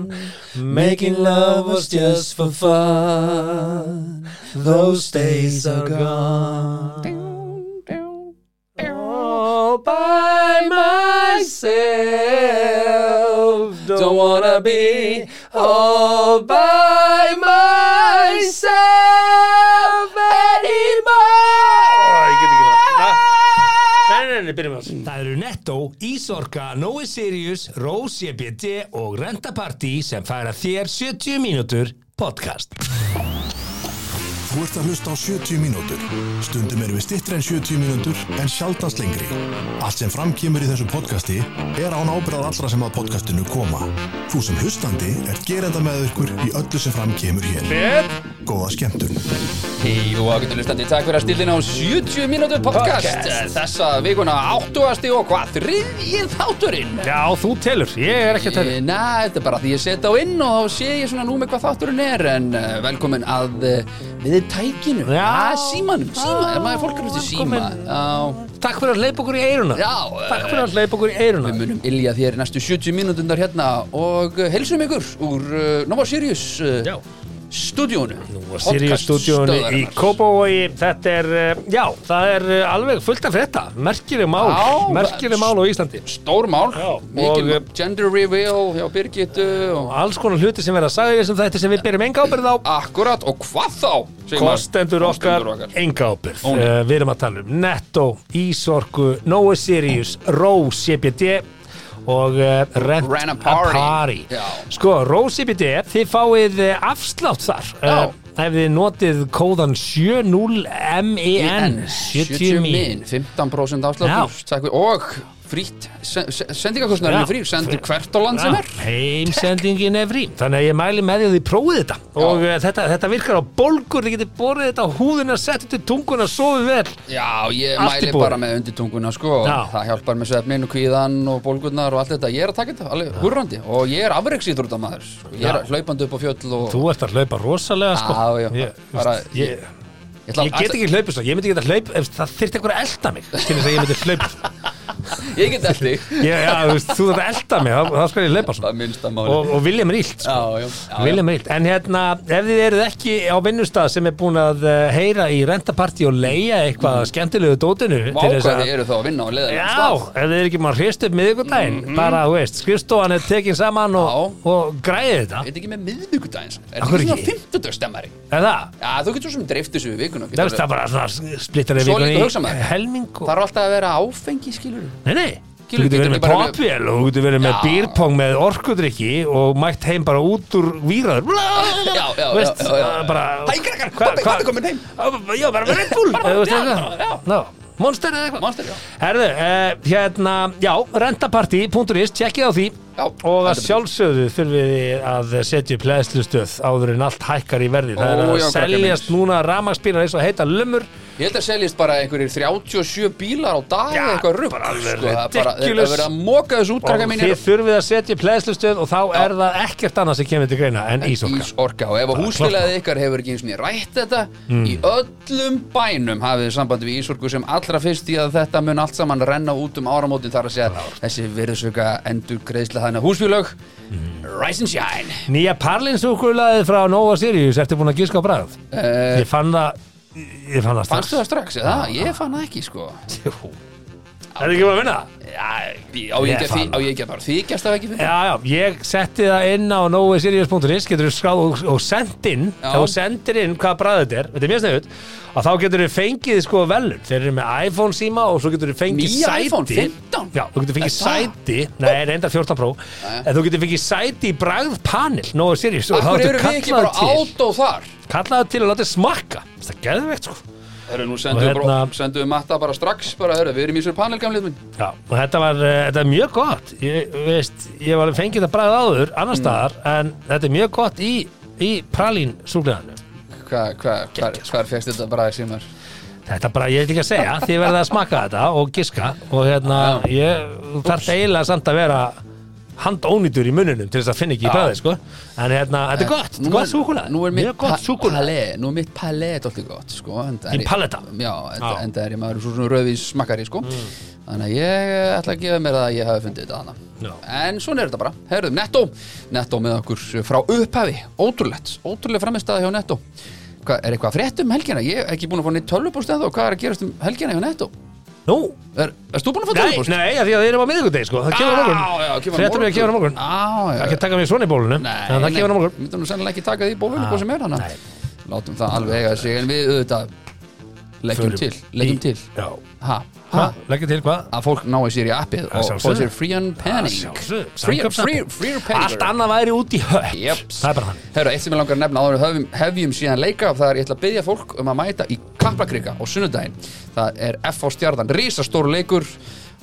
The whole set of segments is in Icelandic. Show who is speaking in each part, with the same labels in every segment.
Speaker 1: Mm. Making love was just for fun. Those days are gone. All by myself. Don't wanna be all by myself
Speaker 2: Ó, ég Ah, get ekki bara- Na.
Speaker 1: anymore.
Speaker 2: Nei, nei, nei, byrjum við alls
Speaker 3: Það eru Netto, Ísorka, Nói Sirius, Rose EBD og Renta Party sem færa þér 70 mínútur podcast.
Speaker 4: Þú ert að hlusta á 70 mínútur. Stundum erum við stittri en 70 mínútur en sjaldast lengri. Allt sem framkýmur í þessu podcasti er án ábyrðað allra sem að podcastinu koma. Þú sem hlustandi er gerenda með ykkur í öllu sem framkýmur hér.
Speaker 2: Bett
Speaker 4: Góða skemmtun.
Speaker 5: Hei og ágættu hlustandi, takk fyrir að stillina á 70 mínútur podcast,
Speaker 2: Podcast.
Speaker 5: Þessa vikuna áttuasti og hvað, þriðjið þátturinn
Speaker 2: Já, þú telur, ég er ekki að telja
Speaker 5: Eh, Nei, þetta er bara því ég set á inn og þá sé ég svona nú með hvað þátturinn er En uh, velkomin að uh, við tækinu,
Speaker 2: Já. Ah,
Speaker 5: að símanum, síma, er maður fólk að hlusta í síma
Speaker 2: Velkomin.
Speaker 5: Já,
Speaker 2: Takk fyrir að leipa okkur í eiruna
Speaker 5: já eh,
Speaker 2: Takk fyrir að leipa okkur í eiruna
Speaker 5: Við munum ilja þér næstu 70 mínútundar hérna og uh, heilsum ykkur úr uh, Nova Sirius uh,
Speaker 2: Já,
Speaker 5: stúdíónu
Speaker 2: nú var Sirius stúdíónu í Kópavogi Þetta er, eh, já, það er eh, alveg fullt af frétta Merkileg mál,
Speaker 5: Já,
Speaker 2: merkileg mál á Íslandi
Speaker 5: Stór mál,
Speaker 2: Já, og-
Speaker 5: mikil
Speaker 2: eh,
Speaker 5: gender reveal hjá Birgittu og
Speaker 2: Og alls konar hluti sem verða sagði þessum þetta sem við byrjum enga ábyrð á
Speaker 5: akkurat og hvað þá? segir maður.
Speaker 2: Kostendur okkar,
Speaker 5: Kostendur okkar.
Speaker 2: enga ábyrð
Speaker 5: Ó, nei.
Speaker 2: uh, Við erum að tala um Netto, Ísorku, Noah Sirius, Rose, CBD og uh, Rent
Speaker 5: Rent a Party. Já.
Speaker 2: Sko, Rose CBD, þið fáið eh, afslátt þar
Speaker 5: Já.
Speaker 2: Eh, Ef þið notið kóðan 70MEN 70 min
Speaker 5: 15%
Speaker 2: Já.
Speaker 5: afsláttur Takk fyrir- og frýtt sendingakostnæðurinn
Speaker 2: Já.
Speaker 5: er frýr, sendir hvert á land sem er
Speaker 2: Heimsendingin er frí Þannig að ég mæli með því að þið prófið þetta Og uh, þetta, þetta virkar á bólgur Þið getið borðið þetta á húðina, sett þetta í tunguna Sofið vel
Speaker 5: Já, ég
Speaker 2: Allt í
Speaker 5: mæli
Speaker 2: boði.
Speaker 5: bara með undirtunguna sko
Speaker 2: Já.
Speaker 5: Það hjálpar með svefnin og kvíðan og bólgurnar og allt þetta Ég er að taka þetta, alveg hurrandi Og ég er afreiksýtur út af maður sko. Ég er
Speaker 2: Já.
Speaker 5: hlaupandi upp á fjöll og
Speaker 2: Þú ert að hlaupa rosalega sko
Speaker 5: Já, já,
Speaker 2: ég,
Speaker 5: bara-
Speaker 2: veist, ég,
Speaker 5: Ég ætla-
Speaker 2: ég get ekki hlaupið svo, ég myndi geta hlaup ef það þyrfti einhver að elda mig til þess að ég myndi hlaupa svo.
Speaker 5: Ég get allt þig
Speaker 2: ég, já, þú, veist, þú þarf að elda mig, þá, þá skal ég hlaupa svo
Speaker 5: Það minnst að máli
Speaker 2: og, og vilja mér illt sko.
Speaker 5: Já, já, já, já.
Speaker 2: Vilja mér illt, en hérna ef þið eruð ekki á vinnustað sem er búin að eh, heyra í rentapartí og leia eitthvað skemmtilegu dótinu til þess að-
Speaker 5: Vákvæði eru þá að Mm-hmm. vinna á leiðan
Speaker 2: Já, ef þið er ekki maður hrist upp miðvikudaginn bara, þú veist, skrifstofan er tekin saman og, og græði þetta
Speaker 5: Ég veit ekki með miðvikudagins Er
Speaker 2: Akkur
Speaker 5: þetta svona
Speaker 2: ekki?
Speaker 5: fimmtudagstemmari?
Speaker 2: er það?
Speaker 5: Já, þú getur svo sem dreiftu þessu við vikuna
Speaker 2: Það veist, það er bara svona splittar
Speaker 5: Svo líka hugsa maður.
Speaker 2: helming og...
Speaker 5: Það er alltaf að vera áfengi, skilur
Speaker 2: Nei, nei, þú getur
Speaker 5: Skilur, getur
Speaker 2: verið
Speaker 5: ekki
Speaker 2: með
Speaker 5: bara verið-
Speaker 2: popvél og þú getur verið með
Speaker 5: Já.
Speaker 2: býrpong með orkudrykki og mætt heim bara út úr víraður
Speaker 5: Já, já, já,
Speaker 2: Veist,
Speaker 5: já, já, já.
Speaker 2: bara
Speaker 5: Hæ, krakkar,
Speaker 2: Hva-
Speaker 5: pabbi,
Speaker 2: hva-
Speaker 5: pabbi kominn heim.
Speaker 2: Já, bara með Red Bull eða þú veist
Speaker 5: Já,
Speaker 2: eitthvað.
Speaker 5: já.
Speaker 2: Já, Monster eða eitthvað
Speaker 5: Monster, já.
Speaker 2: Herðu, eh, hérna, já, rentaparty.is, tjekkið á því
Speaker 5: Já,
Speaker 2: og að
Speaker 5: heldur betur.
Speaker 2: sjálfsögðu þurfið þið að setja upp hlæðslustöð áður en allt hækkar í verði það
Speaker 5: Ó,
Speaker 2: er að
Speaker 5: já, krakkar
Speaker 2: seljast
Speaker 5: mínir.
Speaker 2: núna ramagsbílar eins og heita lumur
Speaker 5: Ég held að seljist bara einhverjir 37 bílar á dag
Speaker 2: Já,
Speaker 5: eða eitthvað rugg
Speaker 2: bara alveg
Speaker 5: sko, það er bara- þeir-
Speaker 2: ridiculous.
Speaker 5: Það er verið að móka þessu út,
Speaker 2: og
Speaker 5: krakkar
Speaker 2: þið
Speaker 5: mínir
Speaker 2: þurfið að setja upp hlæðslustöð og þá er það ekkert annað sem kemur til greina en ísorka
Speaker 5: Ísorka og ef að húsfélagið ykkar hefur ekki eins og niður rætt þetta
Speaker 2: Hmm.
Speaker 5: í öllum bænum hafið þið sambandi við Ísorku sem allra fyrst í að þetta mun allt saman renna út um áramótin þar að segja þessi virðsöka endur greiðsla þannig að húsfélag
Speaker 2: Hmm.
Speaker 5: Rise and Shine
Speaker 2: Nýja parlinsúkulaðið frá Nova Sirius ertu búin að gíska á bræð?
Speaker 5: Eh.
Speaker 2: ég fann það ég fann það strax
Speaker 5: Fannstu það strax eða?
Speaker 2: Ah.
Speaker 5: Ég fann það ekki sko
Speaker 2: Jú. Er það ekki bara að vinna?
Speaker 5: Já, á ég
Speaker 2: Ég
Speaker 5: ekki að
Speaker 2: fann
Speaker 5: því- á ég ekki að bara þykjast það ekki fyrir
Speaker 2: Já, já, ég setti það inn á noisirius.is getur þú skráð og, og send inn
Speaker 5: Já.
Speaker 2: þá sendir inn hvað bræð þetta er þetta er mjög sniðut og þá getur þú fengið sko velun þeir eru með iPhone síma og svo getur þú fengið
Speaker 5: Nýja
Speaker 2: sæti
Speaker 5: iPhone 15?
Speaker 2: Já, þú getur fengið
Speaker 5: Er
Speaker 2: sæti Nei, reyndar 14 Pro en þú getur fengið sæti í bræðpanel Nova Sirius og þá
Speaker 5: Akkur
Speaker 2: ertu
Speaker 5: eru við
Speaker 2: kallaður
Speaker 5: ekki bara át og þar
Speaker 2: til kallaðu til og láta þér smakka það er geðvegt sko
Speaker 5: Herru, nú
Speaker 2: Og
Speaker 5: sendum við
Speaker 2: hérna-
Speaker 5: bara- sendum við matta bara strax bara, herru, við erum í sér panel gamlið minn
Speaker 2: Já, og þetta var, eh, þetta er mjög gott ég, veist, ég var alveg fengið þetta bræðið áður annar
Speaker 5: Mm.
Speaker 2: staðar, en þetta er mjög gott í, í pralín súklaðinu
Speaker 5: Hva- hva- hvar-
Speaker 2: sko.
Speaker 5: Hvar fegst þetta bara sem er
Speaker 2: Þetta bara, ég veit ekki að segja, þið verða að smaka þetta og giska og hérna, ég þarf eiginlega samt að vera handónýtur í mununum til þess að finna ekki í bræðið, sko en hérna, þetta er gott,
Speaker 5: Nú er-
Speaker 2: gott súkulað
Speaker 5: Nú er mitt
Speaker 2: mjög gott
Speaker 5: pa
Speaker 2: súkulað
Speaker 5: palé Nú er mitt palé dóttir gott sko, enda er
Speaker 2: Í
Speaker 5: ég-
Speaker 2: paletta?
Speaker 5: Já, enda,
Speaker 2: Já. Mm.
Speaker 5: enda er ég maður svo svona rauðvís smakkari sko. Þannig að ég ætla að gefa mér það að ég hafi fundið þetta hana
Speaker 2: Já.
Speaker 5: en svona er þetta bara, herðum Netto Netto með okkur frá upphafi ótrúlegt, ótrúlega framistæða hjá Netto Hva, er eitthvað að frétt um helgina? Ég er ekki búin að fá neitt tölvupóst eða og hvað er að gerast um helgina hjá Netto?
Speaker 2: Nú,
Speaker 5: Er, erst þú búin að fá
Speaker 2: nei,
Speaker 5: tölvupóst?
Speaker 2: nei, af því að við erum á miðvikudegi sko Það kemur á morgun, fréttum við að kemur á morgun
Speaker 5: Já,
Speaker 2: Ekki
Speaker 5: já,
Speaker 2: að taka mig svona í bólunum
Speaker 5: Nei,
Speaker 2: En það kemur á morgun
Speaker 5: Við myndum nú sennilega ekki taka því í bólunni
Speaker 2: Ah,
Speaker 5: hvað sem er hana
Speaker 2: nei.
Speaker 5: Látum það alveg eiga sig En við auðvitað leggjum
Speaker 2: Förum
Speaker 5: til Leggjum
Speaker 2: í-
Speaker 5: til
Speaker 2: Já,
Speaker 5: ha, ha,
Speaker 2: Hvað? leggjum til hvað?
Speaker 5: Að fólk nái sér í appið og
Speaker 2: sjálfsögðu.
Speaker 5: fóðu sér free and
Speaker 2: Að
Speaker 5: penning
Speaker 2: sjálfsögðu,
Speaker 5: Free,
Speaker 2: samkvæmt
Speaker 5: free,
Speaker 2: samkvæmt.
Speaker 5: free
Speaker 2: Allt annað væri út í hött
Speaker 5: Jeps.
Speaker 2: Það er bara þannig
Speaker 5: Herra, eitt sem ég langar að nefna áður en við höfum, hefjum síðan leika og það er ég ætla að byggja fólk um að mæta í Kaplakrika á sunnudaginn. Það er FH Stjarnan, risastór leikur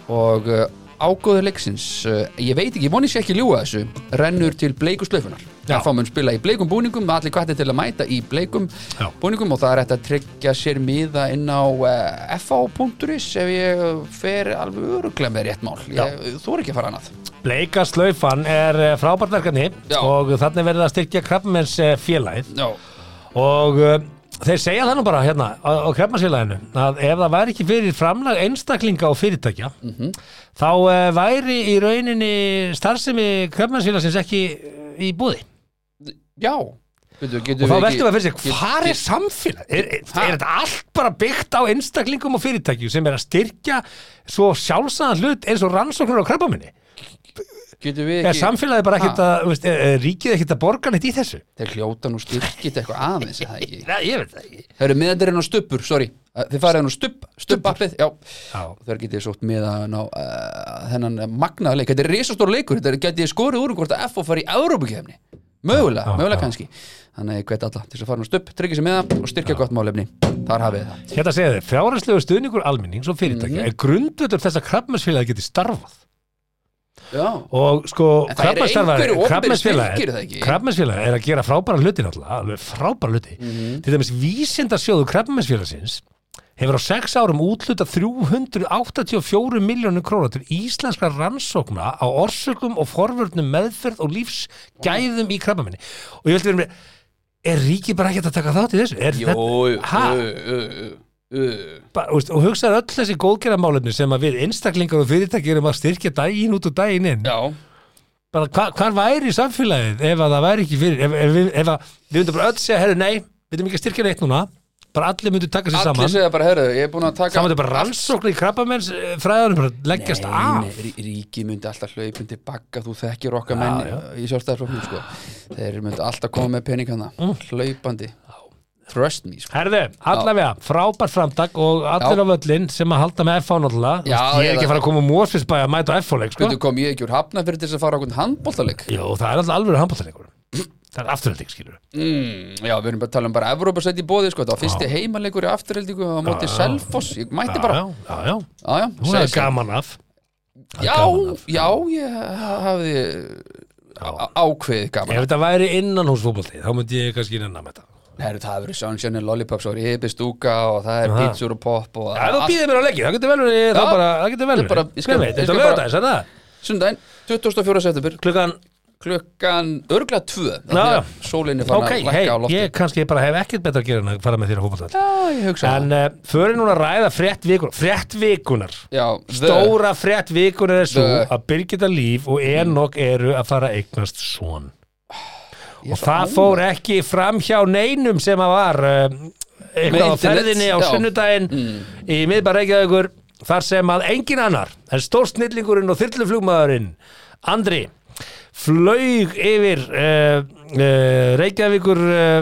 Speaker 5: og uh, ágóður leiksins uh, ég veit ekki, ég voni sé ekki ljúga þessu rennur til bleiku slöfunar.
Speaker 2: Já.
Speaker 5: FH mun spila í bleikum búningum, allir kvættir til að mæta í bleikum
Speaker 2: Já.
Speaker 5: búningum og það er hægt að tryggja sér miða inn á uh, FH.is ef ég fer alveg öruglega með rétt mál. Ég, þú er ekki að fara annað.
Speaker 2: Bleika slaufan er eh, frábært verkefni
Speaker 5: Já.
Speaker 2: og þannig verið að styrkja krabbamenns félagið
Speaker 5: Já,
Speaker 2: og uh, þeir segja það nú bara hérna á, á krabbamennsfélaginu að ef það væri ekki fyrir framlag einstaklinga og fyrirtækja
Speaker 5: Mhm.
Speaker 2: þá uh, væri í rauninni starfsemi krabbamennsfélagsins ekki eh, í búði
Speaker 5: já. Getur, getur
Speaker 2: og þá
Speaker 5: við ekki-
Speaker 2: veltum við að fyrir
Speaker 5: get-
Speaker 2: sér, hvað
Speaker 5: get-
Speaker 2: er samfélag? Er, er,
Speaker 5: Ha?
Speaker 2: er þetta allt bara byggt á einstaklingum og fyrirtækju sem er að styrkja svo sjálfsæðan hlut eins og rannsóknur á krabbamenni?
Speaker 5: Getum við
Speaker 2: Er
Speaker 5: ekki,
Speaker 2: samfélagið bara ekkert að, þú veist, er, er ríkið ekkert að borga neitt í þessu?
Speaker 5: þeir hljóta nú styrkit eitthvað aðeins eða ekki
Speaker 2: Nei, ég veit það ekki.
Speaker 5: Þeir eru miðandirinn á stubbur, sorry Þið farið hann á stubb, stubbappið, já
Speaker 2: Já.
Speaker 5: Þeir getið sótt miðan á uh, þennan magnaða leik Þetta er risastór leikur, þetta getið skorið úr um hvort að F og fari í Evrópukefni Mögulega,
Speaker 2: Ah,
Speaker 5: mögulega kannski Þannig ég hvet alla til þess að fara hann á stubb, tryggja sér miða og
Speaker 2: Ah.
Speaker 5: styrkja gott málefni Þar hafið þið það
Speaker 2: Hérna segja þið, fjárhanslegu stuðningur almennings og fyrirtækja
Speaker 5: Mhm.
Speaker 2: er grundvöldur þess að krabbmennsfélagi geti starfað.
Speaker 5: Já,
Speaker 2: Og sko,
Speaker 5: En það eru
Speaker 2: krabbmennsfélagi
Speaker 5: einhverjir opinberir styrkir, er það
Speaker 2: krabbmennsfélagi
Speaker 5: ekki?
Speaker 2: krabbmennsfélagi er að gera frábæra hluti náttúrulega, alveg frábæra hluti.
Speaker 5: Mhm.
Speaker 2: Til dæmis vísindasjóðu krabbmennsfélagsins hefur á sex árum útluta 384 miljónum krónar til íslenskra rannsókna á orsökum og forvörnum meðferð og lífsgæðum í krabbamenni. Og ég veldi verið með, er ríkið bara ekkert að taka þátt í þessu? Er
Speaker 5: jú,
Speaker 2: þetta-
Speaker 5: jú,
Speaker 2: Ha?
Speaker 5: jú, jú, jú, jú.
Speaker 2: bara, þú veist, og hugsaðu öll þessi góðgerðamálefni sem að við einstaklingar og fyrirtæki erum að styrkja daginn út og daginn inn
Speaker 5: Já,
Speaker 2: bara hva, hvar væri samfélagið ef að það væri ekki fyrir ef, ef, ef, ef að, við myndum bara öll segja, herru nei við myndum ekki að styrkja neitt núna bara allir myndu taka sér
Speaker 5: allir
Speaker 2: saman
Speaker 5: segja bara, herðu, ég er búin að taka
Speaker 2: saman þetta bara rannsóknir í krabbamenns fræðanum bara leggjast
Speaker 5: Nei,
Speaker 2: af
Speaker 5: nei, rí- ríki myndi alltaf hlaupin til bakka þú þekkir okkar menn í sjálfstæðarflokknum sko. þeir myndi alltaf koma með peningana
Speaker 2: Mm.
Speaker 5: hlaupandi trust me sko.
Speaker 2: Herðu, allavega, frábær framtak og allir
Speaker 5: Já.
Speaker 2: á völlin sem að halda með FH náttúrulega, Þú
Speaker 5: Já,
Speaker 2: veist, ég er
Speaker 5: ég
Speaker 2: ekki að
Speaker 5: veit.
Speaker 2: fara að koma úr Mósfisbæ að mæta á FH-leik, sko
Speaker 5: Hvernig kom ég ekki úr hafna fyrir þess að fara okkur handbóltaleg
Speaker 2: Jú, það er alltaf alveg handbóltaleikur Það er afturhalding, skilur
Speaker 5: mm, já, við erum bara að tala um bara Evrópa sæti í bóði sko. það var fyrsti heimalegur í afturheldingu á móti Selfoss, ég mætti bara
Speaker 2: Já, já, já,
Speaker 5: já, já,
Speaker 2: hún
Speaker 5: segi-
Speaker 2: er gaman af
Speaker 5: já,
Speaker 2: gaman af.
Speaker 5: já, ég hafði á- ákveðið gaman
Speaker 2: Ef þetta væri innan hús fótbolti þá myndi ég kannski nennan með þetta
Speaker 5: Heru, það hefur sunshine and lollipops og ribistúka og það er
Speaker 2: Aha.
Speaker 5: pizzur og pop og
Speaker 2: Ef þú
Speaker 5: allt-
Speaker 2: býðir mér á leikið, það getur vel verið
Speaker 5: Já,
Speaker 2: það bara, það getur vel
Speaker 5: ég bara- ég
Speaker 2: verið
Speaker 5: skal-
Speaker 2: Hver veit,
Speaker 5: ég
Speaker 2: Þetta
Speaker 5: skal
Speaker 2: er
Speaker 5: bara-
Speaker 2: lögðaðis, er það?
Speaker 5: Sundaginn, 24. september
Speaker 2: Klukkan,
Speaker 5: klukkan örgla
Speaker 2: Já,
Speaker 5: 2
Speaker 2: já.
Speaker 5: sólinni fann
Speaker 2: ok,
Speaker 5: að
Speaker 2: hei,
Speaker 5: lækka á lofti
Speaker 2: ég kannski bara hef ekkert betra að gera en að fara með þér á fótbolti
Speaker 5: Já, ég hugsa
Speaker 2: En uh, fyrir núna að ræða frétt vikunar Frétt vikunar
Speaker 5: það já, the,
Speaker 2: Stóra frétt vikunar er svo
Speaker 5: The-
Speaker 2: að Birgitta Líf og Enok eru að fara að eignast svon Og
Speaker 5: Ég er svo
Speaker 2: það fór ekki fram hjá neinum sem að var uh, eitthvað á
Speaker 5: Með internet,
Speaker 2: ferðinni á
Speaker 5: já. Mm.
Speaker 2: sunnudaginn í miðbæra Reykjavíkur þar sem að engin annar en stórsnillingurinn og þyrluflugmaðurinn Andri flaug yfir uh, uh, Reykjavíkur uh,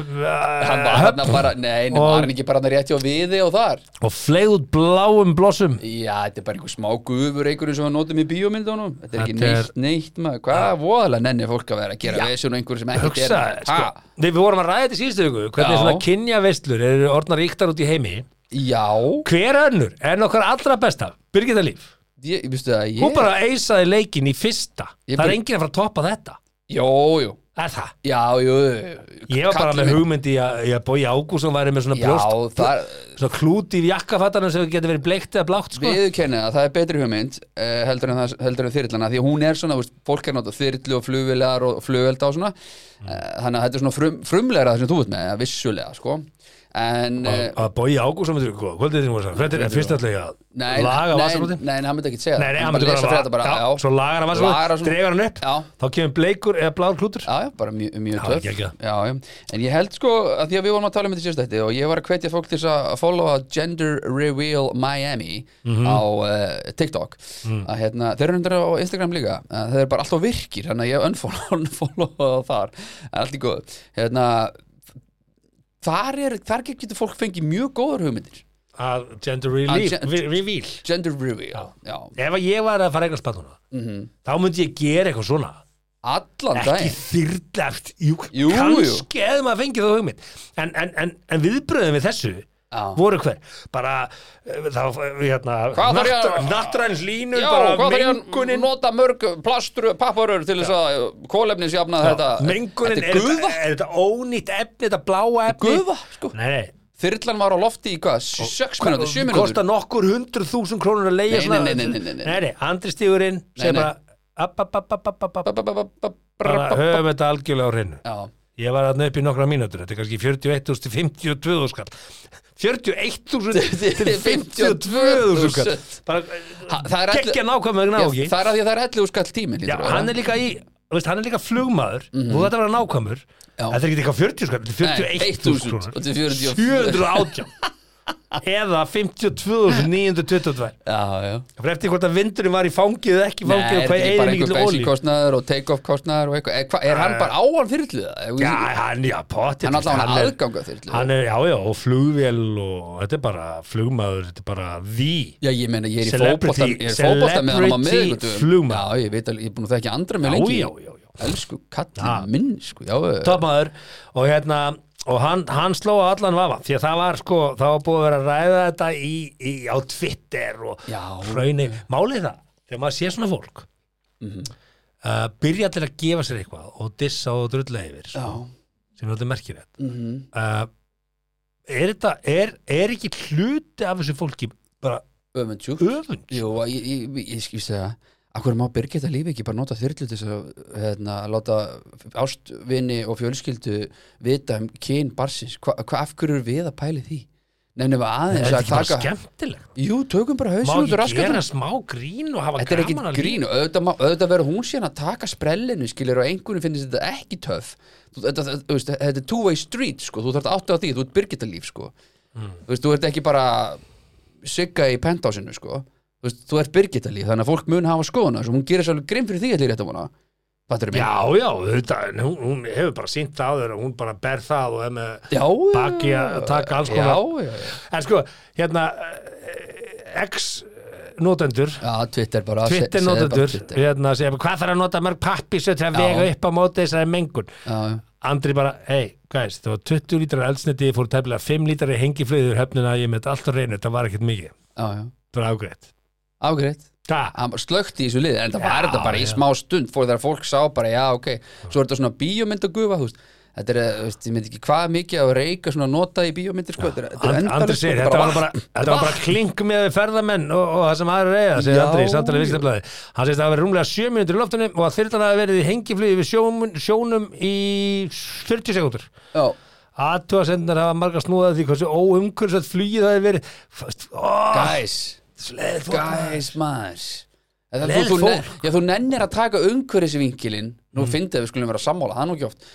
Speaker 5: hann var
Speaker 2: höfn
Speaker 5: hann bara, nei, og,
Speaker 2: Og-
Speaker 5: var hann ekki bara hann rétti á viði og þar
Speaker 2: og fleið út bláum blossum
Speaker 5: já, þetta er bara einhver smá gufur einhverju sem hann notum í bíómyndunum þetta er ekki
Speaker 2: Þetta er-
Speaker 5: neitt, neitt maður, hvað voðalega nenni fólk að vera að gera vesun og einhverju sem ekki
Speaker 2: hugsa, sko, við við vorum að ræða þetta í síðustu viku hvernig
Speaker 5: Já.
Speaker 2: svona kynjaveislur eru orðnar ríktar út í heimi
Speaker 5: já,
Speaker 2: hver önnur en okkar allra besta Birgitta Líf
Speaker 5: ég, vistu það, ég
Speaker 2: Hún bara eisaði leikin í fyrsta
Speaker 5: Ég
Speaker 2: Það er
Speaker 5: bara-
Speaker 2: enginn að fara að toppa þetta
Speaker 5: jú, jú,
Speaker 2: Er það?
Speaker 5: já, jú
Speaker 2: Ég var bara
Speaker 5: kallinn
Speaker 2: með
Speaker 5: minn-
Speaker 2: hugmyndi að, að Bói Ágússon væri með svona
Speaker 5: já,
Speaker 2: brjóst
Speaker 5: það,
Speaker 2: svona klúti í jakkafattanum sem getur verið bleikt eða blátt sko.
Speaker 5: Við kenna það, það er betri hugmynd uh, heldur, en það, heldur en þyrlana því að hún er svona, þú veist, fólk er náttúrulega þyrlu og flugvilegar og flugvelda og svona mm. þannig að þetta er svona frum, frumlegra það sem þú ert með, vissulega, sko en,
Speaker 2: að,
Speaker 5: uh,
Speaker 2: að bója ágúsum kvöldið þínu voru þetta er fyrst alltaf ekki
Speaker 5: nei,
Speaker 2: að laga
Speaker 5: nei,
Speaker 2: vasalótin
Speaker 5: nei, nei, hann myndi ekki segja
Speaker 2: Nei, nei, hann
Speaker 5: hann
Speaker 2: myndi
Speaker 5: myndi
Speaker 2: bara
Speaker 5: lesa
Speaker 2: laga-
Speaker 5: frétta bara,
Speaker 2: já,
Speaker 5: já,
Speaker 2: svo lagar hann vasalótin,
Speaker 5: Lagar hann-
Speaker 2: dregur hann upp.
Speaker 5: já,
Speaker 2: þá kemur bleikur eða blár klútur
Speaker 5: Já, já, bara mjög, mjög
Speaker 2: Já,
Speaker 5: töff
Speaker 2: ekki, ekki.
Speaker 5: já, já. En ég held sko að því að við vorum að tala um þetta sérstætti og ég var að hvetja fólk til þess að followa Gender Reveal Miami
Speaker 2: Mhm.
Speaker 5: á uh, TikTok að hérna, þeir eru undir á Instagram líka að þeir eru bara alltaf virkir, þannig að ég unfollow, unfollow þar, en allt í góð hérna þar, er, þar getur fólk fengið mjög góðar hugmyndir
Speaker 2: að gender
Speaker 5: Að
Speaker 2: relief,
Speaker 5: gen-
Speaker 2: re- reveal
Speaker 5: Gender Reveal, já,
Speaker 2: ef að ég var að fara að eignast batnuna
Speaker 5: Mhm.
Speaker 2: þá myndi ég gera eitthvað svona
Speaker 5: allan
Speaker 2: ekki
Speaker 5: daginn
Speaker 2: þyrrlegt, jú,
Speaker 5: Jú, jú.
Speaker 2: kannski eða maður fengið þá hugmynd en, en, en, en viðbröðum við þessu
Speaker 5: Já.
Speaker 2: voru hver, bara eh, þá, eh, hérna,
Speaker 5: Hvað þarf ég að-
Speaker 2: nattræn hlínur,
Speaker 5: Já,
Speaker 2: bara
Speaker 5: hvað þarf ég að
Speaker 2: mengunin
Speaker 5: nota mörg plastru, papparur til þess að kólefnisjafna þetta
Speaker 2: mengunin,
Speaker 5: Þetta er guða,
Speaker 2: er þetta ónýtt efni, þetta bláa efni
Speaker 5: guða, sko
Speaker 2: Nei, nei,
Speaker 5: Þyrlan var á lofti í hvað, 6 minútur, 7
Speaker 2: kosta
Speaker 5: minútur
Speaker 2: nokkur hundruð þúsund krónur að leiða
Speaker 5: Nei,
Speaker 2: svona-
Speaker 5: nei, nei, nei, nei, nei.
Speaker 2: nei, nei, Andri stígurinn segir
Speaker 5: nei.
Speaker 2: bara app, app, app, app, app, app, app,
Speaker 5: Ba- ba- ba- ba- bra-
Speaker 2: bara
Speaker 5: ba- ba-
Speaker 2: höfum þetta algjörlega á hreinu
Speaker 5: Já,
Speaker 2: ég var þarna upp í nokkra mínútur, þetta er kannski 41.000 til 52.000 skall 41.000 til 52.000 skall
Speaker 5: Ha-
Speaker 2: bara
Speaker 5: það er allir-
Speaker 2: geggja nákvæmlega
Speaker 5: Já,
Speaker 2: náki
Speaker 5: það er að því að það er 11 skall tíminn
Speaker 2: Já, hann er líka í þú veist, hann er líka flugmaður mm -hmm. og þetta var nákvæmur
Speaker 5: Mhm. Já.
Speaker 2: þetta er ekki eitthvað 40 skall, þetta er 41.000
Speaker 5: og
Speaker 2: krónur 718
Speaker 5: til 40
Speaker 2: eða 52.922
Speaker 5: Já,
Speaker 2: það
Speaker 5: já
Speaker 2: fyrir eftir hvort að vindurinn var í fangið eða ekki
Speaker 5: Nei,
Speaker 2: fangið og
Speaker 5: er
Speaker 2: hvað eigin
Speaker 5: þetta ekki bara einhver
Speaker 2: mikill olí
Speaker 5: bensinkostnaður og take-off kostnaður og eitthvað, Er hva- er hann bara á hann þyrlu það?
Speaker 2: Já, hann, já, potið
Speaker 5: Hann allavega hann
Speaker 2: er-
Speaker 5: aðganga þyrlu
Speaker 2: Hann er, já, já, og flugvél og þetta er bara flugmaður, þetta er bara því
Speaker 5: Já, ég meina, ég er í
Speaker 2: Celebrity-
Speaker 5: fótbolta ég er í fótbolta með hann á
Speaker 2: celebrity
Speaker 5: miðvikutum
Speaker 2: flugmaður.
Speaker 5: Já, ég veit alveg, ég er búin að þekki andra
Speaker 2: Já,
Speaker 5: með lengi
Speaker 2: já, já, já.
Speaker 5: Elsku kallin minn, sko, já eh,
Speaker 2: Topmaður og hérna og hann, hann sló á allan vafa því að það var sko, það var búið að vera að ræða þetta í, í, á Twitter og
Speaker 5: Já. Mhm.
Speaker 2: hraunir, málið það þegar maður sé svona fólk mm byrja til að gefa sér eitthvað og dissa og drulla yfir
Speaker 5: Já,
Speaker 2: sko, sem er alltaf merkilegt
Speaker 5: mhm
Speaker 2: uh, er þetta er, er ekki hluti af þessu fólki bara
Speaker 5: Öfundsjúkt
Speaker 2: öfund
Speaker 5: Jú, að ég, ég, ég, ég skýrst það að hverju má Birgitta lífi ekki bara nota þyrlu til þess að hérna, láta ástvinni og fjölskyldu vita um kyn barsins Hva, hva, af hverju er við að pæli því? Nefnum við
Speaker 2: er
Speaker 5: aðeins
Speaker 2: þetta
Speaker 5: að
Speaker 2: ekki bara
Speaker 5: taka
Speaker 2: skemmtilegt
Speaker 5: Jú, tökum bara
Speaker 2: má
Speaker 5: hausin út úr
Speaker 2: ekki
Speaker 5: raskatum
Speaker 2: gera smá grín og hafa
Speaker 5: Þetta er ekki
Speaker 2: gaman að
Speaker 5: grín, auðvitað, má- auðvitað verður hún síðan að taka sprellinu skilur og einhvern finnst þetta ekki töff Þú- þetta, þetta, þú veist, þetta er two-way street sko, þú þarf aftur á því, þú ert Birgitta líf sko.
Speaker 2: Mm.
Speaker 5: þú, veist, þú ert ekki bara sigga í pentásinu sko. þú, veist, þú ert Birgitta líf, þannig að fólk mun hafa skoðuna og hún gerir svolítið grimm fyrir því allir rétt um hana Fattur
Speaker 2: Já, já, þetta, en hún, hún hefur bara sínt á þér og hún bara ber það og er með
Speaker 5: já, já,
Speaker 2: baki að taka alls
Speaker 5: Mm. já,
Speaker 2: konar
Speaker 5: já, já,
Speaker 2: En sko, hérna eh, X-notendur
Speaker 5: já, Twitter bara se-
Speaker 2: Twitter
Speaker 5: segðu bara
Speaker 2: notendur,
Speaker 5: Twitter.
Speaker 2: hérna, segja, bara, hvað þarf að nota mörg pappi svo til að
Speaker 5: Já.
Speaker 2: vega upp á móti þessari mengun
Speaker 5: Já, já.
Speaker 2: Andri bara, hei, guys, það var 20 lítrar eldsniti, ég fór tæmlega 5 lítrar í hengiflöður höfnina, ég met allt á reynu, það var ekkert mikið,
Speaker 5: já, já.
Speaker 2: það var ágreitt.
Speaker 5: ágreitt
Speaker 2: Það,
Speaker 5: hann slögt í þessu liði, en það var þetta bara í
Speaker 2: já.
Speaker 5: smá stund fór þegar fólk sá bara, já, ok svo er þetta svona bíómynd að gufa, þú veist þetta er, eh, þú veist, ég myndi ekki hvað mikið að reyka svona nota í bíómyndir, sko, þetta er- þetta er
Speaker 2: And, Andri
Speaker 5: endalaust,
Speaker 2: segir,
Speaker 5: sko,
Speaker 2: þetta var
Speaker 5: vatn.
Speaker 2: bara, þetta var bara klink með ferðamenn og, og það sem aðra reyða, segir
Speaker 5: Já.
Speaker 2: Andri, samtalið viðskiptablaði. Hann segist að það hafi verið rúmlega 7 minútur í loftunum og að þyrlan hafi verið í hengiflöðu við sjónum, sjónum í 40 sekúndur.
Speaker 5: já,
Speaker 2: Aðtúasendunar hafa marga snúðað því hversu óumkursað flugið það hefur verið. Fast- ó,
Speaker 5: guys,
Speaker 2: Sleðið fólk.
Speaker 5: guys, maður Þetta,
Speaker 2: Leið
Speaker 5: þú, þú,
Speaker 2: fólk.
Speaker 5: ne- já, þú nennir að taka umhverfisvinkilinn nú mm. fyndið við skulum vera sammála, það er nú ekki oft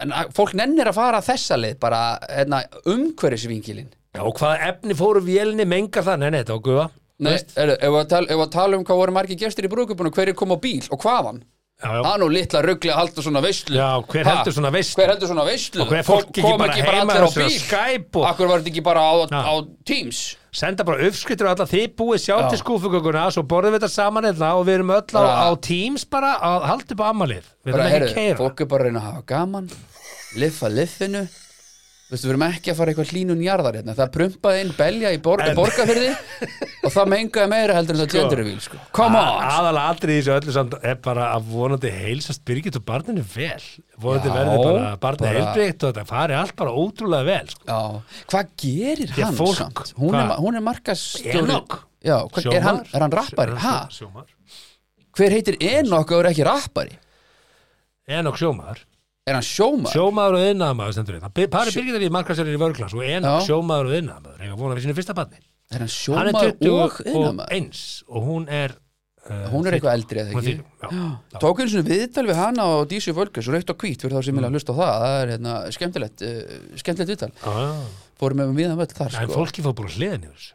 Speaker 5: en að, fólk nennir að fara þessa leið bara, hérna, umhverfisvinkilinn
Speaker 2: Já, og hvaða efni fóru vélinni mengar það? Nei, nei, þetta var gufa.
Speaker 5: Nei, er, ef, að tala, ef að tala um hvað voru margir gestir í brúkupunum, hverju kom á bíl og hvaðan
Speaker 2: Já, já.
Speaker 5: Það er nú litla ruggli að halda svona veislu
Speaker 2: Já, hver
Speaker 5: Ha?
Speaker 2: heldur svona veislu?
Speaker 5: Hver heldur svona veislu?
Speaker 2: Og hver fólk ekki
Speaker 5: kom
Speaker 2: bara
Speaker 5: ekki bara
Speaker 2: heima
Speaker 5: allir á
Speaker 2: þessu á
Speaker 5: bíl
Speaker 2: Skype og-
Speaker 5: Akkur var þetta ekki bara á,
Speaker 2: Já.
Speaker 5: á Teams
Speaker 2: senda bara uppskrittur og alla þið búið sjálf
Speaker 5: Já.
Speaker 2: til skúfugögguna svo borðum við þetta saman hérna og við erum öll á,
Speaker 5: Bara-
Speaker 2: á Teams bara að halda upp á ammalið við
Speaker 5: bara,
Speaker 2: erum ekki að
Speaker 5: heyrðu,
Speaker 2: keira
Speaker 5: Fólk er bara að reyna að hafa gaman Liffa liffinu Veistu, við erum ekki að fara eitthvað hlínun jarðar hérna. Það prumpaði inn belja í bor borgarfyrði og það mengaði meira heldur en það gendervíl, sko. Come
Speaker 2: Ah,
Speaker 5: on!
Speaker 2: aðalega aldrei í þessu öllu samt er bara að vonandi heilsast Birgit og barninu vel vonandi
Speaker 5: Já,
Speaker 2: verði bara barnið
Speaker 5: bara-
Speaker 2: heilbrigt og þetta fari allt bara ótrúlega vel sko.
Speaker 5: Já, hvað gerir
Speaker 2: Já,
Speaker 5: hann
Speaker 2: fólk,
Speaker 5: samt? Hún
Speaker 2: hvað?
Speaker 5: er, ma- hún er markastjóri
Speaker 2: Enoch.
Speaker 5: Já, hvað, er, hann, er hann rappari? Ha?
Speaker 2: Sjómar, sjómar.
Speaker 5: Hver heitir Enoch og er ekki rappari?
Speaker 2: Enok sjómar
Speaker 5: Er hann sjómar?
Speaker 2: Sjómaður og innamaður stendur við. Það pari Birgitar í markaðsjörnir í vörglas og en
Speaker 5: Já.
Speaker 2: sjómaður og innamaður eiga vona við sínu fyrsta barni.
Speaker 5: er hann
Speaker 2: Hann er
Speaker 5: sjómar
Speaker 2: 20
Speaker 5: og
Speaker 2: og,
Speaker 5: innamæður?
Speaker 2: eins og hún er uh,
Speaker 5: Hún er eitthvað eldri eða
Speaker 2: Hún er
Speaker 5: ekki?
Speaker 2: þýr, já. já.
Speaker 5: Tók einu svona viðtal við hana og Dísu Völkes raukt og hvít fyrir þá sem
Speaker 2: Mm.
Speaker 5: vilja hlusta á það það er hérna, skemmtilegt, uh, skemmtilegt viðtal
Speaker 2: Ah,
Speaker 5: fórum með viðan völl þar
Speaker 2: en
Speaker 5: sko.
Speaker 2: fólki fór búin að hliða niður þessu.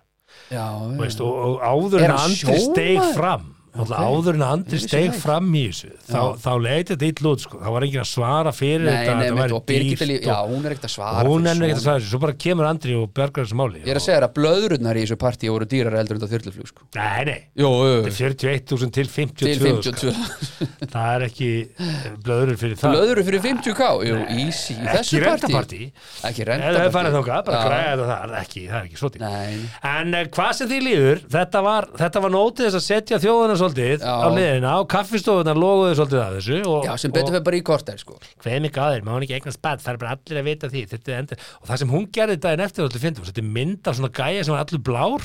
Speaker 5: já,
Speaker 2: Þú
Speaker 5: já.
Speaker 2: veist, og, og áður
Speaker 5: Er
Speaker 2: en
Speaker 5: hann
Speaker 2: andri steig
Speaker 5: sjómaður?
Speaker 2: fram okay. áður en andri
Speaker 5: Ég vissi
Speaker 2: steig
Speaker 5: það ekki.
Speaker 2: fram í þessu þá, þá leiti þetta illa út sko. þá var enginn að svara fyrir
Speaker 5: Nei,
Speaker 2: þetta
Speaker 5: nei,
Speaker 2: þetta
Speaker 5: mitt,
Speaker 2: væri
Speaker 5: og Birgitta
Speaker 2: dýrt
Speaker 5: líf, já, hún er ekkert að svara
Speaker 2: hún
Speaker 5: fyrir
Speaker 2: ennur ekkert að
Speaker 5: svona.
Speaker 2: svara þessu, svo bara kemur andri og bergar þessu máli
Speaker 5: Ég er að segja þér að blöðrunar í þessu partíi voru dýrar eldur en það þyrluflug sko.
Speaker 2: og, nei, nei,
Speaker 5: Jú, jú,
Speaker 2: þetta
Speaker 5: jú,
Speaker 2: er 41.000 til 52
Speaker 5: til 52
Speaker 2: sko. það er ekki eh, blöðrur fyrir það
Speaker 5: Blöðru fyrir 50k, jú, easy í þessu
Speaker 2: ekki
Speaker 5: partí
Speaker 2: rentapartí
Speaker 5: Ekki
Speaker 2: eða það er farið
Speaker 5: rentapartí
Speaker 2: þangað, bara
Speaker 5: Já.
Speaker 2: græða þetta það er ekki, það er ekki svo til
Speaker 5: Nei,
Speaker 2: En eh, hvað sem því líður, þetta var, þetta var nótið þess að setja þjóðuna svolítið
Speaker 5: Já.
Speaker 2: á liðina og kaffistofuna loguðu svolítið að þessu og,
Speaker 5: já, sem betur fyrir bara í korter sko.
Speaker 2: og hver mig aðeir, má hann ekki eignast bad, það er bara allir að vita því þetta er endur, og það sem hún gerði daginn eftir allir fyndum, þetta er mynd af svona gæja sem var allur blár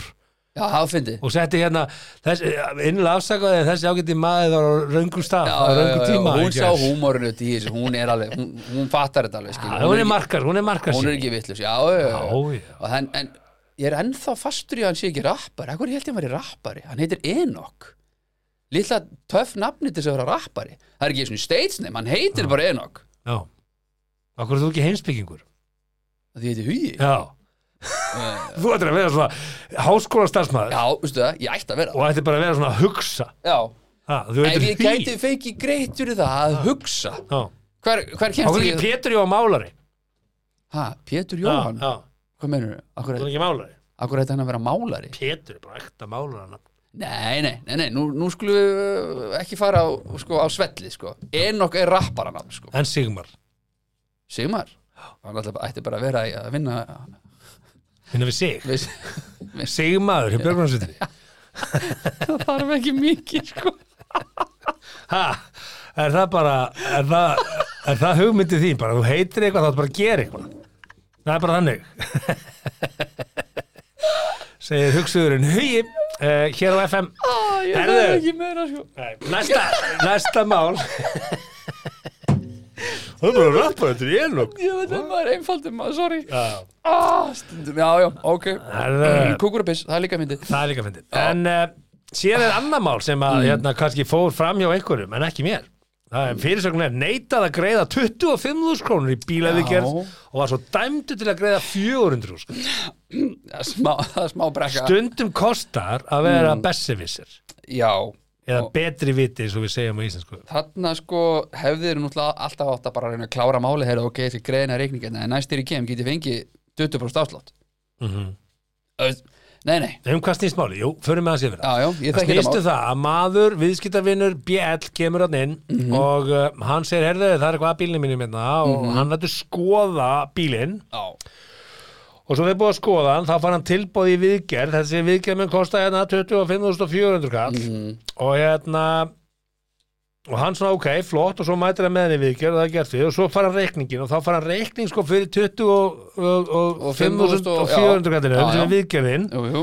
Speaker 5: Já, það fyndi
Speaker 2: og setti hérna þess, innlega afsakaði en þessi ágætti maður var á röngum stað, á röngum tíma
Speaker 5: hún
Speaker 2: I
Speaker 5: sá
Speaker 2: guess.
Speaker 5: húmorinu í þessu, hún er alveg hún, hún fattar þetta alveg, skil
Speaker 2: Já, hún er markar, hún er markar
Speaker 5: hún er ekki vitlaus, já, já, já.
Speaker 2: Já, já.
Speaker 5: Og hann, en ég er ennþá fastur í að hann sé ekki rappari hvað held ég að vera rappari, hann heitir Enoch litla töff nafni til þess að vera rappari það er ekki svona stage name, hann heitir bara Enoch
Speaker 2: Já, okkur er þú ekki heimsbyggingur
Speaker 5: því heitir Hugi já,
Speaker 2: Já Þú ættir að vera svona háskóla starfsmæður
Speaker 5: veistu það, ég ætti að vera
Speaker 2: og ættir bara að vera svona að hugsa
Speaker 5: já,
Speaker 2: Ha, þú
Speaker 5: ef
Speaker 2: veitir
Speaker 5: ég gæti feki greitt fyrir það að hugsa
Speaker 2: Já.
Speaker 5: hver, hver
Speaker 2: Þá
Speaker 5: kemst
Speaker 2: er ekki
Speaker 5: ég
Speaker 2: Pétur Jó málari
Speaker 5: ha, Pétur Jóhann,
Speaker 2: Já, já,
Speaker 5: hvað menur
Speaker 2: þú
Speaker 5: akkur,
Speaker 2: er ekki málari
Speaker 5: akkur hætti hann að vera málari
Speaker 2: Pétur er bara ekta málari
Speaker 5: Nei, nei, nei, nei, nú, nú skulum við uh, ekki fara á, sko, á svelli sko. Enok er rapparanafn sko.
Speaker 2: En Sigmar,
Speaker 5: Sigmar, hann alltaf ætti bara að vera í að vinna
Speaker 2: finna við sig
Speaker 5: við,
Speaker 2: Sigmaður hjá Björgmannsvitri
Speaker 5: Það þarf ekki mikið sko.
Speaker 2: Ha, er það bara er það, er það hugmyndið þín bara, þú heitir eitthvað, þá áttu bara að gera eitthvað Það er bara þannig Segir hugsuðurinn Hugi, uh, hér á FM
Speaker 5: ah, Ég
Speaker 2: Herðu.
Speaker 5: þarf ekki meira sko.
Speaker 2: Nei, Næsta, næsta mál Það er bara að rappa þetta í enn og
Speaker 5: Ég veit að maður er einfaldur maður, sorry
Speaker 2: Já
Speaker 5: ah, stundum, Já, já, ok
Speaker 2: Herðu.
Speaker 5: Kúkurabiss, það er líka myndi
Speaker 2: Það er líka fyndið En uh, síðan er annað mál sem
Speaker 5: Mm.
Speaker 2: að hérna, kannski fór fram hjá einhverjum en ekki mér Það er fyrirsögn er neitað að greiða 25.000 krónur í bílæðigerð
Speaker 5: Já.
Speaker 2: og var svo dæmdu til að greiða 400 sko.
Speaker 5: Það er smá, það er smá brekka
Speaker 2: Stundum kostar að vera mm. bessevisir
Speaker 5: Já,
Speaker 2: eða
Speaker 5: Og-
Speaker 2: betri viti eins og við segjum á íslensku
Speaker 5: þarna sko hefðir náttúrulega alltaf átt að bara reyna að klára máli heyrðu, ok, þessi greiðina reikningina en næst þegar ég kem get ég fengið 20% afslátt
Speaker 2: mm
Speaker 5: Mhm.
Speaker 2: -hmm.
Speaker 5: Öð- Nei, nei,
Speaker 2: Um hvað snýst máli? Jú, förum við að sér
Speaker 5: já,
Speaker 2: vera
Speaker 5: já, ég
Speaker 2: Það
Speaker 5: þekki þetta
Speaker 2: snýstu
Speaker 5: mál
Speaker 2: það að maður, viðskiptavinur, BL kemur hann inn
Speaker 5: Mhm.
Speaker 2: og uh, hann segir, herðu, það er eitthvað að bílnum mínum hérna og hann lætur skoða bílinn
Speaker 5: Já,
Speaker 2: og svo þeir búið að skoða hann, þá fann hann tilbóð í viðgerð þessi viðgerð mun kosta hérna 25.400 kall
Speaker 5: Mhm.
Speaker 2: og hérna og hann svona ok, flott og svo mætir hann með henni í viðgerð og það er gert við og svo fara hann reikningin og þá fara hann reikning sko fyrir 25.400
Speaker 5: já,
Speaker 2: kallinu sem
Speaker 5: já.
Speaker 2: er viðgerðin
Speaker 5: jú, jú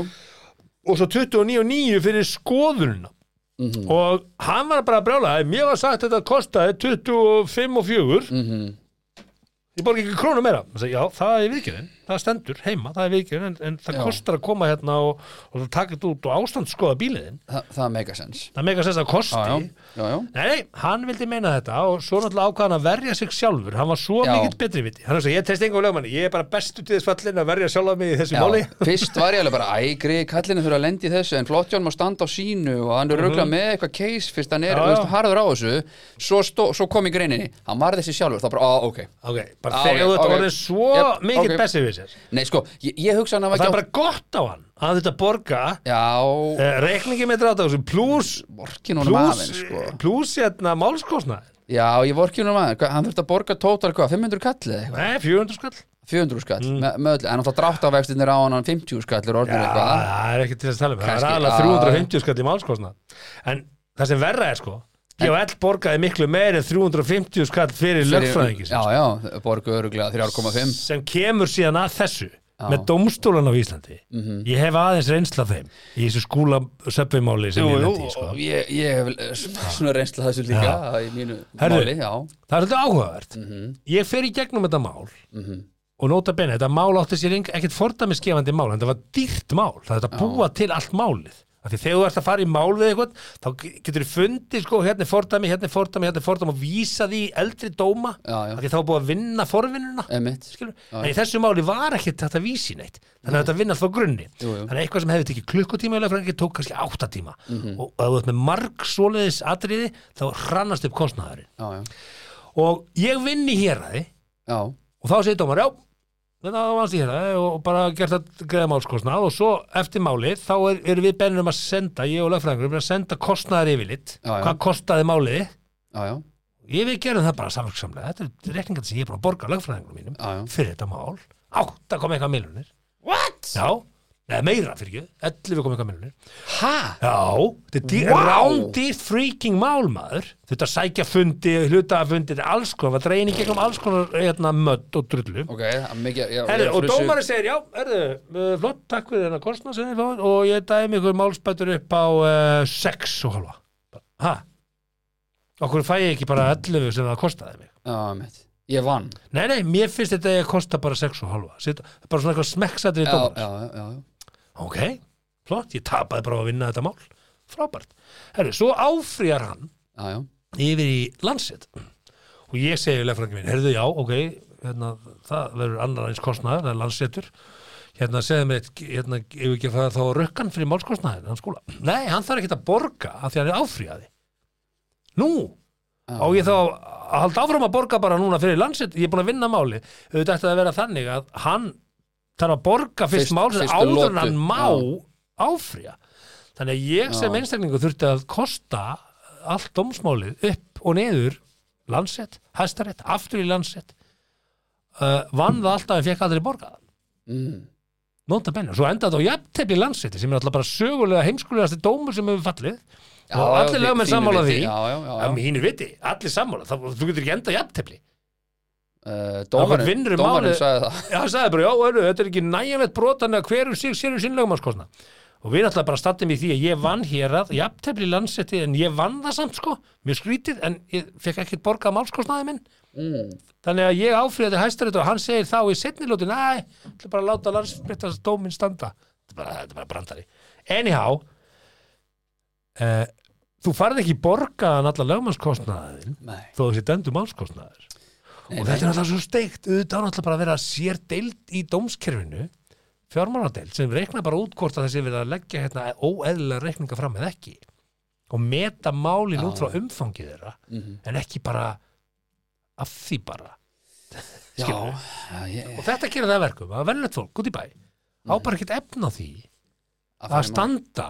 Speaker 2: og svo 29.9 fyrir skoðununa
Speaker 5: Mhm.
Speaker 2: og hann var bara að brjála mér var sagt þetta kostaði 25 og 4
Speaker 5: Mhm.
Speaker 2: ég borgi ekki krónu meira Hann sagði, já það er viðgerðin, það stendur heima það er viðgerðin en, en það
Speaker 5: Já.
Speaker 2: kostar að koma hérna og, og það taka þetta út og ástandskoða bíliðin
Speaker 5: Þa, það er megasens
Speaker 2: það meika sérst að kosti
Speaker 5: Já, já, já, já
Speaker 2: Nei, nei, hann vildi meina þetta og svo náttúrulega ákvað hann að verja sig sjálfur hann var svo
Speaker 5: Já.
Speaker 2: mikill betri viti hann sagði, ég test engum lögmanni, ég er bara bestu til þess fallin að verja sjálfa mig í þessu máli
Speaker 5: Já, fyrst var ég alveg bara, æ, greið, kallinu þurfa að lendi þessu en Flottjón má standa á sínu og hann er röglega með eitthvað case fyrst hann er,
Speaker 2: Mhm. Já,
Speaker 5: þú veist,
Speaker 2: já.
Speaker 5: harður á þessu svo, stó, svo kom í greininni, hann var þessi sjálfur þá bara, á, ok
Speaker 2: ok, bara
Speaker 5: Já,
Speaker 2: þegar
Speaker 5: ok,
Speaker 2: þú ert
Speaker 5: ok.
Speaker 2: orðin svo
Speaker 5: Yep,
Speaker 2: mikill
Speaker 5: ok.
Speaker 2: okay. bessi við sér
Speaker 5: Nei, sko, ég, ég hugsa hann að
Speaker 2: og það
Speaker 5: ekki
Speaker 2: er bara gott á hann að þetta borga
Speaker 5: Já,
Speaker 2: eh, reikningi með drátt á þessu pluss
Speaker 5: vorkin honum
Speaker 2: plus,
Speaker 5: aðeins, sko
Speaker 2: plus hérna málskosna
Speaker 5: Já, ég vor ekki um að hann þurfti að borga tótal hvað, 500 kall eða eitthvað,
Speaker 2: Nei, 400 skall
Speaker 5: 400 skall
Speaker 2: Mm.
Speaker 5: með, með öllu, en átt að drátt á vextinir á hann 50 skall er orðin eitthvað
Speaker 2: það er ekki til þess að tala um Það er
Speaker 5: Kannski,
Speaker 2: aðalega
Speaker 5: já.
Speaker 2: 350 skall í málskostna En það sem verra er sko GHL borgaði miklu meir en 350 skall fyrir lögfræðingi
Speaker 5: Já, já, borgu öruglega 3,5
Speaker 2: sem kemur síðan að þessu með dómstólan á Íslandi
Speaker 5: Mhm.
Speaker 2: ég hef aðeins reynsla af þeim í þessu skúla söpvimáli sem
Speaker 5: Jú,
Speaker 2: ég
Speaker 5: jú,
Speaker 2: lendi í, sko.
Speaker 5: og ég, ég hef eh, svona reynsla þessu líka í mínu
Speaker 2: Herðu.
Speaker 5: máli, já
Speaker 2: það er þetta áhugavert
Speaker 5: Mhm.
Speaker 2: ég fer í gegnum þetta mál og nota bene, þetta mál átti sér eng- ekkert fordæmiskefandi mál, en þetta var dýrt mál það er þetta að búa til allt málið af því þegar þú ert að fara í mál við eitthvað þá getur þú fundið sko, hérna er fordæmi hérna er fordæmi, hérna er fordæmi og vísa því í eldri dóma,
Speaker 5: Já, já.
Speaker 2: af því þá er búið að vinna forvinnuna
Speaker 5: Einmitt.
Speaker 2: skilur, en í þessu máli var ekkert þetta vísi neitt þannig að þetta vinna alltaf á grunni
Speaker 5: Jú, jú.
Speaker 2: þannig að eitthvað sem hefði tekið klukkutíma í lögfræðingi tók kannski áttatíma mm
Speaker 5: Mhm.
Speaker 2: -hmm. og ef þú ert með marg svoleiðis atriði þá hrannast upp kostnaðurinn
Speaker 5: Já, já,
Speaker 2: og ég vinn í héraði
Speaker 5: já,
Speaker 2: og þá segir dómar, já þetta var vannst í héraði og bara gert að greiða málskostnað og svo eftir málið þá er, erum við bennir um að senda, ég og lögfræðingur um að senda kostnaðar yfirlitt
Speaker 5: Já, já.
Speaker 2: hvað kostaði málið
Speaker 5: já, já,
Speaker 2: ég við gerum það bara samverksamlega þetta er rekningar sem ég er búin að borga lögfræðingur mínum
Speaker 5: Já, já.
Speaker 2: fyrir þetta mál, 8 kom eitthvað miljonir what? Já, neða meira fyrir ekki, 11 kom eitthvað miljonir
Speaker 5: ha?
Speaker 2: Já, þetta er wow.
Speaker 5: Vá.
Speaker 2: rándýrt freaking mál maður Þetta sækja fundi, hluta fundi Þetta er alls konar, það dreyin í gegnum alls konar hérna, mödd og drullu
Speaker 5: Ok, það er mikið, já,
Speaker 2: Herðu,
Speaker 5: ég
Speaker 2: og
Speaker 5: flissu-
Speaker 2: dómari segir, já, herðu, uh, flott, takk fyrir þennan kostnað sem þið fóð og ég dæmi ykkur málspætur upp á uh, 6 og halva. Ha? Okkur fæ ég ekki bara 11 sem það kostaði mig.
Speaker 5: Já, mitt, ég vann
Speaker 2: Nei, nei, mér finnst þetta að ég kosta bara 6 og halva. Sitt, bara svona eitthvað smekksatir í
Speaker 5: Já,
Speaker 2: dómar.
Speaker 5: já, já, já,
Speaker 2: Ok, flott, ég tapaði bara á að vinna þetta mál. Frábært. Herru, svo áfrýjar hann
Speaker 5: já, já,
Speaker 2: yfir í landsett og ég segi lefrangi minn, herðu já, ok hérna, það verður annar eins kostnaður það er landsettur hérna, segðu mér, eitt, hérna, ef við ekki að fara þá á rökkan fyrir málskostnaðin, hann skóla nei, hann þarf ekki að borga af því hann er áfríðaði nú
Speaker 5: Ah.
Speaker 2: á ég þá að halda áfram að borga bara núna fyrir landsett, ég er búin að vinna máli auðvitað ætti það að vera þannig að hann þarf að borga fyrst,
Speaker 5: Fyrst-
Speaker 2: fyrst mál sem
Speaker 5: fyrstu
Speaker 2: áður
Speaker 5: lotu.
Speaker 2: en hann má
Speaker 5: Já.
Speaker 2: áfrýja þannig að ég sem einstaklingu þurfti að kosta allt dómsmálið upp og niður landsett, hæstarétt, aftur í landsett uh, vann það alltaf en fekk aldrei borgað
Speaker 5: mm,
Speaker 2: nota benni, svo endaði á jafntefli í landsetti sem er alltaf bara sögulega heimskulegasti dómur sem hefur fallið
Speaker 5: Já,
Speaker 2: og
Speaker 5: já,
Speaker 2: allir
Speaker 5: þí-
Speaker 2: lögmenn
Speaker 5: þínu
Speaker 2: sammála
Speaker 5: viti,
Speaker 2: því
Speaker 5: Já, já, já, já.
Speaker 2: að mínu viti, allir sammála þá, þú getur ekki endað jafntefli
Speaker 5: Uh,
Speaker 2: Okkur
Speaker 5: dómarinn,
Speaker 2: vinnur í
Speaker 5: dómarinn
Speaker 2: máli-
Speaker 5: sagði það
Speaker 2: Já, hann sagði bara, já, heru, þetta er ekki næjanlegt brot þannig að hverjum sig sérum sinnlegumannskostna og við náttúrulega bara stattum í því að ég vann hér að jafntefli landsetti en ég vann það samt sko, mjög skrítið en ég fekk ekkert borgað málskostnaði minn
Speaker 5: mm,
Speaker 2: þannig að ég áfriðaði hæstarétt og hann segir þá í setni lóti, næ, ætla bara að láta landsbyttast dóminn standa þetta er bara, þetta er bara brandari anyhow uh, þú farði ekki borgaðan alla lögmannskostnaðin
Speaker 5: Nei,
Speaker 2: þó þessi dæmdu málskostnaður og
Speaker 5: Nei, nei.
Speaker 2: þetta er alltaf svo steikt auðvitað er alltaf bara að vera sér deild í dómskerfinu fjármáladeild sem reikna bara út hvort að þessi verið að leggja hérna óeðlilega reikninga fram eða ekki og meta málin út frá umfangið þeirra
Speaker 5: Mhm.
Speaker 2: en ekki bara af því bara
Speaker 5: já,
Speaker 2: Skilurðu?
Speaker 5: já, ég,
Speaker 2: og þetta gerir það að verkum að velnett fólk út í bæ á bara ekkert efna því
Speaker 5: Mhm. fara
Speaker 2: að
Speaker 5: í mál.
Speaker 2: standa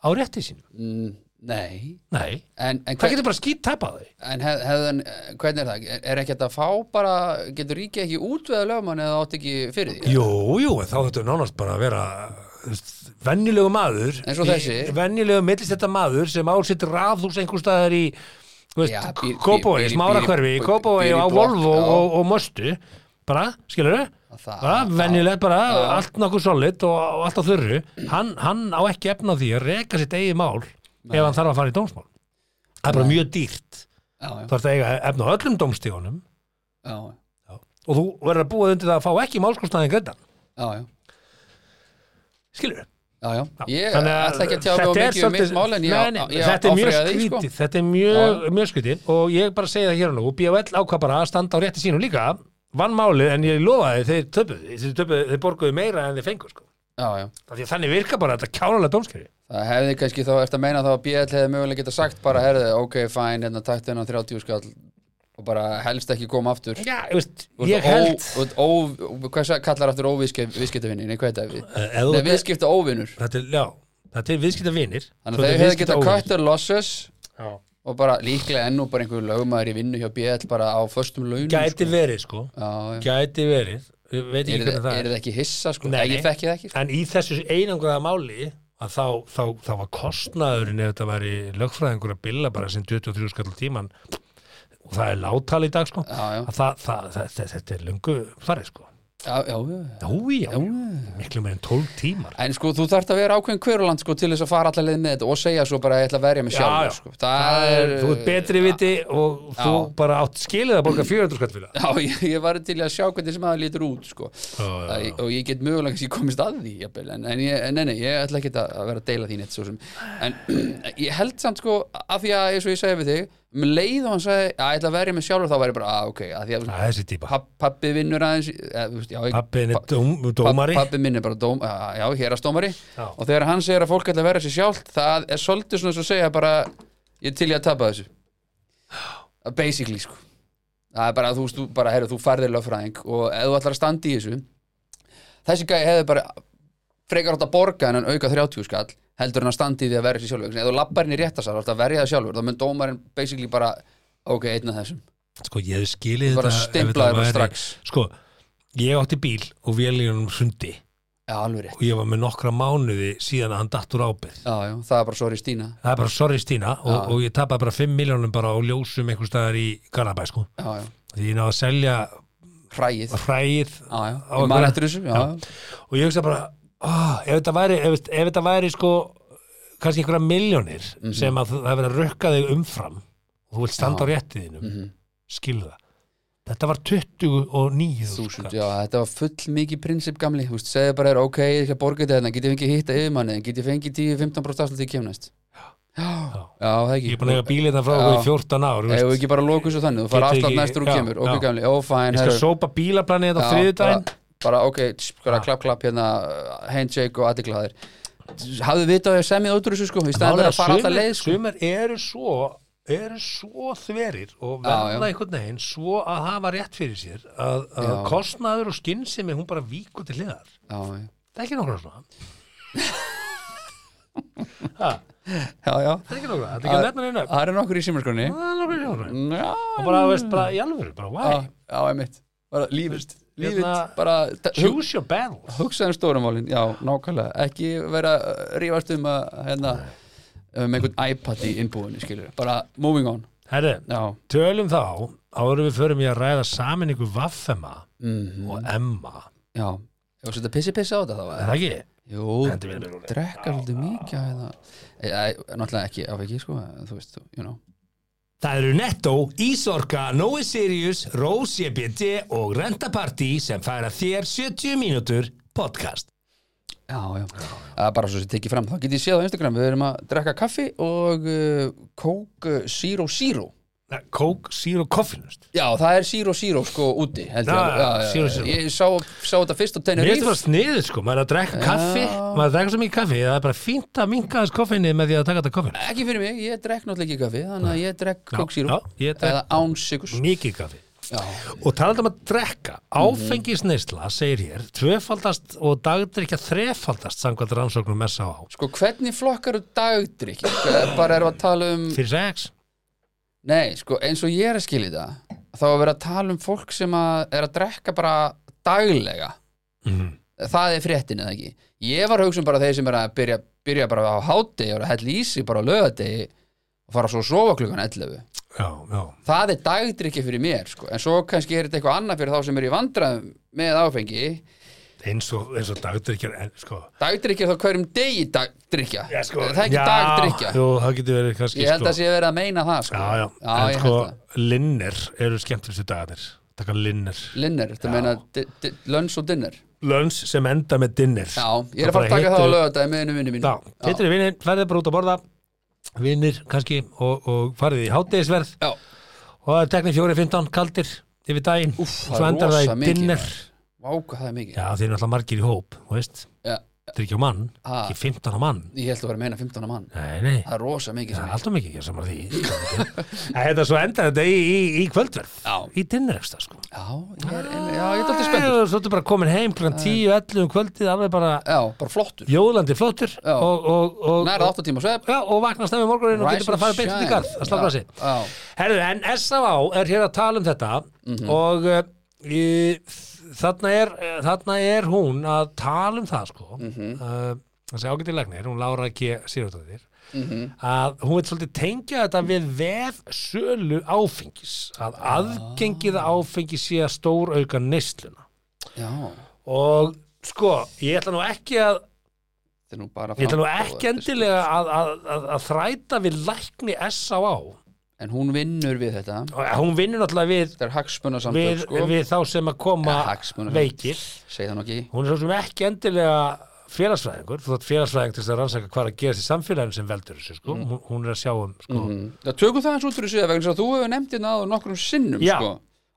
Speaker 2: á rétti sínum
Speaker 5: Mm, Nei
Speaker 2: nei,
Speaker 5: En, en,
Speaker 2: það
Speaker 5: hver,
Speaker 2: getur bara skýtt tæpa því
Speaker 5: en hef, hefðan, eh, hvernig er það? Er, er ekki þetta að fá bara, getur ríkið ekki útveða lögmann eða átt ekki fyrir því?
Speaker 2: Jú, jú, en þá þetta er nánast bara að vera þú veist, venjulegu maður
Speaker 5: Eins og þessi.
Speaker 2: í- venjulegu millistetta maður sem á sitt rafðús einhver staðar í þú
Speaker 5: Já,
Speaker 2: veist,
Speaker 5: býr- býr-
Speaker 2: Kópói,
Speaker 5: býr í-
Speaker 2: smárakverfi
Speaker 5: býr í-
Speaker 2: Kópói
Speaker 5: býr í
Speaker 2: á
Speaker 5: blokk,
Speaker 2: Volvo
Speaker 5: já.
Speaker 2: og, og Möstu bara, skilur þau?
Speaker 5: Það-
Speaker 2: bara,
Speaker 5: það-
Speaker 2: venjulegt bara,
Speaker 5: Já.
Speaker 2: allt nokkuð solid og, og allt á þurru hann, hann á ekki efna því að reka sitt eigið mál ef hann þarf að fara í dómsmál það er bara mjög dýrt
Speaker 5: Já, já,
Speaker 2: þú ert að eiga efna á öllum dómstíðunum
Speaker 5: já,
Speaker 2: og þú verður að búa undir það að fá ekki málskostnaðin greiðan,
Speaker 5: já, já,
Speaker 2: skilur
Speaker 5: já, já. Ég
Speaker 2: Þannig að
Speaker 5: ætla ekki að tjá mig
Speaker 2: þetta er
Speaker 5: mikið um mitt
Speaker 2: svolítið-
Speaker 5: mál en ég,
Speaker 2: Nei,
Speaker 5: á-
Speaker 2: nei,
Speaker 5: ég
Speaker 2: þetta er mjög
Speaker 5: áfrýja því, sko.
Speaker 2: skrítið þetta er mjög,
Speaker 5: Já.
Speaker 2: mjög skrítið og ég bara segi það hér og nú BFL ákvað bara að standa á rétti sínum líka vann málið en ég lofaði þeir töpuðu þeir, töpuðu, þeir borguðu meira en þeir fengu sko.
Speaker 5: Já, já,
Speaker 2: Af því að þannig virka bara þetta kjáralega dómskeri
Speaker 5: það hefði kannski þá eftir að meina þá að BL hefði mögulega geta sagt bara, herði, ok, fæn, hérna, takt hennan 30 skall og bara helst ekki koma aftur
Speaker 2: Já, ég, veist,
Speaker 5: Þú
Speaker 2: ég
Speaker 5: ert ó-
Speaker 2: held
Speaker 5: þú ert ó, hvað sa- kallar aftur óviðskiptavinni nei, hvað
Speaker 2: Eh,
Speaker 5: er það? Vi-
Speaker 2: ef þú-
Speaker 5: Nei, viðskipta óvinnur
Speaker 2: þetta er, já, þetta er viðskipta vinir
Speaker 5: þannig að þau hefðu getað cut their losses
Speaker 2: Já,
Speaker 5: og bara líklega ennú bara einhver lögmaður í vinnu hjá BL bara á föstum launum
Speaker 2: Gæti
Speaker 5: sko.
Speaker 2: verið sko
Speaker 5: já, já.
Speaker 2: Gæti verið, Ég veit ekki
Speaker 5: Er,
Speaker 2: hvernig það
Speaker 5: er það ekki hissa sko,
Speaker 2: Nei,
Speaker 5: nei, ég
Speaker 2: nei.
Speaker 5: þekki það ekki sko.
Speaker 2: En í þessu einangraða máli að þá, þá, þá var kostnaðurinn ef þetta væri lögfræðingur að billa bara sem 23 skall tíman og það er láttal í dag sko
Speaker 5: já, já,
Speaker 2: að það, það, það, það, þetta er löngu farið sko
Speaker 5: já, já, já.
Speaker 2: Jú, já,
Speaker 5: Já.
Speaker 2: miklu meir en 12 tímar
Speaker 5: En sko, þú þarft að vera ákveðin hveruland sko, til þess að fara allar leið með þetta og segja svo bara að ég ætla að verja mig
Speaker 2: Já, já.
Speaker 5: sjálf sko. það, er,
Speaker 2: Þú ert betri viti og þú
Speaker 5: Já.
Speaker 2: bara átt skilið að borga 400 skall fyrir það
Speaker 5: Já, ég, ég var til að sjá hvernig sem það lítur út sko.
Speaker 2: Já, já,
Speaker 5: Æ,
Speaker 2: já.
Speaker 5: og ég get mögulega kannski komist að því jafnvel, en, en, ég, en nei, nei, ég ætla ekki að vera að deila þín eitt svo sem en ég held samt sko af því að eins og ég segi við þig með leið og hann segi að ég ætla að verja mig sjálfur þá væri ég bara að ok, að því að
Speaker 2: Það er þessi típa
Speaker 5: papp, pappi vinnur aðeins eða, þú veist, já, ég-
Speaker 2: Pappin er
Speaker 5: pa-
Speaker 2: dóm, dómari
Speaker 5: Pappi minn er bara dóm, já, já, hérastómari
Speaker 2: Já.
Speaker 5: og þegar hann segir að fólk ætla að vera sér sjálft það er svolítið svona svo að segja bara ég er til ég að tapa þessu basically sko það er bara að þú, þú bara, heyrðu, þú færðir lögfræðing og ef þú ætlar að standa í þessu þessi gæði hefði bara frekar átt að borga en hann auka 30 skall heldur en að standa í því að verja sér sjálfur eða þú lappar henni rétt að sá, að verja það sjálfur þá mun dómarinn basically bara ok, einn af þessum
Speaker 2: Sko, ég hef skilið
Speaker 5: bara
Speaker 2: þetta ef þetta
Speaker 5: stimplaði bara
Speaker 2: væri-
Speaker 5: strax
Speaker 2: Sko, ég átti bíl og vélíunum hrundi
Speaker 5: já, alveg rétt
Speaker 2: og ég var með nokkra mánuði síðan að hann datt úr ábyrð
Speaker 5: já, já, það er bara sorry Stína
Speaker 2: það er bara sorry Stína og,
Speaker 5: Já.
Speaker 2: og ég tapaði bara 5 miljónum bara á ljósum einhvers staðar í Garabæ sko
Speaker 5: já, já.
Speaker 2: því ég náði að selja
Speaker 5: hræið
Speaker 2: hræð
Speaker 5: Já, já,
Speaker 2: á
Speaker 5: ég man
Speaker 2: einhverja-
Speaker 5: eftir þessu já, já.
Speaker 2: og ég hugsa bara oh, ef, þetta væri, ef, ef þetta væri sko kannski einhverja miljónir sem að það er verið að rökka þig umfram og þú vilt standa á
Speaker 5: Mhm. Já. Mhm.
Speaker 2: rétti þínum mm skilða þetta var 29
Speaker 5: Þúsund,
Speaker 2: skall.
Speaker 5: já, þetta var full mikið prinsip gamli Þú veist, segðu bara er ok, ég ætla að borga þetta hérna, get ég fengið hitta yfirmannið, get ég fengið 10-15% afslut þegar ég kemnast Já, já, það ekki
Speaker 2: ég er búin að eiga bílið þetta frá okkur í
Speaker 5: Já.
Speaker 2: 14 ár þú
Speaker 5: Ef
Speaker 2: veist.
Speaker 5: við ekki bara lokum svo þannig, þú fara
Speaker 2: Getur
Speaker 5: afslut
Speaker 2: ekki-
Speaker 5: næstur og
Speaker 2: já,
Speaker 5: kemur, ok
Speaker 2: já.
Speaker 5: gamli, ó fæn
Speaker 2: ég skal sópa bílaplanið þetta á þriðudaginn
Speaker 5: bara, bara ok, tss, bara klapp klapp hérna handshake og allir glæðir Hafðu vitað að ég semja út úr þessu sko í
Speaker 2: Málið
Speaker 5: staðan
Speaker 2: er
Speaker 5: að fara alltaf
Speaker 2: sumir-
Speaker 5: leið sko
Speaker 2: sumir eru svo eru svo þverir og
Speaker 5: Já,
Speaker 2: verða
Speaker 5: já.
Speaker 2: einhvern veginn svo að hafa rétt fyrir sér að, að
Speaker 5: Já.
Speaker 2: kostnaður og skinnsemi hún bara víkur til hliðar
Speaker 5: Já, já.
Speaker 2: það er ekki nokkra svona ha, það
Speaker 5: já, já,
Speaker 2: er ekki nokkra, það er ekki að nefna neina upp.
Speaker 5: það er nokkur í sko, símarskroni
Speaker 2: það er nokkra svona
Speaker 5: Já,
Speaker 2: og bara, veist, bara í alvöru, bara
Speaker 5: Já,
Speaker 2: why
Speaker 5: já, einmitt bara lífitt,
Speaker 2: hérna-
Speaker 5: lífitt bara ta- hug,
Speaker 2: choose your battles
Speaker 5: hugsa um stórumálin, já, nákvæmlega ekki vera að rífast um að hérna, um einhvern iPad í innbúinu, skilur, bara moving on
Speaker 2: herri,
Speaker 5: já,
Speaker 2: tölum þá áður en við förum í að ræða saminningu Vaffema
Speaker 5: mm,
Speaker 2: og Emma
Speaker 5: já ef þú setja pissi pissi á þetta þá
Speaker 2: er það ekki?
Speaker 5: jú,
Speaker 2: Hendur mér mér úr.
Speaker 5: drekka svolítið mikið eða, e, e, náttúrulega ekki, af ekki, sko þú veist, þú- you know
Speaker 3: Það eru Netto, Ísorka, Nói Sirius, Rose EBD og Renta Party sem færa þér 70 mínútur podcast.
Speaker 5: Já, já, já. bara svo sem tekið fram þá get ég séð á Instagram, við erum að drekka kaffi og uh, kók uh, zero zero
Speaker 2: Nei, Coke Zero Coffee nust
Speaker 5: Já, það er Zero Zero sko úti held ég,
Speaker 2: Já,
Speaker 5: alveg. já, já,
Speaker 2: Ah, Zero
Speaker 5: já,
Speaker 2: Zero.
Speaker 5: Ég sá, sá þetta
Speaker 2: Mér
Speaker 5: fyrst á
Speaker 2: finnst það
Speaker 5: Tenerife
Speaker 2: bara sniðið sko, maður er að drekka kaffi maður er að drekka svo mikið kaffi, það er bara fínt að minka þess koffinni með því að taka þetta koffin
Speaker 5: Ekki fyrir mig, ég drekk náttúrulega ekki kaffi Þannig að ég drekk Coke
Speaker 2: já,
Speaker 5: Zero
Speaker 2: ég drekk- Mm.
Speaker 5: Eða án sigurs
Speaker 2: mikið kaffi
Speaker 5: Já,
Speaker 2: og talað um að drekka, áfengisneisla segir hér, tvöfaldast og dagdrykja þrefaldast samkvæmt rannsóknum S.A.A.
Speaker 5: Sko, hvernig flokkar þú dagdrykk? Bara erum við að tala um
Speaker 2: fyrir sex
Speaker 5: Nei, sko, eins og ég er að skilja þetta Þá er verið að tala um fólk sem að, er að drekka bara daglega
Speaker 2: Mhm.
Speaker 5: Það er fréttin eða ekki Ég var að hugsa um bara þeir sem er að byrja, byrja bara á hádegi og að hella í sig bara á lögadegi og fara svo að sofa klukkan 11
Speaker 2: já, já,
Speaker 5: það er dagdrykki fyrir mér sko. en svo kannski er þetta eitthvað annað fyrir þá sem er í vandræðum með áfengi
Speaker 2: eins og, eins og dagdrykja en, sko,
Speaker 5: dagdrykki er þá hverjum degi dagdrykja
Speaker 2: já, sko
Speaker 5: það er ekki dagdrykja
Speaker 2: jú, það getur verið kannski
Speaker 5: ég held
Speaker 2: sko,
Speaker 5: að sé verið að meina það sko.
Speaker 2: já, já,
Speaker 5: ég
Speaker 2: en
Speaker 5: held
Speaker 2: sko
Speaker 5: það
Speaker 2: linner eru skemmtilegustu dagarnir taka linner,
Speaker 5: Linner, þetta
Speaker 2: Já.
Speaker 5: meina di- di- lunch og dinner
Speaker 2: lönns sem enda með dinner
Speaker 5: Já, ég er að fara að taka það á lögadagi með einu vinnu mínu
Speaker 2: Já, hittir í vinninn, ferðið bara út að borða vinnir kannski og, og farið í hátegisverð
Speaker 5: Já.
Speaker 2: og það er teknir 4.15 kaldir yfir daginn
Speaker 5: Úff,
Speaker 2: og
Speaker 5: það
Speaker 2: svo
Speaker 5: er
Speaker 2: endar það
Speaker 5: rosa
Speaker 2: í
Speaker 5: mikið,
Speaker 2: dinner
Speaker 5: maður. Vá, hvað það er mikið
Speaker 2: Já, þeir eru alltaf margir í hóp, þú veist
Speaker 5: Já.
Speaker 2: Þetta er ekki á mann,
Speaker 5: Ha.
Speaker 2: ekki 15 á mann
Speaker 5: Ég held að vera að meina 15 mann
Speaker 2: Nei, nei,
Speaker 5: Það er rosa mikið
Speaker 2: það
Speaker 5: sem
Speaker 2: er
Speaker 5: ég
Speaker 2: alltaf mikið ekki saman því En Þetta svo endar þetta í, í, í kvöldverð
Speaker 5: Já.
Speaker 2: í dinner eftir sko
Speaker 5: Já, ég er, ég er, já, ég er alltaf spenntur
Speaker 2: Svo ertu bara komin heim kl. 10, 11 um kvöldið alveg bara
Speaker 5: Já, bara flottur
Speaker 2: jóðlandi flottur
Speaker 5: Já.
Speaker 2: og, og, og,
Speaker 5: Nærða 8 tíma svef
Speaker 2: Já, og vakna snemmi morgunin og
Speaker 5: Rise
Speaker 2: getur bara að fara
Speaker 5: and
Speaker 2: beint út í
Speaker 5: shine.
Speaker 2: garð að slaka
Speaker 5: Já,
Speaker 2: sig
Speaker 5: já.
Speaker 2: Herðu, en SFA er hér að tala um þetta og uh, í, þarna, er, þarna er hún að tala um það sko mm -hmm. uh, þessi ágæti læknir, hún Lára G. Sigurðardóttir að hún veit svolítið tengja þetta við vefsölu áfengis að aðgengið að áfengi sé að stór auka neysluna
Speaker 5: Já,
Speaker 2: og sko, ég ætla nú ekki að
Speaker 5: þetta er nú bara
Speaker 2: Ég ætla nú
Speaker 5: fram-
Speaker 2: ekki endilega að, að, að, að þræta við lækni S.A.A.
Speaker 5: En hún vinnur við þetta
Speaker 2: og hún vinnur náttúrulega við,
Speaker 5: Þetta er hagsmunna
Speaker 2: við,
Speaker 5: samtök sko
Speaker 2: við þá sem að koma
Speaker 5: Ja, hagsmunum.
Speaker 2: veikir.
Speaker 5: Segð það nú ekki
Speaker 2: Hún er svo sem ekki endilega félagsfræðingur, þú þátt félagsfræðing til þess að rannsaka hvað er að gerast í samfélaginu sem veldur þessu sko, hún, hún er að sjá um sko.
Speaker 5: Mm. Það tökum það eins út fyrir síðan vegna þess að þú hefur nefnt hérna áður nokkrum sinnum
Speaker 2: Já.
Speaker 5: sko,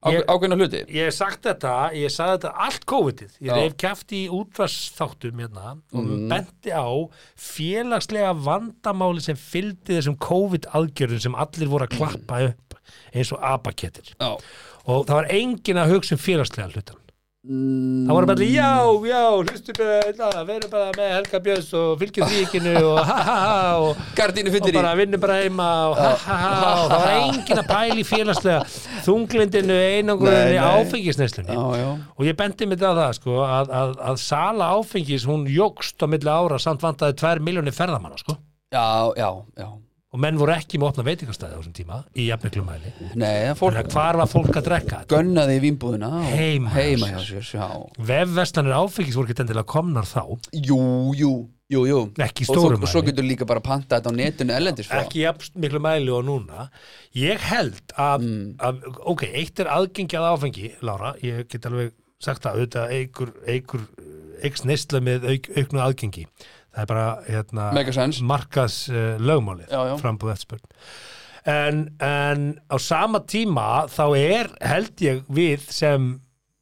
Speaker 5: á,
Speaker 2: Ég-
Speaker 5: ákveðna hluti
Speaker 2: Ég hef sagt þetta, ég sagði þetta allt COVID-ið, ég
Speaker 5: Já.
Speaker 2: hef kæft í útvarsþáttum hérna og mm. benti á félagslega vandamáli sem fylgdi þessum COVID-aðgjörðum sem allir voru að klappa upp eins og abakettir.
Speaker 5: Já,
Speaker 2: og það var enginn að hugsa um félagslega hlutan það voru bara, já, já, hlustu bara, veru bara með Helga Björns og fylgjum fríkinu og ha ha ha og,
Speaker 5: gardínu
Speaker 2: og
Speaker 5: fyllir í
Speaker 2: bara vinnum bara heima og ha ha ha og það var enginn að pæli félagslega þunglindinu, einangrunni, áfengisneslunni
Speaker 5: Já, já,
Speaker 2: og ég bendi mig á það sko að, að, að sala áfengis hún jógst á milli ára samt vantaði 2 miljónir ferðamanna sko
Speaker 5: já, já, já
Speaker 2: og menn voru ekki með opna veitingastæði á þessum tíma í jafniklum mæli
Speaker 5: Nei, það fólk
Speaker 2: Þannig að hvar var fólk að drekka þetta?
Speaker 5: gönnaði í vínbúðina og
Speaker 2: Heima hjá
Speaker 5: heima hjá
Speaker 2: sér.
Speaker 5: sér, já
Speaker 2: vefvestanir áfengis voru ekki endilega komnar þá
Speaker 5: Jú, jú, jú, jú
Speaker 2: Ekki í
Speaker 5: Og
Speaker 2: stórum
Speaker 5: svo, svo
Speaker 2: mæli.
Speaker 5: getur líka bara panta þetta á netinu sko. ellendis frá
Speaker 2: ekki jafn miklu mæli og núna ég held að,
Speaker 5: Mm.
Speaker 2: að ok, eitt er aðgengi að áfengi Lára, ég get alveg sagt það auðvitað eigur, eigur eigs neysla með auk, auknu aðgengi það er bara hérna,
Speaker 5: Mega sense.
Speaker 2: markas uh, lögmálið
Speaker 5: Já, já.
Speaker 2: frambúð eftirspurn en, en á sama tíma þá er held ég við sem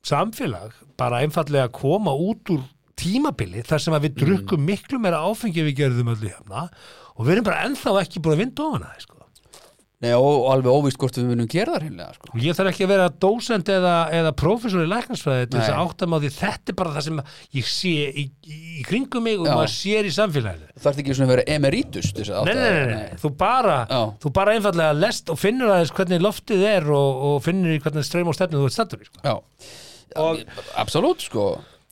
Speaker 2: samfélag bara einfallega að koma út úr tímabili þar sem að
Speaker 5: Mm.
Speaker 2: við drukkum miklu meira áfengi en við gerðum öllu hefna og við erum bara ennþá ekki búin að vinda ofan að það sko.
Speaker 5: Nei, og, og alveg óvíst hvort við munum gera það hreinlega sko.
Speaker 2: og ég þarf ekki að vera dósend eða, eða prófessor í læknarsfræði til þess
Speaker 5: Nei.
Speaker 2: að áttamáði þetta er bara það sem ég sé í, í, í kringum mig og
Speaker 5: Já.
Speaker 2: maður sér í samfélaginu
Speaker 5: Það þarf ekki svona að vera emeritus til þess að
Speaker 2: Nei,
Speaker 5: átta
Speaker 2: nei, nei,
Speaker 5: þig.
Speaker 2: nei, þú bara,
Speaker 5: Já.
Speaker 2: þú bara einfallega lest og finnur aðeins hvernig loftið er og, og finnur í hvernig streym og stefnu þú ert stattur í sko.
Speaker 5: Já, absolutt sko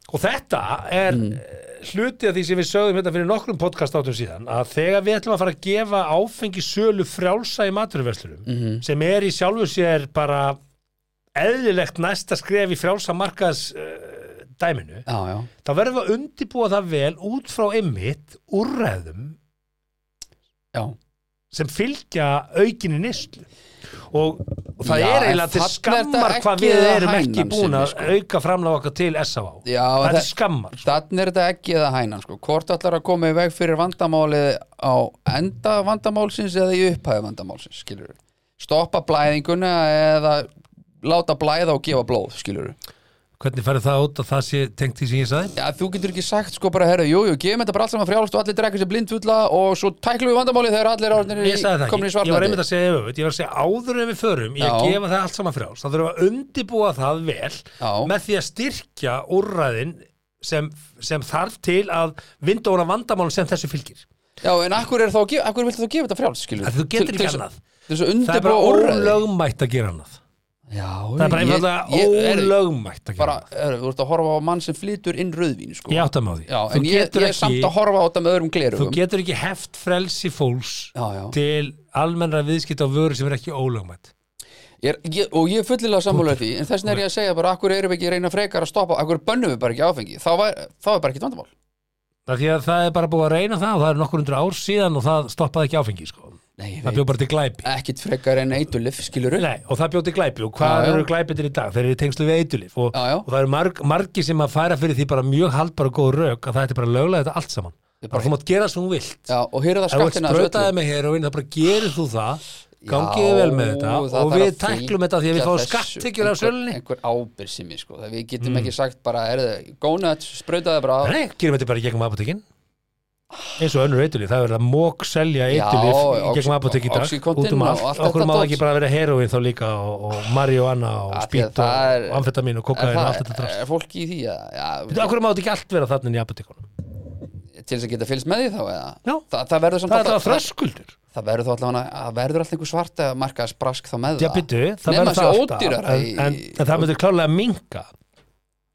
Speaker 2: Og þetta er
Speaker 5: Mm.
Speaker 2: eh, hluti af því sem við sögðum hérna fyrir nokkrum podcast áttum síðan að þegar við ætlum að fara að gefa áfengi sölu frjálsa í maturverslurum
Speaker 5: Mhm.
Speaker 2: sem er í sjálfu sér bara eðlilegt næsta skref í frjálsa markaðs uh, dæminu,
Speaker 5: Já, já,
Speaker 2: þá verðum við að undibúa það vel út frá einmitt úrræðum
Speaker 5: já
Speaker 2: sem fylgja aukinni nýslu og, og það
Speaker 5: Já,
Speaker 2: er
Speaker 5: en
Speaker 2: eiginlega til
Speaker 5: þarna er
Speaker 2: skammar
Speaker 5: þetta
Speaker 2: hvað
Speaker 5: ekki
Speaker 2: við
Speaker 5: að
Speaker 2: erum ekki
Speaker 5: hænan
Speaker 2: búin
Speaker 5: sinni,
Speaker 2: að
Speaker 5: sko.
Speaker 2: auka framlega okkar til SAA
Speaker 5: Já,
Speaker 2: það er
Speaker 5: það-
Speaker 2: til skammar sko.
Speaker 5: Þannig er þetta ekki eða hænan sko. Hvort allar að koma í veg fyrir vandamálið á enda vandamálsins eða í upphæðu vandamálsins, skilur við. Stoppa blæðinguna eða láta blæða og gefa blóð, skilur við.
Speaker 2: Hvernig færðu það út að það sé tengt því sem ég sagði?
Speaker 5: Já, þú getur ekki sagt sko bara, herra, jú, jú, gefum þetta bara allt saman frjálst og allir drekka sér blindfulla og svo tæklum við vandamálið þegar allir orðinir
Speaker 2: Ég sagði það
Speaker 5: komin í
Speaker 2: ekki, ég var einmitt
Speaker 5: svartnætti.
Speaker 2: að segja öfut, ég var að segja áður en við förum, ég
Speaker 5: Já.
Speaker 2: gefa það allt saman frjáls, þá þurfum við að undibúa það vel
Speaker 5: Já.
Speaker 2: með því að styrkja úrræðin sem, sem þarf til að vinda úr að vandamálum sem þessu fylgir.
Speaker 5: Já, en akkur, er þá, að gefa- akkur viltu þú gefa þetta frjálst, skilur
Speaker 2: Að þú getur ekki annað.
Speaker 5: Þess að
Speaker 2: Það er
Speaker 5: undirbúa
Speaker 2: bara
Speaker 5: úrræði.
Speaker 2: ólögmætt að gera annað.
Speaker 5: Já,
Speaker 2: Það er bara
Speaker 5: ég- ég-
Speaker 2: einfallega
Speaker 5: er-
Speaker 2: ólögmætt að gera
Speaker 5: Bara,
Speaker 2: annað.
Speaker 5: er, þú ert að horfa á mann sem flytur inn rauðvín, sko.
Speaker 2: Ég átta með á því.
Speaker 5: Já,
Speaker 2: Þú
Speaker 5: en ég,
Speaker 2: getur
Speaker 5: ég er samt að horfa á þetta með öðrum
Speaker 2: Þú
Speaker 5: glerugum
Speaker 2: getur ekki heft frelsi fólks
Speaker 5: Já, já.
Speaker 2: til almennra viðskipta á vöru sem er ekki ólögmætt.
Speaker 5: ég er, ég, Og ég er fullilega sammálaður því En þess vegna er ég að segja bara Akkur erum við ekki að reyna frekar að stoppa Akkur bönnum við bara ekki áfengi Þá, var, þá er bara ekki vandamál
Speaker 2: Það, því að það er bara búið að reyna það og það er nokkur undur ár síðan og það stoppaði ekki áfengi, sko.
Speaker 5: Nei, ég
Speaker 2: Það bjóð bara til glæpi.
Speaker 5: Ekkit frekar en eitulif, skilur upp
Speaker 2: Nei, og það bjóti glæpi og hvað
Speaker 5: Já, já.
Speaker 2: eru glæpitir í dag? Þeir eru í tengslu við eitulif og,
Speaker 5: Já, já.
Speaker 2: og það eru marg, margi sem að færa fyrir því bara mjög haldbara og góð rauk að það ætti bara að lögla þetta allt saman
Speaker 5: Ég
Speaker 2: bara,
Speaker 5: bara-
Speaker 2: þú mátt gera svo hún vilt
Speaker 5: Já, og hér er
Speaker 2: ef
Speaker 5: það
Speaker 2: þú ert
Speaker 5: skattina þessu
Speaker 2: sprötaði
Speaker 5: öllu.
Speaker 2: með hér og inn þá bara gerir þú það
Speaker 5: Já,
Speaker 2: gangiði vel með þetta
Speaker 5: það
Speaker 2: og
Speaker 5: þarf
Speaker 2: við
Speaker 5: að
Speaker 2: tæklum þetta því að við
Speaker 5: fylgja
Speaker 2: fáum
Speaker 5: þessu.
Speaker 2: skatttekjur af Mm.
Speaker 5: Einhver-
Speaker 2: sölunni
Speaker 5: Einhver ábyrð sem ég sko Það Við getum ekki sagt bara, er það gónat, sprötaði bara
Speaker 2: Nei, gerum þetta bara í gegnum apotekin eins og önnur eitulif, það er verið að mók selja
Speaker 5: Já,
Speaker 2: eitulif í
Speaker 5: oxy-
Speaker 2: gegnum apotek í dag
Speaker 5: oxycontin
Speaker 2: út um
Speaker 5: og
Speaker 2: allt,
Speaker 5: allt
Speaker 2: okkur
Speaker 5: þetta
Speaker 2: má
Speaker 5: dót.
Speaker 2: það ekki bara vera heroin þá líka og, og marihuana og
Speaker 5: Af því að
Speaker 2: spýt
Speaker 5: það er-
Speaker 2: og amfetamin og kokain og allt þetta
Speaker 5: er,
Speaker 2: drast
Speaker 5: er fólk í því að, já,
Speaker 2: okkur má þetta ekki allt vera þarna inn í apotekunum
Speaker 5: til þess að geta fylgst með því þá eða?
Speaker 2: Já.
Speaker 5: Þa, það verður samt
Speaker 2: það er
Speaker 5: alltaf-
Speaker 2: það þröskuldur
Speaker 5: það verður þá allavega það verður alltaf einhver svarta marka sprask þá með
Speaker 2: Já,
Speaker 5: það
Speaker 2: byrju, það
Speaker 5: Nema
Speaker 2: verður það
Speaker 5: sé
Speaker 2: alltaf
Speaker 5: ódýrara
Speaker 2: en,
Speaker 5: í-
Speaker 2: en, en það myndir klálega minka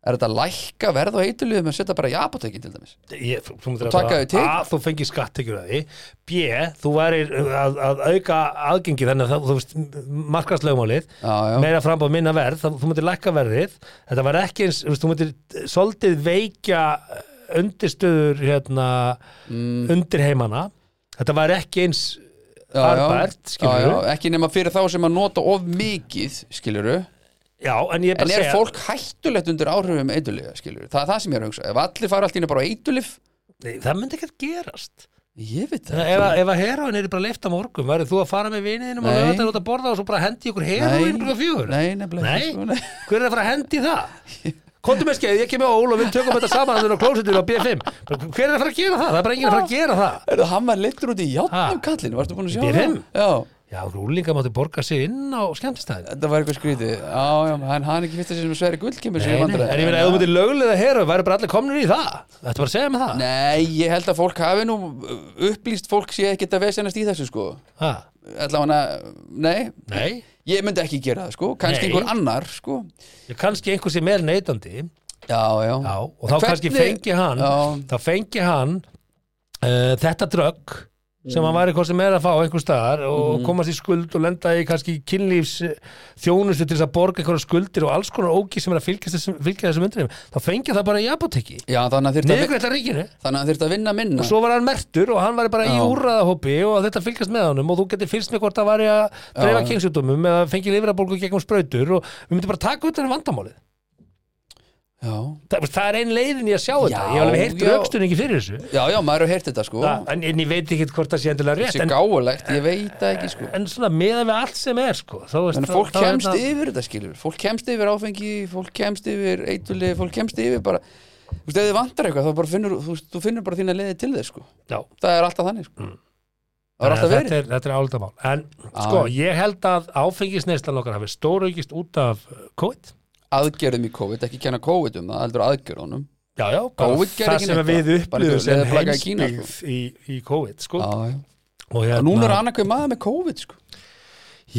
Speaker 5: er þetta lækka verð og eitulugum að setja bara í apotekin til dæmis
Speaker 2: Ég, þú, þú myndir
Speaker 5: Og taka þau
Speaker 2: að,
Speaker 5: til.
Speaker 2: að þú fengir skattekjur að því B, þú værir uh, að, að auka aðgengi þannig að það, þú veist markaslögumálið,
Speaker 5: já, já.
Speaker 2: meira frambáð minna verð það, þú myndir lækka verðið þetta var ekki eins, þú veist, þú myndir eh, svolítið veikja eh, undirstöður hérna, undir heimana þetta var ekki eins
Speaker 5: Mm. Já, já.
Speaker 2: Arbært, skilurðu.
Speaker 5: Já, já, ekki nema fyrir þá sem að nota of mikið skiluru,
Speaker 2: já, en ég er bara
Speaker 5: en er
Speaker 2: að segja
Speaker 5: fólk hættulegt undir áhrifum eitulugja skiluru, það er það sem ég er að hugsa ef allir fara allt í einu bara á eitulif
Speaker 2: Nei, það myndi ekki að gerast
Speaker 5: ég
Speaker 2: Þannig
Speaker 5: veit það
Speaker 2: að ef, að- ef að heroin er bara leift á morgun verður þú að fara með viniðinum og
Speaker 5: Nei.
Speaker 2: lögðar út að borða og svo bara hendi ykkur heroin klukka fjögur
Speaker 5: nei, nefnilega
Speaker 2: Nei.
Speaker 5: ekki, sko, nei.
Speaker 2: Hver er að fara að hendi í það? Kontum með skeið, ég kem með Ól og við tökum þetta saman þannig á klósitinu á B5 Bara, Hver er að fara að gera það? Það er bara enginn að fara að gera það
Speaker 5: Heyrðu, hann var leittur út í játnum
Speaker 2: Ha.
Speaker 5: kallinu, varstu búin að sjá
Speaker 2: Í
Speaker 5: það?
Speaker 2: fimm?
Speaker 5: Já,
Speaker 2: Já, rúlinga mátti borga sig inn á skemmtistæðin
Speaker 5: þetta var eitthvað skrítið Já, já, hann hann ekki fyrst að sem Sverri Gull kemur sér í
Speaker 2: En
Speaker 5: vandræði.
Speaker 2: ég meina, ef þú myndir lögulega heroin væri bara allir komnir í það Þetta bara að segja með það
Speaker 5: Nei, ég held að fólk hafi nú uh, upplýst fólk sé ekkert að vesennast í þessu sko
Speaker 2: ha,
Speaker 5: allavega, nei,
Speaker 2: Nei,
Speaker 5: ég myndi ekki gera það sko kannski
Speaker 2: Nei.
Speaker 5: einhver annar sko
Speaker 2: ég kannski einhver sem er neytandi
Speaker 5: Já, já,
Speaker 2: Já, og þá
Speaker 5: Hvernig-
Speaker 2: kannski fengi hann
Speaker 5: Já.
Speaker 2: þá fengi hann uh, þetta drögg sem hann væri hvort sem er að fá einhver staðar og
Speaker 5: Mhm.
Speaker 2: komast í skuld og lenda í kannski kynlífs eh, þjónustu til þess að borga einhverja skuldir og alls konar ógi sem er að fylgja þessum, fylgja þessum undirheim þá fengi það bara í apoteki
Speaker 5: já þannig að þyrfti að,
Speaker 2: niðurgræta ríkinu
Speaker 5: þannig að, þyrfti að vinna minna
Speaker 2: og svo var hann mertur og hann var bara í
Speaker 5: Já.
Speaker 2: úrraðahópi og þetta fylgjast með honum og þú getur fylgst með hvort það var að dreifa kynsjúdómum eða fengi lifrabólgu gegnum sprautur og við myndum bara taka út þennan vandamálið
Speaker 5: já.
Speaker 2: það, það er ein leiðin í að sjá þetta ég hef alveg heyrt
Speaker 5: já.
Speaker 2: raukstunningi fyrir þessu
Speaker 5: já, já, maður hefur heyrt þetta sko
Speaker 2: Þa, en, en ég veit ekki hvort það sé endilega rétt
Speaker 5: þessi
Speaker 2: en,
Speaker 5: gáulegt, ég veit það ekki sko
Speaker 2: en svona meðan við allt sem er sko, þá veist
Speaker 5: Þannig að fólk kemst yfir þetta skilur Fólk kemst yfir áfengi, fólk kemst yfir eitulegi, fólk kemst yfir bara Þú veist, ef þið vantar eitthvað, þá bara finnur þú, veist, þú finnur bara þína leiði til þess sko
Speaker 2: Já.
Speaker 5: Það er alltaf þannig sko Það er alltaf
Speaker 2: Mm.
Speaker 5: verið
Speaker 2: þetta er, þetta er áldamál en sko, ég held að áfengisneislan okkar hafi stóraukist út af uh, COVID
Speaker 5: aðgerðum í COVID, ekki kenna COVID um það, heldur aðgerðunum
Speaker 2: já, já, bara
Speaker 5: COVID gerði
Speaker 2: það
Speaker 5: ekki
Speaker 2: sem
Speaker 5: neitt,
Speaker 2: við
Speaker 5: bara-
Speaker 2: upplifum
Speaker 5: bara einhver
Speaker 2: sem
Speaker 5: leðurblaka í Kína, sko.
Speaker 2: heimsbyggð í, í COVID sko.
Speaker 5: já.
Speaker 2: og hérna-
Speaker 5: og núna er annarkveð maður með COVID sko.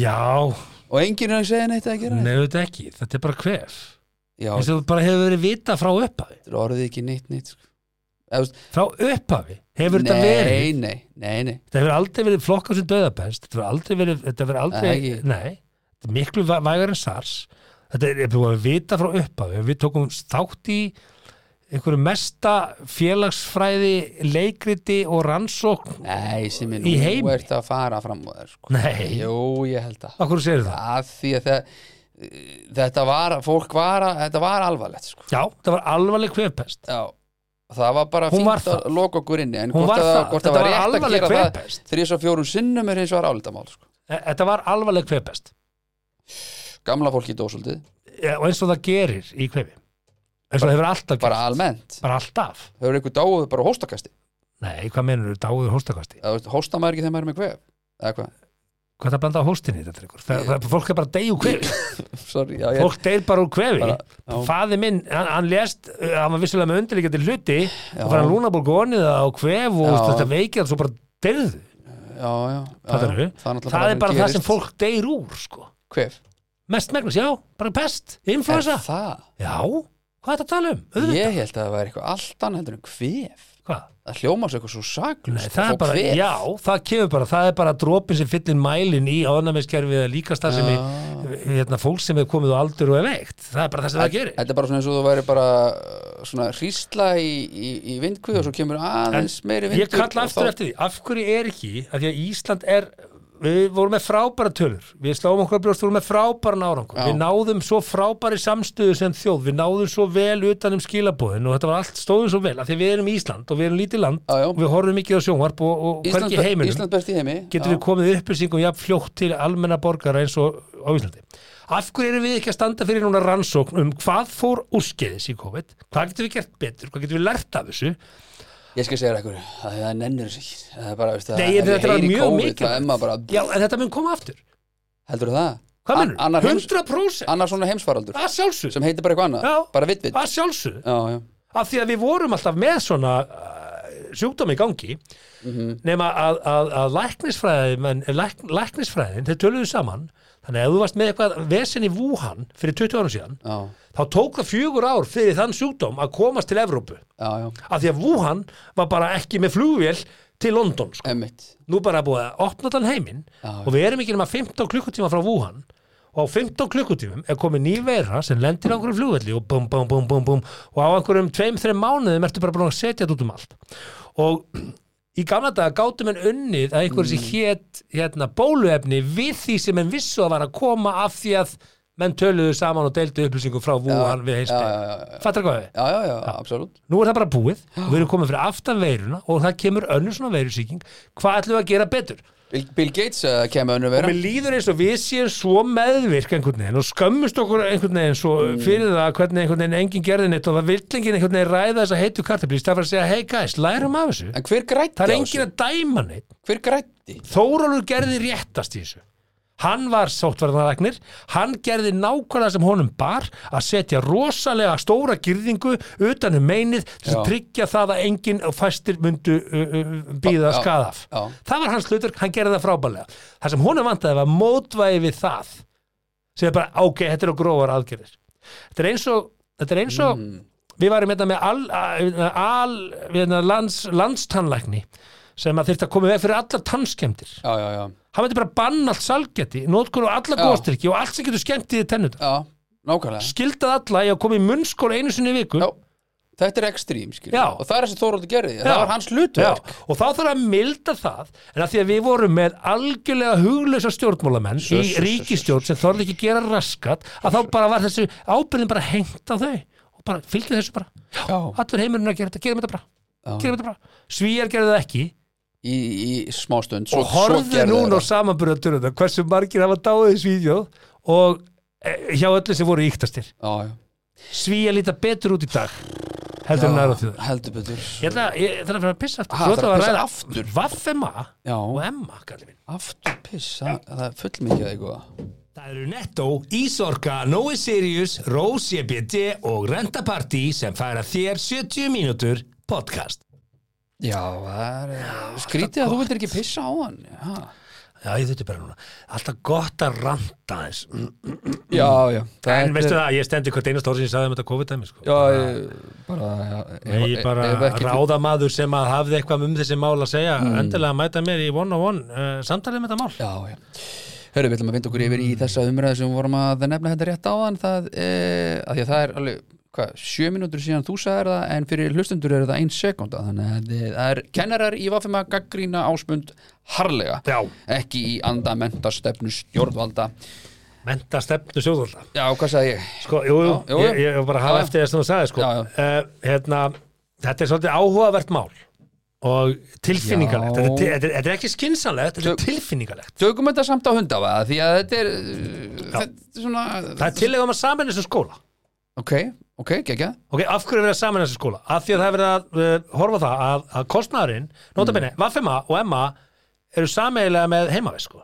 Speaker 2: já,
Speaker 5: og enginn er að segja neitt að gera neitt
Speaker 2: nefnum ekki, þetta er bara hver
Speaker 5: já,
Speaker 2: eins og bara hefur verið vita frá upphafi
Speaker 5: þetta er orðið ekki neitt neitt sko. Eða, þú veist,
Speaker 2: frá upphafi, hefur þetta verið
Speaker 5: nei, nei, nei, nei
Speaker 2: Þetta hefur aldrei verið flokkað sem döðapest Þetta hefur aldrei verið, þetta hefur aldrei
Speaker 5: Nei, ekki.
Speaker 2: Nei, þetta er miklu væ- vægar en SARS Þetta er er búið að vita frá upphafi Við tókum státt í einhverju mesta félagsfræði leikriti og rannsókn
Speaker 5: nei, sem er
Speaker 2: Í
Speaker 5: nú
Speaker 2: heimi?
Speaker 5: ert að fara fram á það sko.
Speaker 2: Nei,
Speaker 5: jú, ég held að,
Speaker 2: af hverju segir það?
Speaker 5: að því að það, þetta var, fólk var að, þetta var alvarlegt sko.
Speaker 2: Já, það var alvarleg kvefpest
Speaker 5: já, það var bara
Speaker 2: Hún
Speaker 5: fínt
Speaker 2: var
Speaker 5: að
Speaker 2: það.
Speaker 5: loka okkur inni en
Speaker 2: Hún
Speaker 5: hvort
Speaker 2: var
Speaker 5: að,
Speaker 2: það.
Speaker 5: hvort
Speaker 2: Þetta
Speaker 5: að var
Speaker 2: var
Speaker 5: rétt að
Speaker 2: alvarleg
Speaker 5: gera það
Speaker 2: kvefpest.
Speaker 5: þrjus og fjórun sinnum er hins vegar álitamál sko.
Speaker 2: Þetta var alvarleg kvefpest
Speaker 5: gamla fólki dósaldið,
Speaker 2: E, og eins og það gerir í kvefi eins og það hefur alltaf
Speaker 5: bara
Speaker 2: bara,
Speaker 5: almennt
Speaker 2: bara alltaf
Speaker 5: hefur einhver dáið bara hóstakasti
Speaker 2: Nei, hvað menur þú dáður hóstakasti?
Speaker 5: eða þú veist, hósta maður ekki þegar maður er með kvef eða hvað,
Speaker 2: Hvað er það að blanda á hóstinni þetta er ykkur? Það, það, fólk er bara að deyja úr kvefi
Speaker 5: sorry já, ég,
Speaker 2: fólk deyr bara úr kvefi
Speaker 5: Bara, já.
Speaker 2: faði minn, hann, hann lést uh, hann var vissulega með undirleikjandi hluti og fann hann lúnaborg oniða á kvef og
Speaker 5: Já.
Speaker 2: þetta veikið hann svo bara deyrðu
Speaker 5: já, já, já,
Speaker 2: það,
Speaker 5: já,
Speaker 2: það,
Speaker 5: náttúrulega
Speaker 2: það er bara það
Speaker 5: gerist.
Speaker 2: sem fólk deyr úr sko.
Speaker 5: kvef,
Speaker 2: mest megnast, já, bara pest
Speaker 5: er
Speaker 2: influensa,
Speaker 5: það
Speaker 2: já, hvað er þetta að tala um auðvitað,
Speaker 5: ég held að það væri eitthvað allt annað heldur en kvef
Speaker 2: hvað
Speaker 5: það hljóma svo eitthvað svo
Speaker 2: Nei,
Speaker 5: saklust
Speaker 2: það er bara, já, það kemur bara það er bara dropin sem fyllir mælin í ánæmiskerfið eða líka starf sem í, hérna, fólk sem hefur komið á aldur og er veikt það er bara það sem það gerir
Speaker 5: þetta er bara svona eins og þú væri bara uh, svona hrísla í, í, í vindkvið og svo kemur aðeins meiri vindur
Speaker 2: ég kalla
Speaker 5: og
Speaker 2: aftur
Speaker 5: þá-
Speaker 2: eftir því, af hverju er ekki af því að Ísland er við vorum með frábæra tölur, við sláum okkur á brjóst við vorum með frábæran árangur,
Speaker 5: Já.
Speaker 2: við náðum svo frábæri samstöðu sem þjóð, við náðum svo vel utan um skilabóðin og þetta var allt stóðum svo vel, af því að við erum Ísland og við erum lítið land
Speaker 5: Já, já.
Speaker 2: og við horfum mikið á sjónvarp og, og
Speaker 5: Ísland,
Speaker 2: hvergi í heiminum
Speaker 5: Ísland best í heimi
Speaker 2: getum við komið upplýsingum jafn fljótt til almenna borgara eins og á Íslandi. Af hverju erum við ekki að standa fyrir núna rannsókn um hvað fór úrskeiðis í COVID, hvað getum við gert betur, hvað getum við lært af þessu
Speaker 5: Ég skal segja þér eitthvað, það það nennir þessu ekki Það er bara, veist, það
Speaker 2: Nei, þetta er
Speaker 5: heyri
Speaker 2: mjög
Speaker 5: COVID,
Speaker 2: mikilvægt.
Speaker 5: Það er maður bara,
Speaker 2: Já, en þetta mun koma aftur
Speaker 5: heldur það?
Speaker 2: Hvað
Speaker 5: An- annar
Speaker 2: mennur?
Speaker 5: heims-
Speaker 2: 100%
Speaker 5: Annar svona heimsfaraldur
Speaker 2: að sjálfsög
Speaker 5: Sem heitir bara eitthvað annað,
Speaker 2: Já.
Speaker 5: bara vitt vitt
Speaker 2: að sjálfsög
Speaker 5: Já, já,
Speaker 2: af því að við vorum alltaf með svona uh, sjúkdómi í gangi
Speaker 5: Mhm.
Speaker 2: nema að, að, að læknisfræði menn, læk, læknisfræðin, þeir töluðu saman þannig að ef þú varst með eitthvað vesen í Wuhan fyrir 20 árum síðan
Speaker 5: já,
Speaker 2: þá tók það fjögur ár fyrir þann sjúkdóm að komast til Evrópu
Speaker 5: já, já
Speaker 2: af því að Wuhan var bara ekki með flugvél til London sko.
Speaker 5: Emmitt,
Speaker 2: nú bara búið að opna þann heiminn
Speaker 5: Já.
Speaker 2: og við erum ekki nema 15 klukkutíma frá Wuhan og á 15 klukkutímum er komið ný veira sem lendir á einhverjum flugvelli og bum, bum, bum, bum, bum og á einhverjum tveim, þreim mánuðum ertu bara búin að setja þetta út um allt og í gamla daga gátum enn unnið að einhverjum
Speaker 5: Mm.
Speaker 2: sem hét hérna, bóluefni við því sem enn vissu að var að koma af því að menn töluðu saman og deildu upplýsingum frá Wuhan við
Speaker 5: já,
Speaker 2: heilsbyrð.
Speaker 5: já, já, já
Speaker 2: Fattar hvað við?
Speaker 5: Já, já, já, absolutt
Speaker 2: Nú er það bara búið og við erum komið fyrir aftan veiruna og það kemur önnur svona veirusíking. Hvað ætlum við að gera betur?
Speaker 5: Bill, Bill Gates uh, kemur önnur vera
Speaker 2: Mér líður eins og við séum svo meðvirk einhvern veginn og skömmust okkur einhvern veginn svo
Speaker 5: Mm.
Speaker 2: fyrir það hvernig einhvern veginn enginn gerði neitt og það villingin einhvern veginn ræða þess að heitu kartablís það var að segja, hey guys, lærum af þessu
Speaker 5: En hver grætti
Speaker 2: það er
Speaker 5: á
Speaker 2: enginn
Speaker 5: þessu?
Speaker 2: að dæma neitt
Speaker 5: Hver grætti?
Speaker 2: Þórólur gerði réttast í þessu hann var sóttvarnaragnir hann gerði nákvæmlega sem honum bar að setja rosalega stóra girðingu utan um meinið til að
Speaker 5: Já.
Speaker 2: tryggja það að enginn og fæstir myndu uh, uh, býða
Speaker 5: Já,
Speaker 2: skað af
Speaker 5: já.
Speaker 2: það var hans hlutur, hann gerði það frábælega það sem honum vantaði var mótvæði við það sem er bara, ok, þetta eru grófar aðgerðir þetta er eins og, þetta er eins og
Speaker 5: Mm.
Speaker 2: við varum hérna með al, al, al hérna, lands, landstannlækni sem að þyrfti að koma veg fyrir allar tannskemdir
Speaker 5: Já, já, já,
Speaker 2: hann veitir bara að banna allt salgeti nótkur og alla
Speaker 5: Já.
Speaker 2: góðstyrki og allt sem getur skemmt í tennut
Speaker 5: já, nákvæmlega
Speaker 2: skildað alla í að koma í munnskóla einu sinni í viku
Speaker 5: Já, þetta er ekstrím, skilur
Speaker 2: Já.
Speaker 5: Og það er þessi Þóróldur gerði,
Speaker 2: Já.
Speaker 5: það var hans hlutverk
Speaker 2: og þá þarf að milda það en að því að við vorum með algjörlega huglösa stjórnmálamenn í ríkistjórn sem þorði ekki að gera raskat að þá bara var þessu ábyrðin bara hengt á þau og bara fylgdi þessu bara já,
Speaker 5: Já.
Speaker 2: allur heimurinn er að gera þetta, gerum þetta bara,
Speaker 5: Já.
Speaker 2: gerum þetta bara. svíjar gerðu það ekki
Speaker 5: Í, í smástund svo,
Speaker 2: og horfðu
Speaker 5: gerði
Speaker 2: núna á
Speaker 5: þeir
Speaker 2: samanburðatöruna hversu margir hafa dáið í Svíðjóð og eh, hjá öllu sem voru íktastir
Speaker 5: það. Já, já
Speaker 2: Svíja líta betur út í dag heldur en aðra þjóður
Speaker 5: heldur betur
Speaker 2: Ég ætla ég ætla að fara að pissa aftur
Speaker 5: Ha,
Speaker 2: Svo ætla
Speaker 5: ætlarðu að
Speaker 2: að
Speaker 5: pissa
Speaker 2: ræða
Speaker 5: aftur?
Speaker 2: Vaffema
Speaker 5: Já.
Speaker 2: og Emma, kallir minn
Speaker 5: aftur piss, það, það er fullmikið eitthvað
Speaker 3: Það eru Netto, Ísorka, Nói Sirius,
Speaker 2: E
Speaker 3: Rose EBD og Renta Party sem færa þér 70 mínútur podcast.
Speaker 5: já, það er skrítið að þú vildir ekki pissa á hann já,
Speaker 2: Já, ég þurfti bara núna Alltaf gott að ranta þess
Speaker 5: Mm. já, já það
Speaker 2: En veistu það, ég stendi hvert einast orð sem ég sagði um þetta COVID-dæmi sko.
Speaker 5: já, ég, bara, já,
Speaker 2: Nei, ég bara ráðamaður sem að hafði eitthvað um þessi mál að segja endilega mæta mér í one-on-one uh, samtalið með þetta mál
Speaker 5: Mm. já, já Hörru, við ætlum að vinda okkur yfir í
Speaker 2: Mm.
Speaker 5: þessa umræðu sem við vorum að nefna þetta rétt á hann það, e, að því að það er alveg hvað, sjö mínútur síðan þú sagðir það en fyrir hlustundur er það ein sekunda þannig að þið- það er kennarar í vaffum að gaggrína áspund harlega
Speaker 2: Já.
Speaker 5: ekki í anda mentastefnu stjórnvalda
Speaker 2: Menta stefnu sjóðvalda
Speaker 5: já, hvað sagði ég?
Speaker 2: Sko, jú, jú,
Speaker 5: Já, jú, jú.
Speaker 2: ég, ég var bara að hafa
Speaker 5: Já, já.
Speaker 2: eftir þess að þú sagði, sko
Speaker 5: Já, já.
Speaker 2: Eh, hérna, þetta er svolítið áhugavert mál og tilfinningalegt
Speaker 5: Já.
Speaker 2: þetta, er til- þetta, er- þetta er ekki skynsanlegt, þetta er
Speaker 5: Tök-
Speaker 2: tilfinningalegt
Speaker 5: Tökum þetta samt á hundafa því að þetta er, þetta er svona,
Speaker 2: það er tillega um að saman þessum skóla
Speaker 5: ok, ok, gekkja
Speaker 2: ok, af hverju er verið að saman þessum skóla af því að það er verið að uh, horfa á það að, að kostnaðurinn, notabene, mm. Vaffema og Emma eru sameigilega með heimavist sko.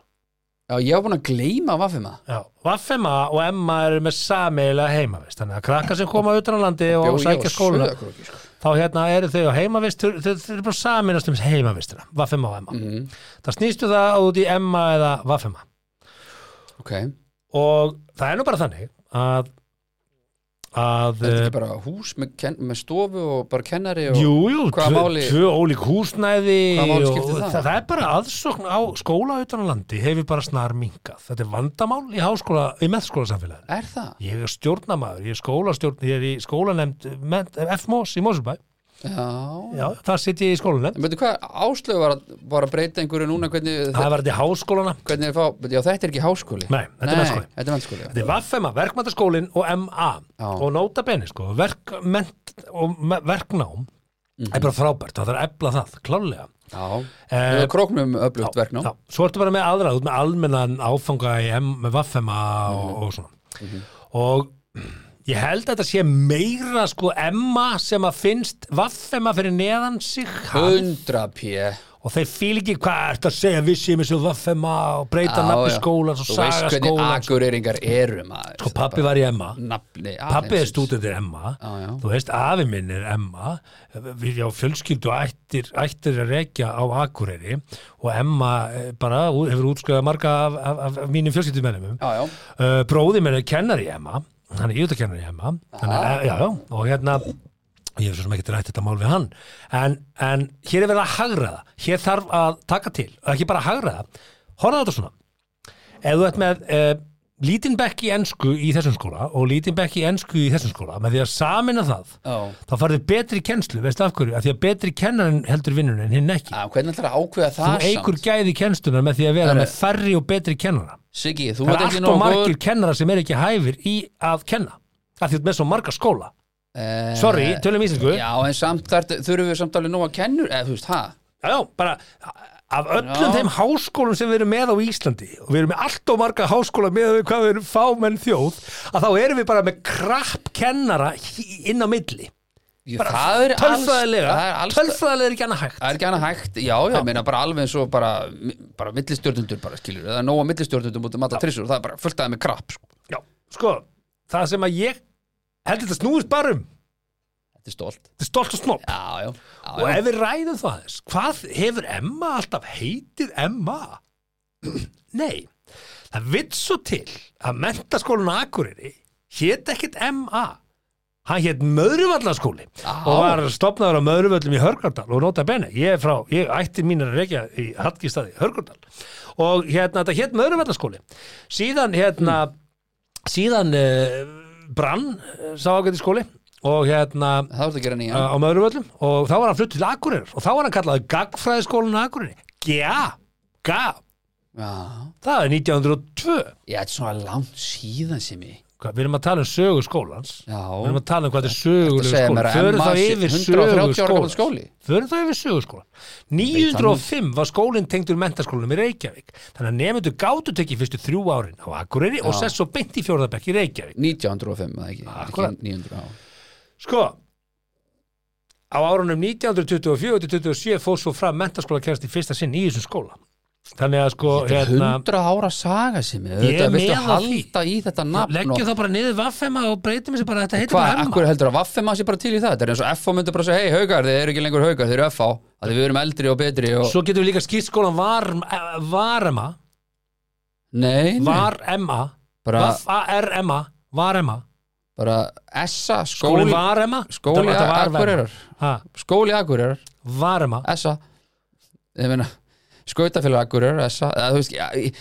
Speaker 5: Já, ég var búin að gleyma vaffima
Speaker 2: Já, Vaffema og Emma eru með sameigilega heimavist þannig að krakka sem koma utan á landi og sækja skóla
Speaker 5: sko.
Speaker 2: þá hérna eru þau á heimavist þau, þau, þau eru bara saminast um heimavistina Vaffema og Emma
Speaker 5: Mhm.
Speaker 2: það snýstu það út í Emma eða Vaffema
Speaker 5: Ok, þetta
Speaker 2: og það er nú bara þannig að að
Speaker 5: er
Speaker 2: eh,
Speaker 5: ekki bara hús með, ken, með stofu og bara kennari og
Speaker 2: jú, jú,
Speaker 5: Hvaða
Speaker 2: tvö,
Speaker 5: máli-
Speaker 2: tvö ólík húsnæði
Speaker 5: Hvaða máli
Speaker 2: og
Speaker 5: skiptir það?
Speaker 2: það, er bara aðsókn á skóla utan á landi hefur bara snar minkað þetta er vandamál í, háskóla, í meðskólasamfélaginu
Speaker 5: Er það?
Speaker 2: ég er stjórnamaður, ég er skólastjórn ég er í skólanemnd FMOS í Mósubæ,
Speaker 5: Já
Speaker 2: já, það sitt ég í skólanemnd
Speaker 5: En veitu hvað, Áslöf var að, var að breyta einhverju núna hvernig,
Speaker 2: það var þetta í háskólana
Speaker 5: hvernig er fá, já, þetta er ekki
Speaker 2: Ah.
Speaker 5: háskóli
Speaker 2: Nei, þetta er mennskóli.
Speaker 5: Þetta er mennskóli,
Speaker 2: Þetta er Vaffema, verkmæntaskólinn og MA
Speaker 5: Já.
Speaker 2: og nota bene sko, verkmænt og me- verknám
Speaker 5: Mhm.
Speaker 2: er bara frábært, það þarf að efla það, klálega
Speaker 5: já Já,
Speaker 2: Eh,
Speaker 5: það er króknum um öflugt verk nú
Speaker 2: Já, svo ertu bara með aðra, þú ert
Speaker 5: Mhm.
Speaker 2: með almennan áfanga í M, með Vaffema og, og svona og Ég held að þetta sé meira sko Emma sem að finnst vaffemma fyrir neðan sig hann,
Speaker 5: 100 p
Speaker 2: og þeir fíl ekki hvað er þetta að segja við séum þessu vaffemma og breyta nafni skólan og
Speaker 5: Þú veist
Speaker 2: saga
Speaker 5: hvernig
Speaker 2: skólan sko,
Speaker 5: akureyringar eru maður
Speaker 2: pappi var í Emma
Speaker 5: Nafni
Speaker 2: Pappi er stúdendir Emma
Speaker 5: Já, já.
Speaker 2: Þú veist, afi minn er Emma Við já, fjölskyldu ættir, ættir að rekja á Akureyri og Emma eh, bara ú- hefur útskriðað marga af, af, af, af mínum fjölskyldumennum
Speaker 5: Já, já.
Speaker 2: uh, Bróði minn er kennari í Emma Hann er íðutakennari í Emma Hann er, eh, já, já, og hérna ég hef svo sem ekki rætt þetta mál við hann en, en hér er verið að hagraða hér þarf að taka til, og ekki bara hagraða horfða þetta svona ef þú ert með uh, lítinn bekk í ensku í þessum skóla og lítinn bekk í ensku í þessum skóla með því að samina það
Speaker 5: Já.
Speaker 2: þá farið betri kennslu, veistu af hverju af því að betri kennarinn heldur vinnunni en hinn ekki
Speaker 5: Á, Hvernig ætlar að ákveða
Speaker 2: þú
Speaker 5: það
Speaker 2: eigur gæði kennslunar með því að vera
Speaker 5: Ah, Herru.
Speaker 2: með færri og betri kennara
Speaker 5: Siggi, þú
Speaker 2: það
Speaker 5: ert
Speaker 2: er
Speaker 5: ekki
Speaker 2: allt og
Speaker 5: nógu
Speaker 2: margir
Speaker 5: góður
Speaker 2: kennara sem er ekki hæfir í að kenna af því að þú ert með svo marga skóla
Speaker 5: Eh,
Speaker 2: sorry, tölum íslensku já,
Speaker 5: Já, en samt þar þurfum við samt alveg nóg að kennur eða þú veist, hæ?
Speaker 2: já, bara af öllum
Speaker 5: Já.
Speaker 2: þeim háskólum sem við erum með á Íslandi og við erum með allt og marga háskóla með við hvað við erum fámenn þjóð að þá erum við bara með krapp kennara hí- inn á milli
Speaker 5: Það er alls
Speaker 2: tölfræðilega,
Speaker 5: það er alls-
Speaker 2: tölfræðilega er ekki annað hægt
Speaker 5: Það er ekki annað hægt, já, já, ég meina bara alveg eins og bara, bara millistjórnundur bara skilur, það er nóga millistjórnundum út um alltaf trissur og það er bara fullt aðeins með krapp, sko.
Speaker 2: já, sko, það sem að ég held þetta snúist bara um þetta
Speaker 5: Þetta er stolt.
Speaker 2: er stolt og snopp
Speaker 5: Já, já,
Speaker 2: og
Speaker 5: já, já.
Speaker 2: ef við ræðum það aðeins, hvað hefur Emma alltaf heitið Emma? Nei, það vitt svo til að mentaskólan á Akureyri hét ekkit MA hann hétt Möðruvallaskóli
Speaker 5: Á.
Speaker 2: og var stopnaður á Möðruvöllum í Hörgardal og nota bene, ég er frá, ég ætti mínar að rekja í Hallgistaði, Hörgardal og hérna, þetta hétt Möðruvallaskóli síðan hérna
Speaker 5: Hmm.
Speaker 2: síðan uh, brann eh, sá ágæti skóli og hérna
Speaker 5: Það voru að gera nýja.
Speaker 2: á Möðruvöllum og þá var hann flutt til Akureyrar og þá var hann kallaði Gagfræðiskólan Akureyri GA, GA
Speaker 5: Já,
Speaker 2: það er 1902
Speaker 5: já, þetta er svona langt síðan sem ég.
Speaker 2: Hvað, við erum að tala um sögu skólans
Speaker 5: Já.
Speaker 2: við erum að tala um hvað þetta er söguleg
Speaker 5: segja
Speaker 2: skóla
Speaker 5: mér að
Speaker 2: förum
Speaker 5: Emma
Speaker 2: þá
Speaker 5: sé
Speaker 2: yfir
Speaker 5: 130 ára
Speaker 2: sögu skóla
Speaker 5: gamall skóli?
Speaker 2: förum þá yfir sögu skóla 905 var skólinn tengdur mentaskólanum í Reykjavík þannig að nefndu gátu tekið fyrstu þrjú árin á Akureyri og sess svo beint í fjórðabekk í Reykjavík
Speaker 5: 1905, eða ekki?
Speaker 2: Akkurat.
Speaker 5: Ekki 900, já.
Speaker 2: Sko á árunum 1924-27 fór svo fram mentaskóla kærast í fyrsta sinn í þessum skóla þannig að sko hérna,
Speaker 5: 100 ára saga sem ég,
Speaker 2: Ég er
Speaker 5: þetta viltu
Speaker 2: með á því.
Speaker 5: halda í þetta nafn
Speaker 2: leggjum
Speaker 5: og
Speaker 2: það bara niður vaffema og breytum þessu bara þetta heitir
Speaker 5: hvað,
Speaker 2: bara Emma
Speaker 5: akkur heldur að vaffema sé bara til í það þetta er eins og FH myndi bara segja, hei haugar, þið eru ekki lengur haugar þið eru FH, að þið við erum eldri og betri og...
Speaker 2: svo getum við líka skýrt skólan var, eh, var Emma
Speaker 5: nei, nei,
Speaker 2: var Emma
Speaker 5: bara,
Speaker 2: var Emma var Emma
Speaker 5: bara essa,
Speaker 2: skólan
Speaker 5: skóli
Speaker 2: var Emma
Speaker 5: skóli
Speaker 2: Þetta var Emma.
Speaker 5: akkureirar
Speaker 2: Ha,
Speaker 5: skóli akkureirar,
Speaker 2: var Emma
Speaker 5: essa ég meina, skautafélag akkureirar essa, eða, þú veist, ja, í-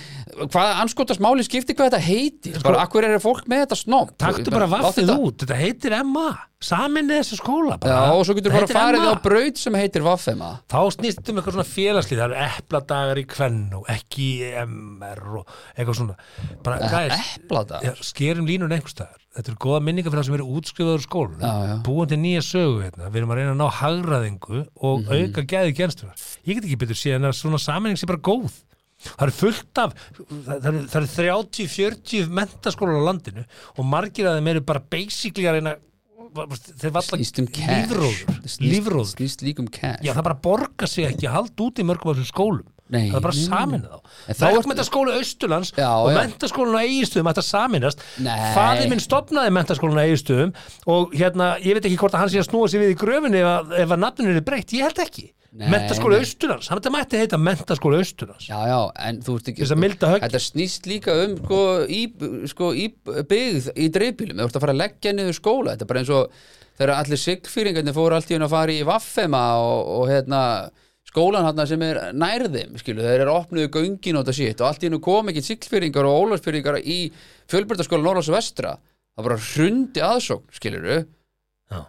Speaker 5: hvaða anskotast máli skipti hvað þetta heitir bara akkureirar er fólk með þetta snopp
Speaker 2: Sko- taktu
Speaker 5: Ég
Speaker 2: bara
Speaker 5: meina, láttu
Speaker 2: vaffið
Speaker 5: þetta-
Speaker 2: út þetta heitir Emma saminnið þessu skóla bara.
Speaker 5: Já, og svo getur bara
Speaker 2: Þetta heitir
Speaker 5: farið
Speaker 2: Emma.
Speaker 5: á braut sem heitir vaffema
Speaker 2: þá snýst um eitthvað svona félagslið það eru epladagar í kvenn og ekki í MR og eitthvað svona bara, hvað er,
Speaker 5: Eplata
Speaker 2: ja, skerum línun einhverstaðar þetta eru góða minningar fyrir það sem eru útskrifaður úr
Speaker 5: Já,
Speaker 2: skólunum
Speaker 5: já.
Speaker 2: búin til nýja sögu hérna. við erum að reyna að ná hagraðingu og
Speaker 5: Mhm.
Speaker 2: auka gæði genstunar ég get ekki betur síðan að svona sammenning sé bara góð það eru fullt af það eru, það eru 30-40 mentaskólar á landinu og margir að þeim eru bara basically að reyna þeir valla
Speaker 5: Snýst um cash
Speaker 2: lífróður
Speaker 5: Snýst-
Speaker 2: lífróður
Speaker 5: Snýst líkum cash
Speaker 2: Já, það bara borga sig ekki að halda út í mörgum af þessum skólum.
Speaker 5: Nei,
Speaker 2: það er bara
Speaker 5: nei,
Speaker 2: að
Speaker 5: nei.
Speaker 2: samina þá.
Speaker 5: En þá ertu-
Speaker 2: Verkmyndaskóla Austurlands
Speaker 5: Já,
Speaker 2: og
Speaker 5: já.
Speaker 2: mentaskólan á Egilstöðum ætti að saminast.
Speaker 5: Nei.
Speaker 2: Faði minn stopnaði mentaskólan á Egilstöðum og hérna, ég veit ekki hvort að hann sé að snúa sig við í gröfinni ef að, ef að nafninu er breytt. Ég held ekki.
Speaker 5: Nei,
Speaker 2: Mentaskóla
Speaker 5: nei.
Speaker 2: Austurlands, hann þetta mætti heita mentaskóla Austurlands.
Speaker 5: Já, já, en þú ert ekki
Speaker 2: Þess að milda högg.
Speaker 5: Þetta snýst líka um sko, í, sko, í byggð í dreifbílum, þú ert að fara að leggja niður skóla þetta er bara eins og þegar allir siglfýringarnir fóru allt í hún að fara í vaffema og, og hérna skólan hérna sem er nærðum, skilu, þeir eru opnuðu göngin og þetta sítt og allt í hennu kom ekki siglfýringar og ólafsfýringar í fjölbyrtaskóla Norrlands og Vestra, það bara hrundi aðsókn, skiluru
Speaker 2: Já.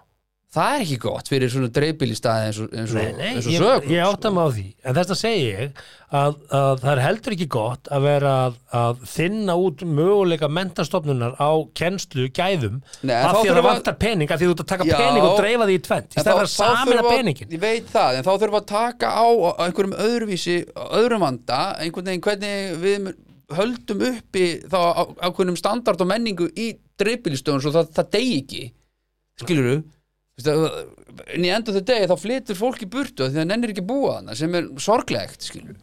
Speaker 5: Það er ekki gott fyrir svona dreifbílistaði eins og, eins og,
Speaker 2: Nei, nei,
Speaker 5: eins og
Speaker 2: ég,
Speaker 5: sögur,
Speaker 2: ég átta mig á því en þess að segja ég að, að það er heldur ekki gott að vera að, að þinna út möguleika mentastofnunar á kennslu gæðum
Speaker 5: Nei, en
Speaker 2: af því að
Speaker 5: þá
Speaker 2: það
Speaker 5: þurfa-
Speaker 2: vantar pening af því að þú ert að taka
Speaker 5: Já.
Speaker 2: pening og dreifa því í tvent í
Speaker 5: En
Speaker 2: stæðan
Speaker 5: þá-
Speaker 2: að
Speaker 5: þá
Speaker 2: samina
Speaker 5: þurfa-
Speaker 2: peningin
Speaker 5: Ég veit það, en þá þurfum við að taka á á einhverjum öðruvísi, á öðrum vanda einhvern veginn hvernig við mun- höldum uppi þá á- ákveðnum standard og menningu í dreifbílistöðun svo það, það degi ekki skilur þú en í endur þau degi þá flytur fólk í burtu af því það nennir ekki að búa hana sem er sorglegt skilur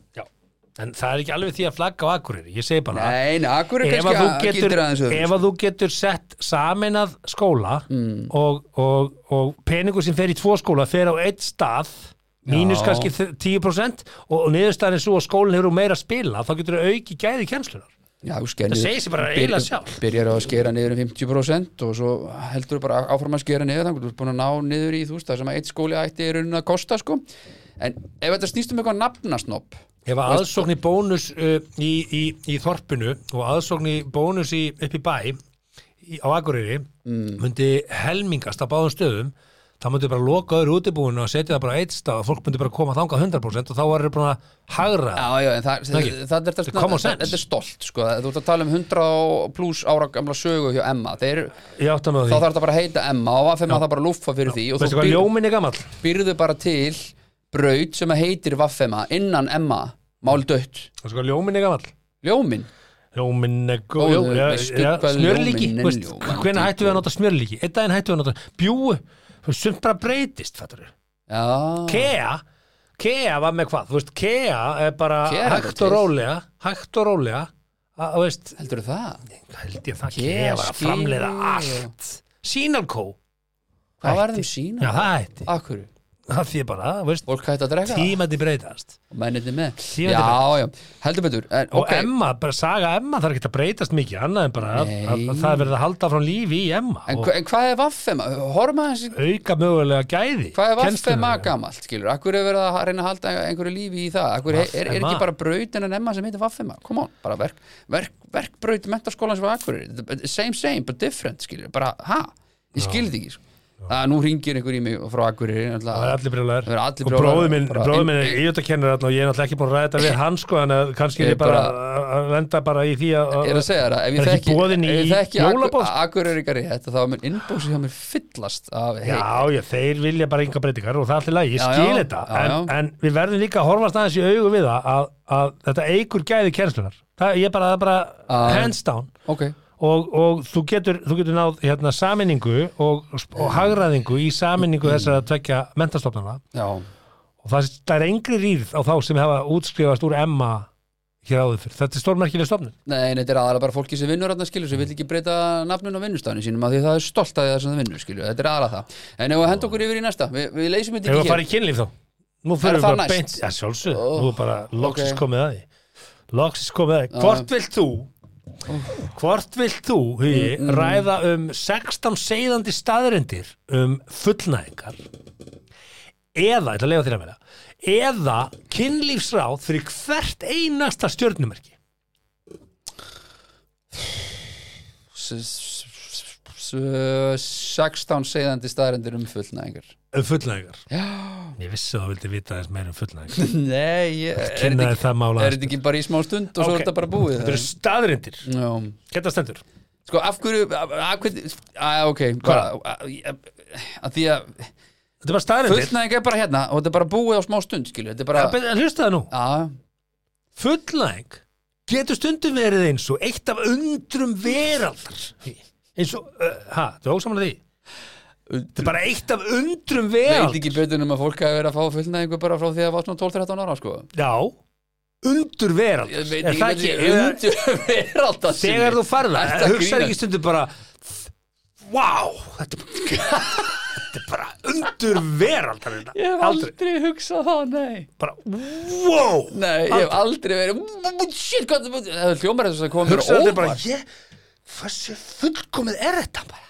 Speaker 2: En það er ekki alveg því að flagga á Akureyri, ég segi bara
Speaker 5: Nei, nei, akkur er
Speaker 2: ef að
Speaker 5: kannski
Speaker 2: þú
Speaker 5: að
Speaker 2: getur,
Speaker 5: gildir aðeins öðru
Speaker 2: ef að þú getur sett saminað skóla
Speaker 5: Mm.
Speaker 2: og, og, og peningur sem fer í tvo skóla fer á eitt stað mínus
Speaker 5: Já.
Speaker 2: kannski þ- 10% og niðurstaðan er svo að skólinn hefur úr meira að spila þá getur þau auki gæði kjenslunar
Speaker 5: Já, þú skennir,
Speaker 2: Það segir sig bara
Speaker 5: byrjar-
Speaker 2: eiginlega sjálf.
Speaker 5: Byrjar á að skera niður um 50% og svo heldur þú bara áfram að skera niður þannig að þú ert búin að ná niður í þú veist það sem að eitt skóli ætti er raunin að kosta sko en ef þetta snýst um eitthvað nafnasnopp
Speaker 2: ef að aðsókn í bónus uh, í, í, í þorpinu og aðsókn í bónus í, upp í bæ í, á Akureyri
Speaker 5: Mm.
Speaker 2: myndi helmingast á báðum stöðum þá myndi bara loka öðru útibúinu og setja það bara á eitt stað og fólk myndi bara koma þangað 100% og þá var það búin að hagra það.
Speaker 5: Já, já, en það, það,
Speaker 2: Ekki?
Speaker 5: það er
Speaker 2: er common sense.
Speaker 5: þetta er stolt sko. þú ert að tala um 100 pluss ára gamla sögu hjá Emma Þeir,
Speaker 2: Ég átta mig á
Speaker 5: þá
Speaker 2: því.
Speaker 5: þarf þetta bara að heita Emma og vaffema það bara að lúffa fyrir því og
Speaker 2: Veistu
Speaker 5: þú
Speaker 2: hvað
Speaker 5: býr,
Speaker 2: ljóminn er gamall?
Speaker 5: býrðu bara til braut sem að heitir vaffema innan Emma, mál dött
Speaker 2: Veistu hvað ljóminn er gamall?
Speaker 5: ljómin
Speaker 2: Ljóminn er
Speaker 5: Ó,
Speaker 2: góð ljó,
Speaker 5: þú
Speaker 2: ja,
Speaker 5: veistu
Speaker 2: ja,
Speaker 5: hvað
Speaker 2: Smjörlíki,
Speaker 5: ljóminn er
Speaker 2: veist,
Speaker 5: ljúfandi
Speaker 2: hvenær hættum við að nota smjörlíki? Einn daginn hættum við að nota bjúu þú veist, Sumt bara breytist, fattur við
Speaker 5: Já,
Speaker 2: Kea, Kea var með hvað? Þú veist, Kea er bara
Speaker 5: Kea er
Speaker 2: hægt
Speaker 5: til.
Speaker 2: og rólega Hægt og rólega að, Þú veist,
Speaker 5: heldur það?
Speaker 2: held ég það
Speaker 5: Kea,
Speaker 2: Kea var að
Speaker 5: skil.
Speaker 2: framleiða allt Sínalkó,
Speaker 5: Hvað var
Speaker 2: Hætti.
Speaker 5: þeim sína?
Speaker 2: já það hætti
Speaker 5: Akkur,
Speaker 2: Það því bara, þú veist,
Speaker 5: fólk hætti að drekka það
Speaker 2: tímandi breytast
Speaker 5: og mennirni með
Speaker 2: Tímandi
Speaker 5: Já, já, heldur betur en,
Speaker 2: Og
Speaker 5: ok,
Speaker 2: Emma, bara saga Emma þarf ekki að breytast mikið annað en bara að,
Speaker 5: Nei.
Speaker 2: að, að það er verið að halda frá lífi í Emma
Speaker 5: en,
Speaker 2: og
Speaker 5: hva- en hvað er vaffema? Horma þessi,
Speaker 2: auka mögulega gæði
Speaker 5: hvað er vaffema
Speaker 2: kennslunnar.
Speaker 5: gamalt, skilur? Akkur er verið að reyna að halda einhverju lífi í það Akkur er, er, er
Speaker 2: Vaffema?
Speaker 5: ekki bara braut en emma sem heitir vaffema Come on, bara verk, verk, verkbraut mentaskólan sem var akkur Same, same, but different, skilur Bara, ha, ég skildi ekki sko. Það, nú ringir einhver í mig frá akkur
Speaker 2: Það er allir brjólaðar
Speaker 5: Það eru allir
Speaker 2: og
Speaker 5: brjálaðir.
Speaker 2: bróðið minn,
Speaker 5: Bara-
Speaker 2: bróðið minn er íðutakennir og ég er náttúrulega ekki búin að ræða þetta við hann sko en að kannski
Speaker 5: Ég
Speaker 2: er ég bara
Speaker 5: bara-
Speaker 2: að- að lenda bara í því að
Speaker 5: Ég er að segja það, ef
Speaker 2: Er
Speaker 5: ég
Speaker 2: ekki
Speaker 5: þekki,
Speaker 2: boðin
Speaker 5: ef ég
Speaker 2: í
Speaker 5: þekki
Speaker 2: jólaboð?
Speaker 5: Akureyringari þetta þá er mér innbósi hjá mér fyllast af hey,
Speaker 2: Já, já, þeir vilja bara enga breytingar og það er allir lagi, ég
Speaker 5: Já,
Speaker 2: skil
Speaker 5: já,
Speaker 2: þetta
Speaker 5: já,
Speaker 2: en, en við verðum líka að horfast aðeins í augu við það að, að þetta eigur gæði kennslunar það, ég bara, það er bara
Speaker 5: Já.
Speaker 2: hands down
Speaker 5: ok,
Speaker 2: og, og þú, getur, þú getur náð hérna, saminningu og, og hagraðingu í saminningu þessara tvekja mentastofnana
Speaker 5: já,
Speaker 2: og það, það er engri rýrð á þá sem hafa útskrifast úr Emma hér áður fyrir. Þetta er stórmerkileg stofnun.
Speaker 5: nei, nei, þetta er aðalega bara fólki sem vinnur þarna skilur, sem vil ekki breyta nafnun á vinnustafni sínum af því það er stolt að það sem það vinnur skilur, þetta er aðalega það, en ef við henda okkur yfir í næsta við, við leysum
Speaker 2: Ef
Speaker 5: þetta
Speaker 2: við
Speaker 5: ekki hér
Speaker 2: farið í kynlíf þá, nú fyrir
Speaker 5: Er
Speaker 2: við
Speaker 5: það
Speaker 2: bara
Speaker 5: næst?
Speaker 2: beint, já sjálfsög,
Speaker 5: Ó,
Speaker 2: nú er bara loksis
Speaker 5: ok.
Speaker 2: komið að því. Loksis komið að því. Hvort vilt þú, hvort vilt þú,
Speaker 5: Mm,
Speaker 2: hugi, ræða um 16 seiðandi staðrendir um fullnæðingar eða, ég ætla að leifa þér að vera, eða kynlífsráð fyrir hvert einasta stjörnumerki.
Speaker 5: S- s- s- s- 16 segðandi staðarendir um fullnæðingar
Speaker 2: Um fullnæðingar.
Speaker 5: já,
Speaker 2: Ég vissi að þú vildi vita þess meira um fullnæðingar.
Speaker 5: nei ég- er þetta
Speaker 2: Kynnaði
Speaker 5: ekki-
Speaker 2: það mála
Speaker 5: er þetta ekki bara í smá stund og svo
Speaker 2: Ok.
Speaker 5: er þetta bara búið
Speaker 2: Þetta eru staðrindir,
Speaker 5: já
Speaker 2: geta stendur
Speaker 5: Sko, af hverju, af, af hverju, að, ok, bara, að, að, að því að
Speaker 2: Þetta er bara staðrindir
Speaker 5: fullnæðing er bara hérna og þetta er bara búið á smá stund, skilju, þetta er bara,
Speaker 2: Fullnæg... Hlusta það nú,
Speaker 5: já,
Speaker 2: fullnæg getur stundum verið eins og eitt af undrum veraldar eins og, uh, ha, þú ósamlega því Þetta er bara eitt af undrum
Speaker 5: veit
Speaker 2: veraldar
Speaker 5: ekki betur um að fólk hafi verið að fá fullnæðingu bara frá því að það var svona 12-13 ára, sko.
Speaker 2: Já, undur veraldar
Speaker 5: Ég veit
Speaker 2: Er
Speaker 5: ekki
Speaker 2: það
Speaker 5: betur,
Speaker 2: ekki, eða-
Speaker 5: undur verið alltaf
Speaker 2: þegar þú farða
Speaker 5: Ertu að
Speaker 2: hugsaði
Speaker 5: grínast?
Speaker 2: ekki stundum bara Vá, þetta er bara Þetta er bara undur veraldar hérna."
Speaker 5: Ég hef aldrei, hugsað það, nei.
Speaker 2: bara, wow
Speaker 5: Nei, ég hef aldrei verið, "Mm, shit, hvað, það er hljómar þess að koma mér
Speaker 2: hugsaði þetta bara
Speaker 5: óvart.
Speaker 2: ég, hversu fullkomið er þetta bara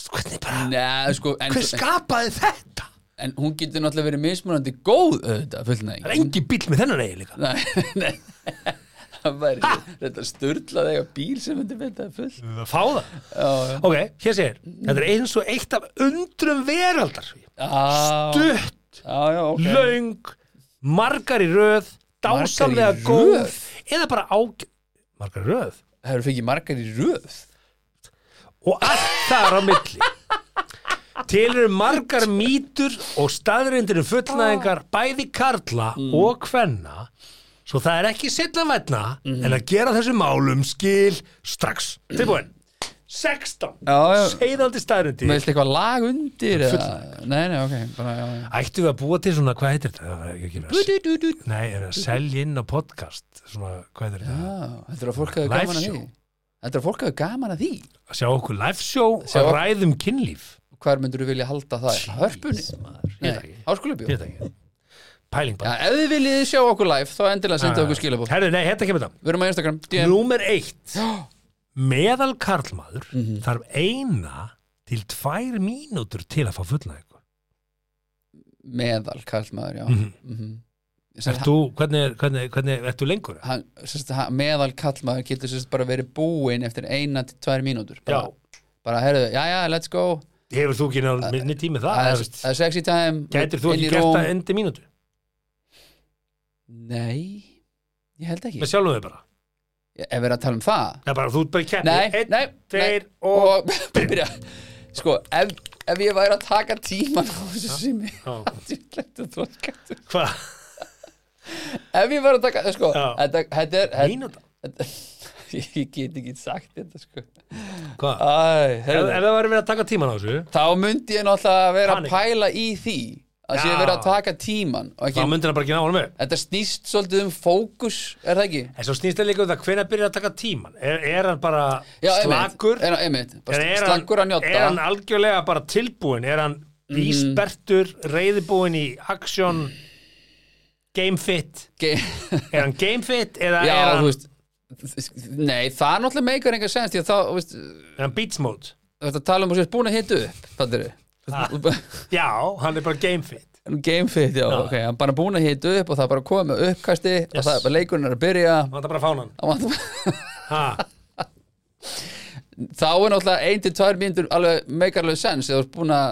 Speaker 2: Veistu, hvernig bara,
Speaker 5: Nei, sko, en,
Speaker 2: hver skapaði þetta
Speaker 5: en hún getur náttúrulega verið mismunandi góð, auðvitað, fullnæðing.
Speaker 2: það er engi bíl með þennan eigi líka
Speaker 5: Nei, nei Það væri þetta störlaði eitthvað bíl sem myndi mynda full
Speaker 2: fá það, ok, hér segir þetta er eins og eitt af undrum veraldar
Speaker 5: Já,
Speaker 2: dutt,
Speaker 5: já, já, ok
Speaker 2: löng margar í röð, dásamlega
Speaker 5: Margar í
Speaker 2: góð
Speaker 5: röð?
Speaker 2: eða bara ág margar í röð
Speaker 5: Það eru fengið margar í röð
Speaker 2: og allt þar á milli til eru margar mýtur og staðrindir um fullnæðingar bæði karla og kvenna svo það er ekki setna vætna en að gera þessu málum skil strax tilbúin 16
Speaker 5: Já, já.
Speaker 2: Seiðandi stærindi
Speaker 5: Mér veist eitthvað lag undir eða? Nei, nei, ok bara, já, já.
Speaker 2: Ættum við að búa til svona, hvað heitir þetta? Það er ekki að-
Speaker 5: Du, du, du, du.
Speaker 2: Nei, er að selja inn á podcast Svona, hvað heitir þetta?
Speaker 5: Já, Þetta er að fólk hafa
Speaker 2: Live
Speaker 5: gaman að því
Speaker 2: show.
Speaker 5: Þetta er að fólk hafa gaman að því
Speaker 2: Að sjá okkur live show
Speaker 5: Sjá-
Speaker 2: og ræðum kynlíf
Speaker 5: Hvar myndur þú vilja halda það?
Speaker 2: Jeez, maður.
Speaker 5: Hörpunni?
Speaker 2: Ég veit
Speaker 5: Nei,
Speaker 2: ekki.
Speaker 5: háskólubjó
Speaker 2: Ég veit ekki Pæling
Speaker 5: Já,
Speaker 2: bara
Speaker 5: ef þið viljið sjá okkur live þá endilega
Speaker 2: Ah.
Speaker 5: senda okkur skilabó
Speaker 2: Herðu, nei, hérna kemur þetta
Speaker 5: Við erum á Instagram DM.
Speaker 2: Númer eitt Meðal karlmaður
Speaker 5: Mhm.
Speaker 2: þarf eina til tvær mínútur til að fá fullnæðingu
Speaker 5: Meðal kallmaður, já
Speaker 2: Mhm.
Speaker 5: Mhm. Sem
Speaker 2: Ert þú, hvernig, er- hvernig, hvernig, ert þú lengur?
Speaker 5: hann, sérst, hann, meðal kallmaður getur sérst bara verið búinn eftir eina til tvær mínútur
Speaker 2: Já,
Speaker 5: bara, bara heyrðu, já já, let's go
Speaker 2: hefur þú ekki náður minni tími það?
Speaker 5: það
Speaker 2: eða,
Speaker 5: er-
Speaker 2: veist,
Speaker 5: það er sexy time
Speaker 2: Gætir þú
Speaker 5: inn í
Speaker 2: ekki gert
Speaker 5: rúm.
Speaker 2: það endi mínútu?
Speaker 5: nei, ég held ekki
Speaker 2: Með sjálfum þau bara
Speaker 5: ef við erum að tala um það
Speaker 2: Það er bara, þú ert bara í keppni
Speaker 5: nei,
Speaker 2: Einn,
Speaker 5: nei,
Speaker 2: tveir
Speaker 5: nei,
Speaker 2: og
Speaker 5: og byrja sko, ef, ef ég væri að taka tíman á þessu sími
Speaker 2: Já.
Speaker 5: djúllegt og þroskættur.
Speaker 2: Hvað?
Speaker 5: ef ég væri að taka, sko
Speaker 2: Já.
Speaker 5: þetta þetta er þetta-
Speaker 2: Mínúta?
Speaker 5: ég ég get ekki sagt þetta sko
Speaker 2: Hvað?
Speaker 5: Æ,
Speaker 2: Ef
Speaker 5: heyrðu.
Speaker 2: ef það væri verið að taka tíman á þessu
Speaker 5: þá myndi ég náttúrulega að vera
Speaker 2: Panik.
Speaker 5: að pæla í því að sé
Speaker 2: Já.
Speaker 5: að vera að taka tíman og
Speaker 2: Þá
Speaker 5: ekki,
Speaker 2: myndi hann bara ekki ná hann með
Speaker 5: þetta snýst svolítið um fókus, er það ekki?
Speaker 2: En svo snýst það líka um það, hvenær byrjar að taka tíman? Er, er hann bara
Speaker 5: Já,
Speaker 2: slakur?
Speaker 5: einmitt, er, einmitt,
Speaker 2: Eða
Speaker 5: bara
Speaker 2: er hann-
Speaker 5: slakur að njóta Mm.
Speaker 2: Er hann algjörlega bara tilbúin? Er hann vísbertur, reyðibúin í action, game fit?
Speaker 5: Ge-
Speaker 2: Er hann game fit eða
Speaker 5: já,
Speaker 2: er,
Speaker 5: þú
Speaker 2: hann,
Speaker 5: veist nei, það er náttúrulega meikar enga sens því að þá, þú veist,
Speaker 2: er hann beats mode?
Speaker 5: þetta tala um að þú sést búin að hitu upp þannig er
Speaker 2: Já, hann er bara game fit.
Speaker 5: game fit, já, ok, hann er bara búin að hitu upp og það er bara að koma með uppkasti og það er bara leikurinn er að byrja
Speaker 2: Hann vantar bara að fá hann.
Speaker 5: Hann vantar-
Speaker 2: Ha,
Speaker 5: þá er náttúrulega ein til tvær mínútur alveg meikar alveg sens eða þú ert búin að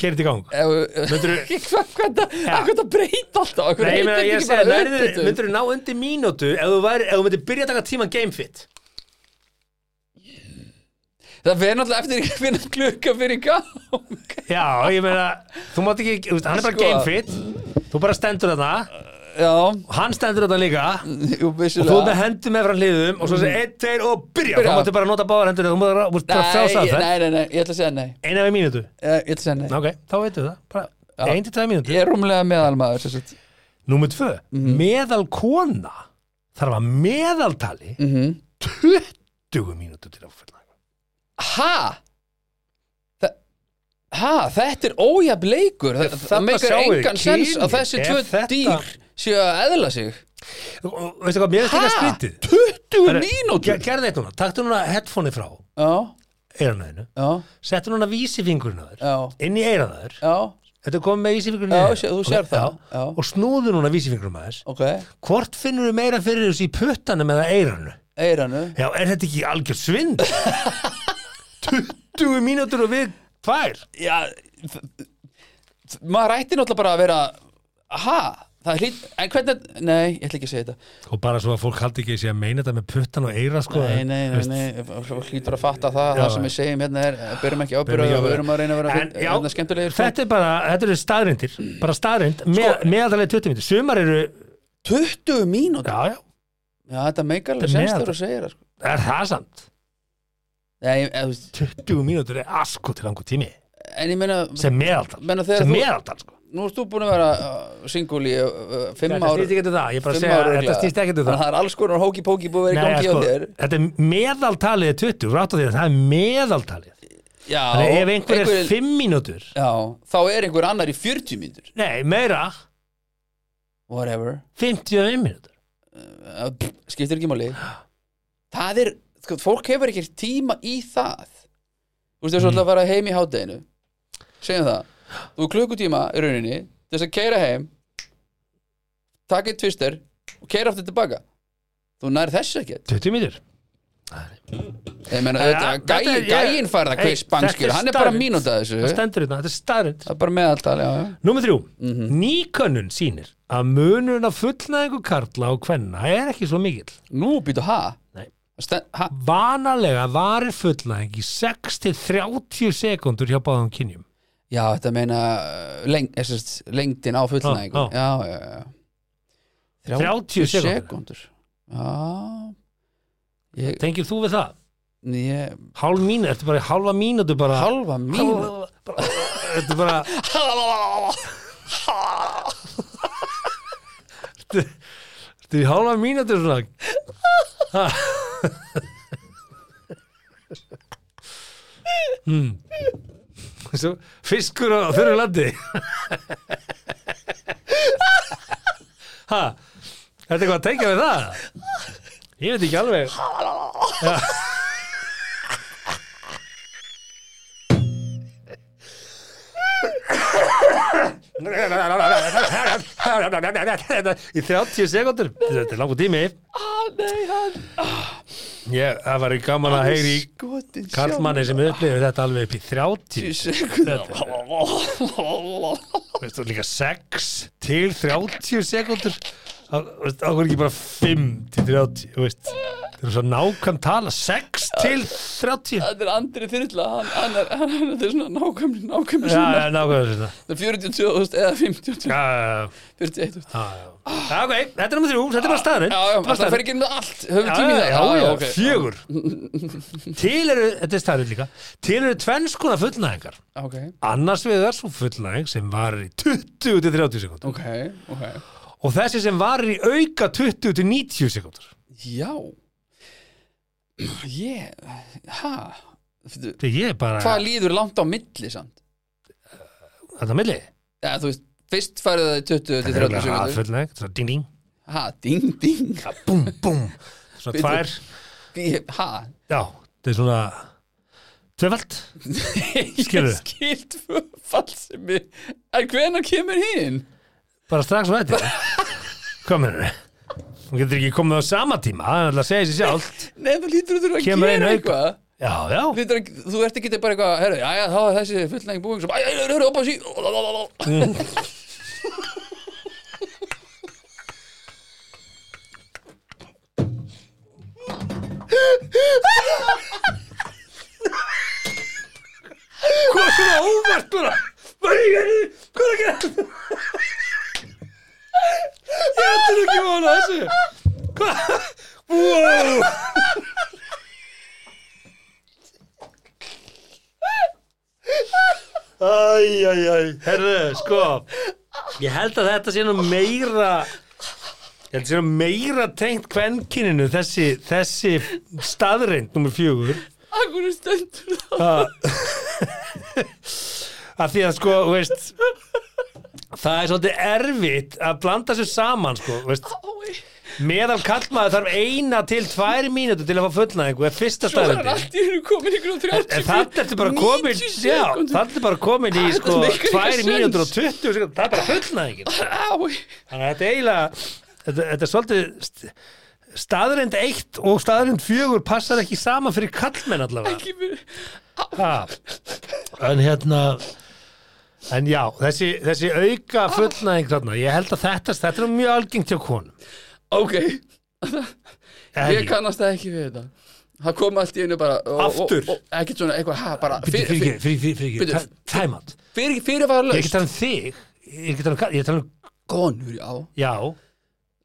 Speaker 2: kerið í gang. Myndirðu-
Speaker 5: Hvað
Speaker 2: Já.
Speaker 5: er það breyta alltaf? Hvað
Speaker 2: Nei, ég
Speaker 5: heitir
Speaker 2: meina,
Speaker 5: þetta
Speaker 2: ég
Speaker 5: ekki
Speaker 2: segi,
Speaker 5: bara
Speaker 2: nærður,
Speaker 5: uppbytun?
Speaker 2: myndur þú ná undir mínútu ef þú, væri, ef þú myndir byrja að taka tíman game fit?
Speaker 5: Það verður náttúrulega eftir ekki að finna klukka fyrir gang
Speaker 2: Já, ég meina, þú mátt ekki, þú veist, hann er bara
Speaker 5: Sko.
Speaker 2: game fit, þú bara stendur þarna,
Speaker 5: Já,
Speaker 2: og hann stendur þarna líka,
Speaker 5: jú,
Speaker 2: og þú ert með
Speaker 5: vissulega
Speaker 2: hendur með frá hliðum og svo segir einn, tveir og byrja,
Speaker 5: Mhm. Byrja.
Speaker 2: þá máttu bara nota báðar hendur þú mátt bara- þú mátt bara frjálsa
Speaker 5: ég-
Speaker 2: það
Speaker 5: nei, nei, nei, ég ætla að segja nei
Speaker 2: eina við mínútu,
Speaker 5: Eh, Ég ætla að segja nei
Speaker 2: ok, þá veitum við það bara ein til tvei mínútu
Speaker 5: Ég Mhm. er rúmlega meðalmaður sem sagt.
Speaker 2: Númer tvö, meðal kona þarf að meðaltali
Speaker 5: Mhm.
Speaker 2: 20 mínútu til að fulla
Speaker 5: Ha? Þa- Ha, þetta er ójafn leikur Það, það
Speaker 2: þarna
Speaker 5: meikar
Speaker 2: sjáið þið
Speaker 5: engan sens
Speaker 2: kynin.
Speaker 5: að þessi
Speaker 2: Ef
Speaker 5: tvö
Speaker 2: þetta-
Speaker 5: dýr séu að eðla sig
Speaker 2: og, og veistu hvað, mér er þetta
Speaker 5: Ha?
Speaker 2: skrítið
Speaker 5: 20
Speaker 2: Herru, ger-
Speaker 5: mínútur?
Speaker 2: Gerðu eitt núna, taktu núna headphoneið frá
Speaker 5: Já,
Speaker 2: eyranaðinu,
Speaker 5: já,
Speaker 2: settu núna vísifingurinn að þér
Speaker 5: já,
Speaker 2: inn í eyranaður,
Speaker 5: já,
Speaker 2: þetta er komið með vísifingurinn í
Speaker 5: Já,
Speaker 2: eyrað.
Speaker 5: sé- þú
Speaker 2: Ok,
Speaker 5: sérð það.
Speaker 2: já.
Speaker 5: Já.
Speaker 2: og snúðu núna vísifingurinn að þess
Speaker 5: ok
Speaker 2: hvort finnur þú meira fyrir þessu í puttanum eða eyranu?
Speaker 5: Eiranu
Speaker 2: Já, er þetta ekki algjör svind? 20 mínútur og við tvær
Speaker 5: já þ- þ- maður ætti náttúrulega bara að vera ha, það er hlýtt en hvernig, nei, ég ætla ekki að segja þetta
Speaker 2: Og bara svo að fólk haldi ekki að sé að meina þetta með puttan og eira sko
Speaker 5: nei, nei, nei,
Speaker 2: Veist,
Speaker 5: nei, þú hlýtur að fatta það
Speaker 2: Já.
Speaker 5: það sem við segjum hérna er, eh, berum ekki
Speaker 2: Berum
Speaker 5: ábyrðu
Speaker 2: ekki
Speaker 5: og
Speaker 2: ábyrgð.
Speaker 5: við erum að reyna að vera
Speaker 2: En,
Speaker 5: fynd-
Speaker 2: já,
Speaker 5: hérna skemmtilegir
Speaker 2: Þetta er bara, þetta eru staðrindir bara staðrind, með, meðaltalið 20 mínútur sumar eru,
Speaker 5: 20 mínútur,
Speaker 2: já, já,
Speaker 5: já, þetta meikar
Speaker 2: Þetta
Speaker 5: alveg
Speaker 2: er
Speaker 5: semst
Speaker 2: meðal-
Speaker 5: þegar þú segir það sko.
Speaker 2: er það samt
Speaker 5: Nei, eh, þú veist,
Speaker 2: 20 mínútur er asko til langu tími
Speaker 5: en ég meina
Speaker 2: sem meðaltal,
Speaker 5: Meina þegar
Speaker 2: sem
Speaker 5: þú-
Speaker 2: meðaltal sko.
Speaker 5: nú erst þú búin að vera uh, singul í uh, 5
Speaker 2: Þetta
Speaker 5: ára
Speaker 2: snýst ekki til það, ég bara
Speaker 5: fimm
Speaker 2: segja
Speaker 5: ár
Speaker 2: þetta
Speaker 5: örugglega.
Speaker 2: snýst ekki til það
Speaker 5: Þannig að
Speaker 2: sko,
Speaker 5: það er alls konar hóki-póki búið að vera í gangi á þér
Speaker 2: þetta er meðaltalið er 20 rátt á því að það er meðaltalið
Speaker 5: Já,
Speaker 2: Þannig ef einhver er
Speaker 5: einhver-
Speaker 2: 5 mínútur
Speaker 5: Já, þá er einhver annar í 40 mínútur
Speaker 2: Nei, meira,
Speaker 5: Whatever
Speaker 2: 55 mínútur
Speaker 5: Uh, pff, skiptir ekki máli það er, sko, fólk hefur ekki tíma í það þú veist þessu
Speaker 2: Mhm.
Speaker 5: alltaf að fara heim í hádeginu segjum það, þú er klukkutíma í rauninni til þess að keira heim taka eitt tvister og keira aftur tilbaka þú nær þessu ekki
Speaker 2: 20 mínútur
Speaker 5: ég meina,
Speaker 2: Ja,
Speaker 5: þetta,
Speaker 2: þetta
Speaker 5: gæi,
Speaker 2: er- ég-
Speaker 5: gæin færða
Speaker 2: Hey,
Speaker 5: hvað
Speaker 2: þetta
Speaker 5: spanskir,
Speaker 2: er
Speaker 5: hann er bara
Speaker 2: staðreynd.
Speaker 5: mínúta þessu
Speaker 2: Það
Speaker 5: það
Speaker 2: stendur hérna, þetta, þetta er staðrind
Speaker 5: er bara meðaltal, já, já
Speaker 2: Númer þrjú, nýkönnun sýnir að munurinn á fullnæðingu karla og kvenna er ekki svo mikill
Speaker 5: nú býtu ha,
Speaker 2: Nei.
Speaker 5: Sten, ha
Speaker 2: Vanalega varir fullnæðing í 6-30 sekundur hjá báðum kynjum
Speaker 5: Já, þetta meina uh, leng, sérst, lengdin á fullnæðingu
Speaker 2: Já,
Speaker 5: Já, já, já
Speaker 2: 30 sekúndur.
Speaker 5: sekúndur. Já Ég,
Speaker 2: Tengir þú við það?
Speaker 5: Ég,
Speaker 2: hálf mínu, ertu bara í hálfa mínútu bara
Speaker 5: Hálfa mínútu?
Speaker 2: Hálfa- bara- ertu bara ertu, ertu í hálfa mínútu svona Ha. hmm. Svo, fiskur á þurru landi ha ertu eitthvað að tengja við það ég veit ekki alveg í 30 sekundur þetta er langur tími ég, það var í gaman að heyri
Speaker 5: skotin
Speaker 2: Karlmanni sem upplifir þetta alveg upp í 30 veistu, líka 6 til 30 sekundur okkur ekki bara 5 til 30 þú veist. það er svo nákvæm tala 6 til 30 já,
Speaker 5: Þetta er Andri Þyrla hann, hann er, hann, þetta er svona nákvæmni nákvæmni svona
Speaker 2: já, nákvæm þetta
Speaker 5: Þetta er 42.000 eða 52
Speaker 2: Já, já, já.
Speaker 5: 41.000
Speaker 2: Já, já. Já, ok, þetta er nummer þrjú, þetta er bara staðurinn
Speaker 5: Já, já, það fer ekki inn með allt Höfum
Speaker 2: Já,
Speaker 5: tími
Speaker 2: já,
Speaker 5: í það
Speaker 2: já, já,
Speaker 5: ok.
Speaker 2: fjögur Til eru, þetta er staðurinn líka Til eru tvennskona fullnæðingar
Speaker 5: Ok,
Speaker 2: Annars vegar svo fullnæðing sem varir í 20-30 sekúndur
Speaker 5: ok, ok
Speaker 2: Og þessi sem varir í auka 20-90 sekúndur
Speaker 5: Já Ég, ha Fytu,
Speaker 2: Þetta ég er bara,
Speaker 5: Hvað líður langt á milli samt?
Speaker 2: þetta er milli
Speaker 5: Já, þú veist, fyrst færðu það í 20 til
Speaker 2: Þetta er bara
Speaker 5: 30
Speaker 2: að
Speaker 5: sekundur
Speaker 2: fullnæðing, þetta er ding ding
Speaker 5: Ha, ding, ding
Speaker 2: ja, Búm, búm, svona
Speaker 5: Bíddu.
Speaker 2: tvær
Speaker 5: Ég- Ha,
Speaker 2: Já, þetta er svona Tvefald, Skilurðu?
Speaker 5: ég skil tvöfall sem ég En hvenær kemur hinn?
Speaker 2: bara strax á þetta Hvað mennur við? Hún getur ekki komið á sama tíma, það er alltaf að segja sér sjálft
Speaker 5: Nei, það lítur þú að
Speaker 2: Kemur
Speaker 5: gera
Speaker 2: einu auka.
Speaker 5: eitthvað
Speaker 2: Já, já
Speaker 5: Lítur, að- Þú ert ekki bara eitthvað, herru, já, já, þá er þessi fullnæging búin sem, æ, æ, æ, hörru, opa, sí
Speaker 2: Hvað svona óvart bara Hvað er ég, hvað er að gera? Ég ætti nú ekki vona þessu Hvað? Wow Æj, æj, æj Herðu, sko Ég held að þetta sé nú meira Ég held að sé nú meira tengt kvenkininu þessi, þessi staðreind nummer fjögur
Speaker 5: Akkur er stendur það
Speaker 2: að að því að sko, þú veist það er svolítið erfitt að blanda sér saman sko, þú veist,
Speaker 5: Ái,
Speaker 2: meðal kallmaður þarf eina til tvær mínútur til að fá fullnæðingu er fyrsta
Speaker 5: Svo er
Speaker 2: staðvendi
Speaker 5: allt í hennu komin ykkur á 30
Speaker 2: en þannig ertu bara komin
Speaker 5: 90
Speaker 2: já,
Speaker 5: sekúndur.
Speaker 2: þannig ertu bara komin í
Speaker 5: Þetta
Speaker 2: sko,
Speaker 5: meikar ekki
Speaker 2: tvær
Speaker 5: sens.
Speaker 2: mínútur og 20 sekúndur, það er bara fullnæðingin
Speaker 5: Ái,
Speaker 2: þannig að þetta er eiginlega þetta, þetta er svolítið st staðrind eitt og staðrind fjögur passar ekki saman fyrir kallmenn allavega
Speaker 5: ekki mér
Speaker 2: Ha. En hérna En já, þessi, þessi auka fullnæðing þarna, ég held að þetta þetta er nú mjög algengt hjá konum
Speaker 5: Ok,
Speaker 2: En
Speaker 5: ég kannast það ekki við þetta Það kom allt í hennu bara og,
Speaker 2: Aftur.
Speaker 5: og, og, Ekkert svona, eitthvað, ha, bara
Speaker 2: Fyrir, fyrir, fyrir, fyrir, fyrir, fyrir,
Speaker 5: Bíddu.
Speaker 2: fyrir, time out
Speaker 5: fyrir, fyrir var
Speaker 2: Ég er ekki
Speaker 5: löst
Speaker 2: tala um þig, ég er ekki tala um, kall- ég er tala um,
Speaker 5: Konur, já
Speaker 2: já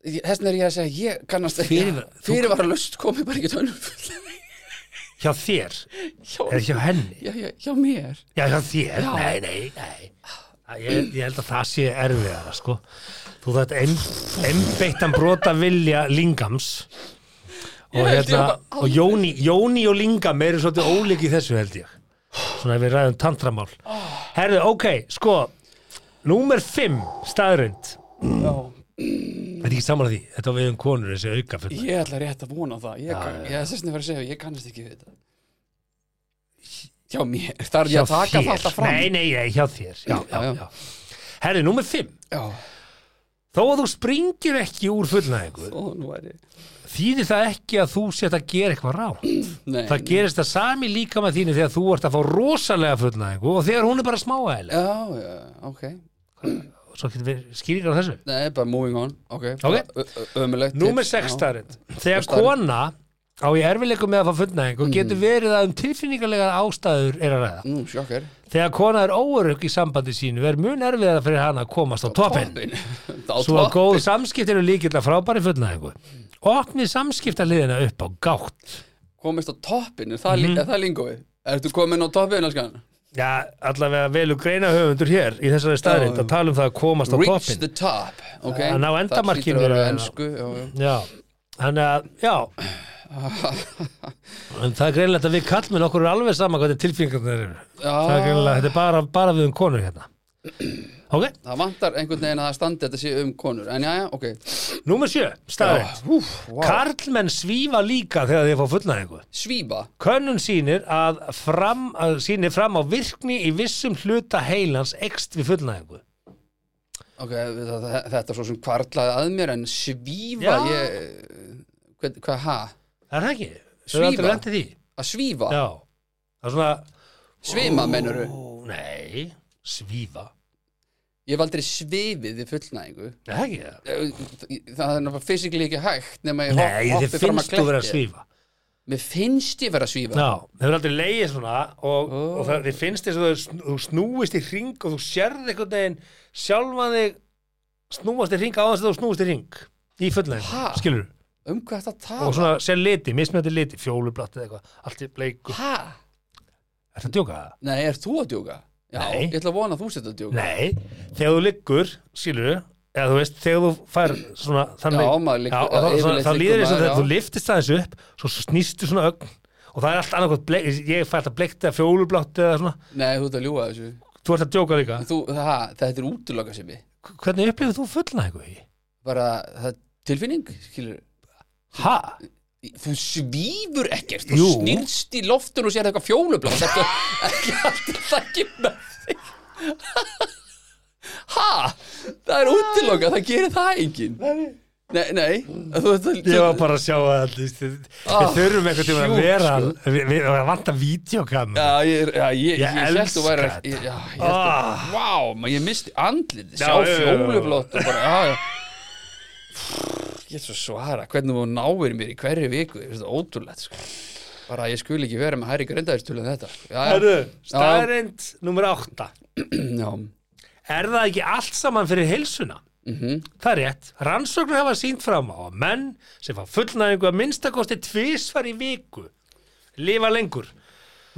Speaker 5: Þessin er ég að segja, ég kannast ekki
Speaker 2: Fyrirvara- þú-
Speaker 5: Fyrir var löst komið bara ekki tönnum full
Speaker 2: Hjá þér,
Speaker 5: hjá,
Speaker 2: eða hjá henni
Speaker 5: já, já, hjá mér
Speaker 2: Já, hjá þér, nei, nei, nei Æ, Ég, ég held að það sé erfiðara, sko Þú þetta einbeittan brota vilja lingams og,
Speaker 5: Ég held ég
Speaker 2: hérna,
Speaker 5: bara-
Speaker 2: og Jóni, Jóni og Lingam eru svolítið ólík í þessu held ég svona ef við ræðum tantramál
Speaker 5: Ah.
Speaker 2: herðu, ok, sko númer 5, staðrönd þetta er ekki saman að því þetta á við um konur, þessi auka full
Speaker 5: Ég ætla rétt að vona það Ég, kann, ég sérstæðan var að segja, ég kannast ekki við þetta Hjá mér, þarf ég að taka það alltaf fram
Speaker 2: nei, nei, nei, hjá þér já, já,
Speaker 5: Já, já.
Speaker 2: já. herðu, númer 5
Speaker 5: Já,
Speaker 2: þó að þú springir ekki úr fullnæðingu
Speaker 5: ó, nú er ég
Speaker 2: þýðir það ekki að þú set að gera eitthvað rátt
Speaker 5: Nei,
Speaker 2: það gerist það sami líka með þínu þegar þú ert að fá rosalega fullnæðingu og þegar hún er bara smáæðileg
Speaker 5: Já, já, ok
Speaker 2: svo getur við skýringar á þessu
Speaker 5: Nei, bara moving on, ok,
Speaker 2: Ok.
Speaker 5: Ömulegt
Speaker 2: Númer 6 starrend Þegar
Speaker 5: staðreynd.
Speaker 2: kona á í erfileikum með að fá fullnæðing og getur verið að um tilfinningarlega ástæður er að ræða
Speaker 5: Nú, Mm, sjokkar
Speaker 2: Þegar kona er óörugg í sambandi sínu er mun erfiðara fyrir hana að komast á toppin Svo að góð samskipt eru líkilega frábæri fullnæðingu Opnið samskiptaliðina upp á gátt
Speaker 5: komist á toppinu, það,
Speaker 2: Mhm.
Speaker 5: mm -hmm. það lingóið Ertu komin á toppinu, elskan?
Speaker 2: Já, allavega velu greina höfundur hér í þessari staðrind að tala um það að komast á
Speaker 5: Reach
Speaker 2: toppin
Speaker 5: the top ok?
Speaker 2: Að ná endamarkinu
Speaker 5: Það hlýtur að vera
Speaker 2: er-
Speaker 5: ensku já, já.
Speaker 2: Já, þannig að, já En það er greinilegt að við kallmenn okkur er alveg sama hvað þetta tilfingarnir eru
Speaker 5: Ah.
Speaker 2: Það er greinilegt, þetta er bara, bara við um konur hérna Ok,
Speaker 5: Það vantar einhvern veginn að það standi að þetta sé um konur En já, já, ok
Speaker 2: númer sjö, staðrind Karlmenn svífa líka þegar þeir fá fullnæðingu
Speaker 5: Svíba
Speaker 2: Könnun sýnir að fram, að sýnir fram á virkni í vissum hluta heilans ekst við fullnæðingu
Speaker 5: Ok, það- það- þetta er svo sem kvarlaði að mér En svífa,
Speaker 2: Já.
Speaker 5: ég Hvað, hva, ha?
Speaker 2: Er það ekki?
Speaker 5: Svífa?
Speaker 2: Svífa? Aldrei því?
Speaker 5: Að svífa?
Speaker 2: Já, það er svona
Speaker 5: Svima, mennuru
Speaker 2: Ó, Nei, svífa
Speaker 5: Ég hef aldrei svifið við fullnæðingu
Speaker 2: Er það ekki það?
Speaker 5: Það er náttúrulega fysikli ekki hægt Nema ég
Speaker 2: Nei,
Speaker 5: hop-
Speaker 2: þið
Speaker 5: hoppi fram að
Speaker 2: finnst þú vera að
Speaker 5: kletti.
Speaker 2: svífa
Speaker 5: Mér finnst ég vera að svífa
Speaker 2: Já, þau eru aldrei leiðið svona og, og það, þið finnst þess að þau sn- þú snúist í ring og þú sérð einhvern veginn sjálfan þig snúast í ring á þess að þú snúist í ring í fullnæðingu,
Speaker 5: Ha?
Speaker 2: skilur
Speaker 5: Um hvað þetta tala?
Speaker 2: og svona sér liti, mismjöndi liti, fjólublatt eða eitthvað, allt í bleiku
Speaker 5: Ha?
Speaker 2: Er það djóka það?
Speaker 5: Nei, er þú að djóka? Já,
Speaker 2: Nei.
Speaker 5: ég ætla að vona að þú setja að djóka
Speaker 2: Nei, þegar þú liggur, skilur eða þú veist, þegar þú fær svona þannig,
Speaker 5: Já, maður liggur-
Speaker 2: já, og þá-
Speaker 5: yfirleitt
Speaker 2: svona- þá
Speaker 5: liggur
Speaker 2: líður þess
Speaker 5: maður,
Speaker 2: að
Speaker 5: já.
Speaker 2: þú liftist aðeins upp svo snýstu svona ögn og það er allt annarkvæmt bleik, ég fæ alltaf bleikt eða fjólublátt eða svona,
Speaker 5: Nei, þú ert að ljúga þessu
Speaker 2: þú ert að djóka líka
Speaker 5: þú, ha, Þetta er útiloka sem ég
Speaker 2: hvernig upplifir þú fullnægu í?
Speaker 5: Bara, það er tilfinning, skilur
Speaker 2: Ha?
Speaker 5: Þú svífur ekkert, þú
Speaker 2: Jú.
Speaker 5: snýrst í loftun og sér eitthvað fjólublað Þetta er ekki alltaf það kemur Ha? Það er útiloka, það gerir það enginn Nei, nei Þú ert að
Speaker 2: Ég var bara að sjá að þú veist, við
Speaker 5: Ah,
Speaker 2: þurfum einhvern tíma að
Speaker 5: sjúkt,
Speaker 2: vera við, við við vantar vídeokam
Speaker 5: Já, ég, já, ég, ég,
Speaker 2: Ég
Speaker 5: ég held þú væri
Speaker 2: elska
Speaker 5: ekki Já, ég held þú
Speaker 2: Ah.
Speaker 5: Vá, maður ég misti andlið
Speaker 2: Já,
Speaker 5: Sjá
Speaker 2: já, já, já.
Speaker 5: fjólublótt og bara já, já. Ég er svo svara Hvernig þú náir mér í hverju viku Þetta er svo ótrúlegt sko. Bara að ég skuli ekki vera með hærri greindaðistölu en þetta sko. já,
Speaker 2: Herru, staðreind nummer átta
Speaker 5: já, já.
Speaker 2: Er það ekki allt saman fyrir heilsuna?
Speaker 5: Mhm.
Speaker 2: Það er rétt. Rannsóknir hafa sínt fram á að menn sem fá fullnæðingu að minnstakosti tvisvar í viku lifa lengur.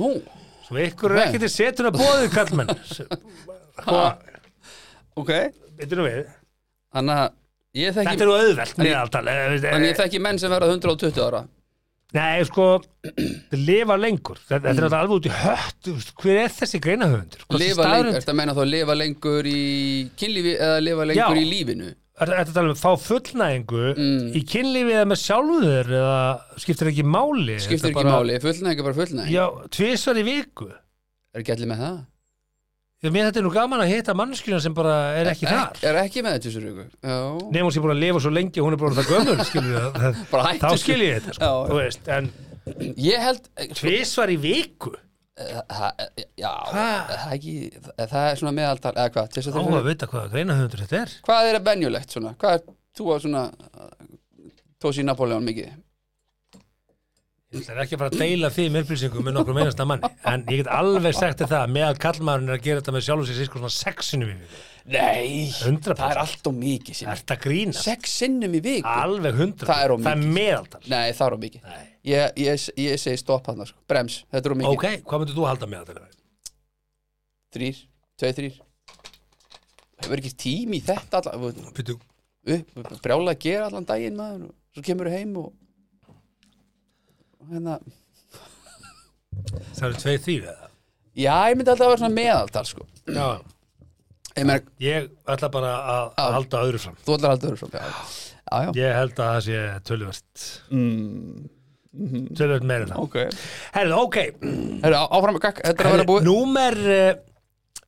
Speaker 5: Nú,
Speaker 2: Svo ykkur er
Speaker 5: Nei.
Speaker 2: ekki til setuna bóðið kallmenn. Sem- Og,
Speaker 5: ok
Speaker 2: veitir nú við,
Speaker 5: Þannig að ég
Speaker 2: þetta
Speaker 5: þekki
Speaker 2: er nú auðvelt
Speaker 5: ég- Þannig að ég
Speaker 2: meðaltal. eh,
Speaker 5: þekki menn sem verða 120 ára
Speaker 2: Nei, sko, þeir lifa lengur. Þetta
Speaker 5: Mm.
Speaker 2: þetta er alltaf alveg út í hött. þú veist, Hver er þessi greinahöfundur? Hvort
Speaker 5: Lifa
Speaker 2: staðurinn-
Speaker 5: lengur, ertu að meina þá lifa lengur í kynlífi eða lifa lengur
Speaker 2: Já.
Speaker 5: í lífinu
Speaker 2: Er þetta talað um að fá fullnæðingu
Speaker 5: Mm.
Speaker 2: í kynlífi eða með sjálfuður eða skiptir ekki máli? Þetta
Speaker 5: Skiptir ekki
Speaker 2: bara-
Speaker 5: máli, fullnæg er bara fullnæg
Speaker 2: Já, tvisvar í viku
Speaker 5: Er ekki allir með það?
Speaker 2: Já, mér þetta er nú gaman að hitta mannskjuna sem bara er ekki þar
Speaker 5: Er ekki með þetta þessu rauku? Já.
Speaker 2: Nefnum sé búin að lifa svo lengi og hún er bara það gömur skilur við það
Speaker 5: Bara hættu
Speaker 2: Þá
Speaker 5: þessu.
Speaker 2: skil ég þetta, sko,
Speaker 5: Já, já.
Speaker 2: þú veist En
Speaker 5: Ég held
Speaker 2: tvisvar í viku
Speaker 5: ha, eh, Já, Eh,
Speaker 2: Ha?
Speaker 5: það, ekki, það það er svona meðaltal eða hvað, til þess að
Speaker 2: Þá
Speaker 5: það
Speaker 2: að vita hvaða greinahöfundur þetta er
Speaker 5: Hvað er að venjulegt svona? Hvað er þú að svona eh, tósi í Napoleon mikið?
Speaker 2: Það er ekki að fara að deila því með upplýsingum með nokkrum einasta manni En ég get alveg sagt þér það að meðal kallmaðurinn er að gera þetta með sjálfum sér sískur svona sexinu við
Speaker 5: Nei,
Speaker 2: 100%.
Speaker 5: það er allt og mikið sem.
Speaker 2: Ertu að grína?
Speaker 5: Sex sinnum í viku?
Speaker 2: Alveg hundra
Speaker 5: Það er of
Speaker 2: Það er meðaltal
Speaker 5: Nei, það er á mikið
Speaker 2: Nei.
Speaker 5: ég, ég, ég segi stopp hann sko. Brems, þetta er á mikið
Speaker 2: Ok, hvað myndir þú halda meðaltal?
Speaker 5: Þrýr, tveir, þrýr Hefur ekki tími í þetta allan
Speaker 2: Býtu,
Speaker 5: upp, brjála að gera allan daginn maður og svo kemur heim og og hérna
Speaker 2: það eru tveir þrýr eða?
Speaker 5: já, ég myndi alltaf að vera svona meðaltal sko
Speaker 2: Já,
Speaker 5: ég meina,
Speaker 2: Ég ætla bara að að halda öðru fram.
Speaker 5: þú ætlar alltaf að vera svona já, já,
Speaker 2: Ég held að það sé tölvöld. Mm. Tölvöld meira en það.
Speaker 5: Mm-hmm. ok
Speaker 2: Herðu, ok.
Speaker 5: Heru, áfram, gakk, þetta er að vera
Speaker 2: Herðu,
Speaker 5: búið
Speaker 2: númer uh,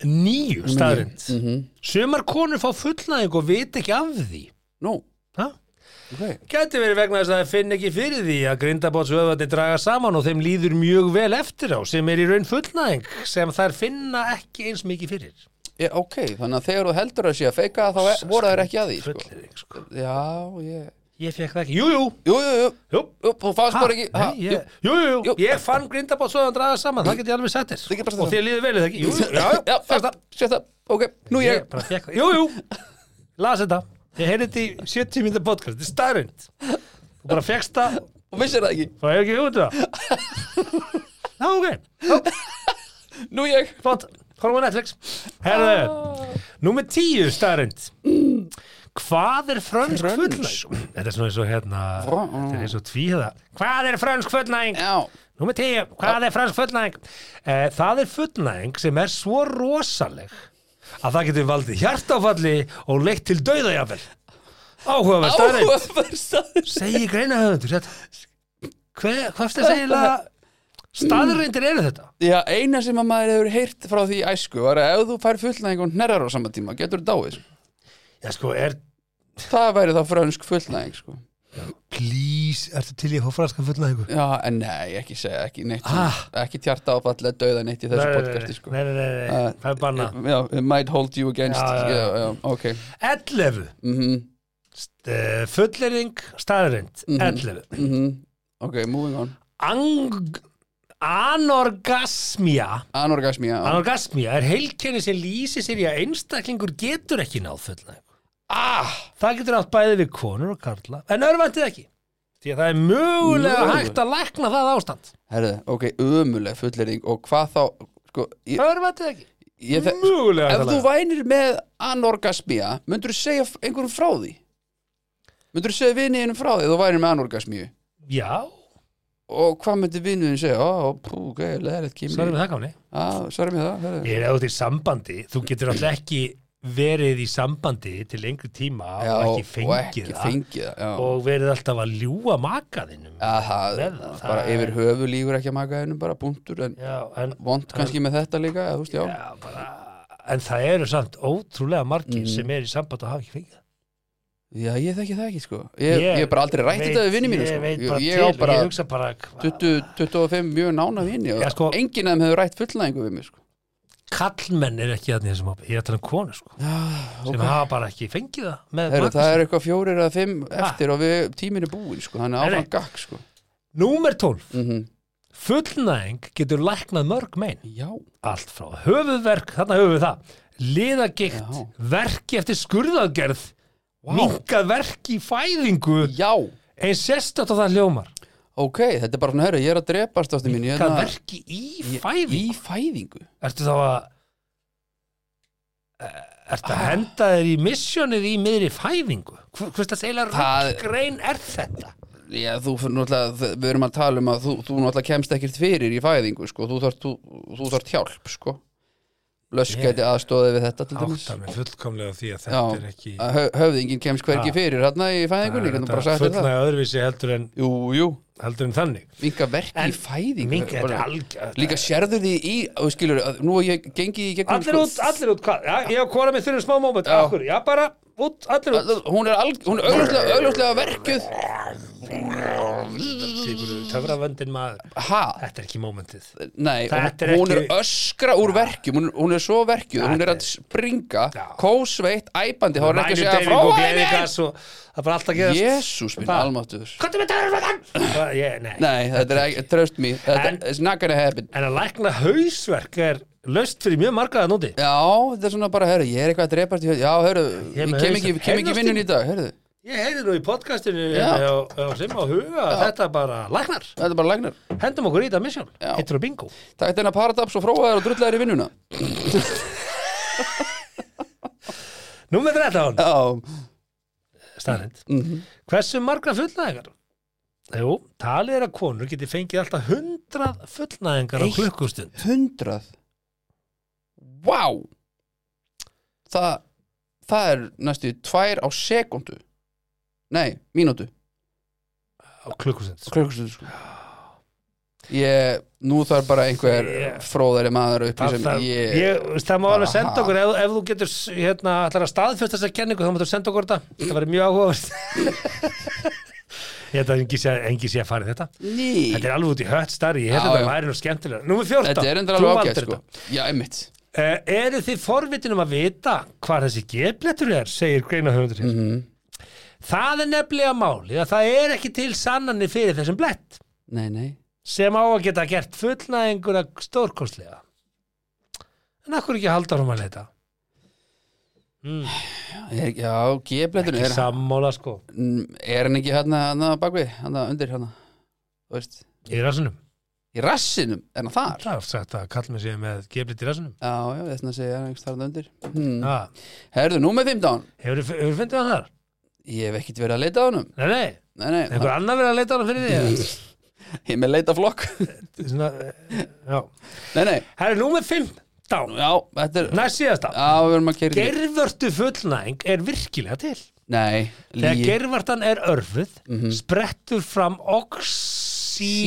Speaker 2: nýju staðrind.
Speaker 5: Mm-hmm.
Speaker 2: Sumar konur fá fullnæðing og vit ekki af því.
Speaker 5: nú,
Speaker 2: Ha?
Speaker 5: ok,
Speaker 2: Gæti verið vegna þess að það finn ekki fyrir því að grindabótsvöðvarnir draga saman og þeim líður mjög vel eftir á sem er í raun fullnæðing sem þær finna ekki eins mikið fyrir.
Speaker 5: ég, ok þannig að þegar þú heldur að sé að feika þá er, voru þær ekki að því sko.
Speaker 2: Fullnæðing, sko.
Speaker 5: já, ég
Speaker 2: Ég fekk það ekki. Jú, jú,
Speaker 5: jú, jú, jú,
Speaker 2: jú.
Speaker 5: jú þú fannst bara ekki ha,
Speaker 2: Nei,
Speaker 5: jú.
Speaker 2: ég, jú, jú, jú,
Speaker 5: Jú.
Speaker 2: ég fann grindabótt svo að hann draga saman, það get ég alveg sagt
Speaker 5: Þið
Speaker 2: þér
Speaker 5: getið bara sagt
Speaker 2: og
Speaker 5: það.
Speaker 2: þér líður vel eða ekki, jú, jú, já, já,
Speaker 5: já,
Speaker 2: fannst það.
Speaker 5: sjösta, ok, nú
Speaker 2: ég
Speaker 5: ég
Speaker 2: bara fekk það, jú, jú las þetta, ég heyrði þetta í 70 mínúta podcast, þetta er staðrind þú bara fekkst það
Speaker 5: og vissir það ekki
Speaker 2: Það er ekki út það Ná, ok,
Speaker 5: Nú ég
Speaker 2: flott, horfum á Netflix
Speaker 5: Ah.
Speaker 2: Herðu, númer tíu starrend Hvað er frönsk
Speaker 5: Frönsk?
Speaker 2: fullnæg? Þetta er svona eins og hérna
Speaker 5: Frá-
Speaker 2: Þetta er eins og tvíhæða Hvað er frönsk fullnæg?
Speaker 5: Já,
Speaker 2: Númer tíu, hvað er frönsk fullnæg? Eh, það er fullnæg sem er svo rosaleg að það getur valdið hjartáfalli og leitt til dauðajafel Áhugaverð starrend
Speaker 5: áhugaverð staður
Speaker 2: segi greinahöfundur þetta hver, hvað er eiginlega staðreindir eru þetta
Speaker 5: Já, eina sem að maður hefur heyrt frá því í æsku var að ef þú fær fullnæðing og hnerrar á sama tíma getur þú dáið sko.
Speaker 2: já sko er
Speaker 5: Það væri þá frönsk fullnæðing sko.
Speaker 2: please, ertu til í hófræðskan fullnæðingu
Speaker 5: Já, en nei, ekki segja, ekki neitt sem-
Speaker 2: Ah.
Speaker 5: ekki tjarta áfallega dauða neitt í þessu podcasti sko.
Speaker 2: nei, nei, nei, nei,
Speaker 5: Uh,
Speaker 2: það er banna
Speaker 5: Já, it might hold you against
Speaker 2: Já, já, já.
Speaker 5: já, ok
Speaker 2: 11,
Speaker 5: mhm,
Speaker 2: uh, fullering staðreind, 11
Speaker 5: mhm, Ok, moving on
Speaker 2: Ang, anorgasmia
Speaker 5: Anorgasmía Anor
Speaker 2: anorgasmia er heilkenni sem lýsi sér í að einstaklingur getur ekki náð fullnæðingu
Speaker 5: ah,
Speaker 2: Það getur átt bæði við konur og karla en örvandið ekki því að það er mögulega
Speaker 5: Mögulega.
Speaker 2: hægt að lækna það ástand
Speaker 5: Herðu, ok, ömuleg fullering og hvað þá sko, ég,
Speaker 2: örvandið ekki
Speaker 5: ég, þe-
Speaker 2: mögulega
Speaker 5: Ef þú vænir með anorgasmía myndur þú segja f- einhverjum frá því myndur þú segja viniðinum frá því ef þú vænir með anorgasmíu
Speaker 2: já,
Speaker 5: og hvað myndir vinuðin segja ó, pú, ok, leðilegt
Speaker 2: svarum
Speaker 5: kýmli
Speaker 2: við það gáni
Speaker 5: Sværi mér það, herðu
Speaker 2: ég er átt í sambandi, þú getur alltaf ekki verið í sambandi til lengri tíma
Speaker 5: Já,
Speaker 2: og ekki fengið
Speaker 5: og
Speaker 2: það
Speaker 5: fengið það já.
Speaker 2: og verið alltaf að ljúga makaðinum
Speaker 5: Já, það,
Speaker 2: Verða, það
Speaker 5: bara
Speaker 2: er-
Speaker 5: yfir höfu lígur ekki að maka hennum bara punktur en
Speaker 2: já, en,
Speaker 5: vond kannski með þetta líka eða, þú veist, já.
Speaker 2: já, bara, en það eru samt ótrúlega margir
Speaker 5: Mhm.
Speaker 2: sem er í sambandi og hafa ekki fengið það.
Speaker 5: já, ég þekki það ekki sko ég,
Speaker 2: Ég
Speaker 5: ég hef bara aldrei rætt
Speaker 2: veit-
Speaker 5: þetta við vinni mínu
Speaker 2: ég
Speaker 5: sko.
Speaker 2: veit bara
Speaker 5: ég,
Speaker 2: til,
Speaker 5: á bara
Speaker 2: ég hugsa bara hva-
Speaker 5: 20, 25 mjög nána vini og
Speaker 2: Já, sko.
Speaker 5: enginn af þeim hefur rætt fullnæðingu við mig sko.
Speaker 2: kallmenn er ekki þannig þessum hópi, ég er að tala um konu sko, sem hafa bara ekki fengið það með
Speaker 5: Heru,
Speaker 2: maka
Speaker 5: það
Speaker 2: sinn.
Speaker 5: er eitthvað fjórir eða fimm eftir og við, tíminn er búinn sko, þannig
Speaker 2: Nei,
Speaker 5: að
Speaker 2: nei.
Speaker 5: áfram gakk sko.
Speaker 2: Númer 12,
Speaker 5: mm
Speaker 2: fullnæðing getur læknað mörg mein
Speaker 5: Já,
Speaker 2: allt frá höfuðverk, þarna höfum við það liðagikt,
Speaker 5: Já.
Speaker 2: verki eftir skurðagerð wow. minkað verk í fæðingu
Speaker 5: já,
Speaker 2: eins sérstætt og það hljómar
Speaker 5: ok, þetta er bara svona, herru, ég er að drepast ástu mín
Speaker 2: minkað verki í fæðingu
Speaker 5: Í fæðingu
Speaker 2: ertu þá að Eh, ertu að henda þér í missjónið í miðri fæðingu hvers það segla
Speaker 5: Það-
Speaker 2: röggrein er þetta
Speaker 5: Já, þú, fyrir náttúrulega, þ- við erum að tala um að þú, þú náttúrulega kemst ekkert fyrir í fæðingu sko, þú þarft, þú, þú þarft hjálp sko. Lösk
Speaker 2: Ég-
Speaker 5: gæti aðstóðið við þetta til dæmis
Speaker 2: áttar mig fullkomlega á því að
Speaker 5: Já,
Speaker 2: þetta er ekki
Speaker 5: að hö- höfðinginn kemst hvergi
Speaker 2: Ah.
Speaker 5: fyrir hérna í fæðingunni, getum bara sagt þetta
Speaker 2: fullnaði öðruvísi heldur en,
Speaker 5: Jú, jú,
Speaker 2: heldur en þannig
Speaker 5: minga verk
Speaker 2: En
Speaker 5: í fæðingu
Speaker 2: minkað
Speaker 5: Bara-
Speaker 2: er algjörð
Speaker 5: Líka sérður því í, og skilur, að nú að ég gengi í gegnum sko,
Speaker 2: Allir út, allir út, hvað? Já, ég og kona mér þurfum smá moment,
Speaker 5: Já.
Speaker 2: akkur, já bara, út, allir út
Speaker 5: Allir- Hún er, alg, hún er augljóslega, augljóslega verkjuð
Speaker 2: Töfravöndin maður
Speaker 5: Ha?
Speaker 2: Þetta er ekki momentið
Speaker 5: Nei,
Speaker 2: Þetta er
Speaker 5: hún, hún er
Speaker 2: ekki-
Speaker 5: öskra úr verkjum hún, hún er svo verkjuð, hún er að springa
Speaker 2: Já.
Speaker 5: kósveitt, æpandi Hún er ekki að segja frá
Speaker 2: og
Speaker 5: henni
Speaker 2: gleðigas og það var alltaf að gerast
Speaker 5: Jésús minn,
Speaker 2: Það-
Speaker 5: almáttuður
Speaker 2: Kottu með töfravöndan Nei,
Speaker 5: Nei, þetta er ekki, trust me þetta,
Speaker 2: En-
Speaker 5: It's not gonna happen
Speaker 2: en að lækna hausverk er löst fyrir mjög margaða núti
Speaker 5: Já, þetta er svona bara, herru, ég er eitthvað að drepast í höfð- Já, herru,
Speaker 2: Ég er
Speaker 5: ég
Speaker 2: með
Speaker 5: kem
Speaker 2: hausinn.
Speaker 5: ekki, kem ekki
Speaker 2: Heyrðu,
Speaker 5: vinnun í dag, herru
Speaker 2: Ég heyri nú í podcastinu
Speaker 5: Já.
Speaker 2: hérna og og sem á huga að þetta bara læknar
Speaker 5: Þetta er bara læknar
Speaker 2: Hendum okkur í þetta misjón,
Speaker 5: Já.
Speaker 2: hittur og bingo
Speaker 5: Takk þennan paradaps og fróaðar og drullar í vinnuna
Speaker 2: Nú með 13
Speaker 5: Já,
Speaker 2: staðrind
Speaker 5: Mhm.
Speaker 2: Hversu margra fullnæðingar? Jú, talið er að konur geti fengið alltaf 100 fullnæðingar á
Speaker 5: Eitt.
Speaker 2: klukkustund
Speaker 5: hundrað Vá wow. Það Það er næstu tvær á sekundu Nei, mínútu
Speaker 2: á klukkustund sko.
Speaker 5: Klukkustundu sko Ég, nú þarf bara einhver
Speaker 2: Ég-
Speaker 5: fróðari maður upp
Speaker 2: Það,
Speaker 5: sem
Speaker 2: það,
Speaker 5: ég,
Speaker 2: ég, veist, það má
Speaker 5: bara,
Speaker 2: alveg senda
Speaker 5: ha?
Speaker 2: okkur ef, ef þú getur s- hérna, ætlar að staðfjösta þessa kenningu þá máttu senda okkur þetta, það væri mjög áhugavert Ég held að engi sé, engi sé að fara í þetta
Speaker 5: Ný,
Speaker 2: Þetta er alveg út í hött starri, ég held
Speaker 5: Já,
Speaker 2: að þetta
Speaker 5: já.
Speaker 2: væri nú skemmtilega Númer 14,
Speaker 5: þetta er endur
Speaker 2: þú
Speaker 5: alveg
Speaker 2: valdir
Speaker 5: ágæð sko
Speaker 2: þetta.
Speaker 5: Já, einmitt
Speaker 2: Eh, Eru þið forvitin um að vita hvað þessi gefblettur er, segir greinahöfundur hér
Speaker 5: mm
Speaker 2: Það er nefnilega málið að það er ekki til sannanir fyrir þessum blett
Speaker 5: Nei, nei
Speaker 2: sem á að geta gert fullnæðinguna stórkostlega. En akkur ekki halda hún að leita? Mm,
Speaker 5: Er- Já, gefletur
Speaker 2: ekki
Speaker 5: er,
Speaker 2: sammála sko.
Speaker 5: er hann ekki hérna, hérna bakvið, hérna undir hérna þú veist,
Speaker 2: í rassinum
Speaker 5: í rassinum en þar
Speaker 2: það er oft sagt að kall með sér með geflit í rassinum
Speaker 5: Já, já, þess að segja einhvers þarna undir hmm.
Speaker 2: ja.
Speaker 5: Herðu, númer 15
Speaker 2: hefur þú fundið hann þar?
Speaker 5: Ég hef ekkert verið að leita á honum
Speaker 2: Nei, nei,
Speaker 5: Nei, nei,
Speaker 2: einhver annar verið að leita hann fyrir því
Speaker 5: ég er með leita flokk
Speaker 2: Svona, eh, já
Speaker 5: Nei, nei,
Speaker 2: Það er númer 15
Speaker 5: já, þetta er
Speaker 2: Næst síðasta
Speaker 5: Já, við erum að kæri
Speaker 2: Gervörtu fullnæðing er virkilega til
Speaker 5: Nei,
Speaker 2: Þegar
Speaker 5: lígi
Speaker 2: gervartan er örfuð sprettur fram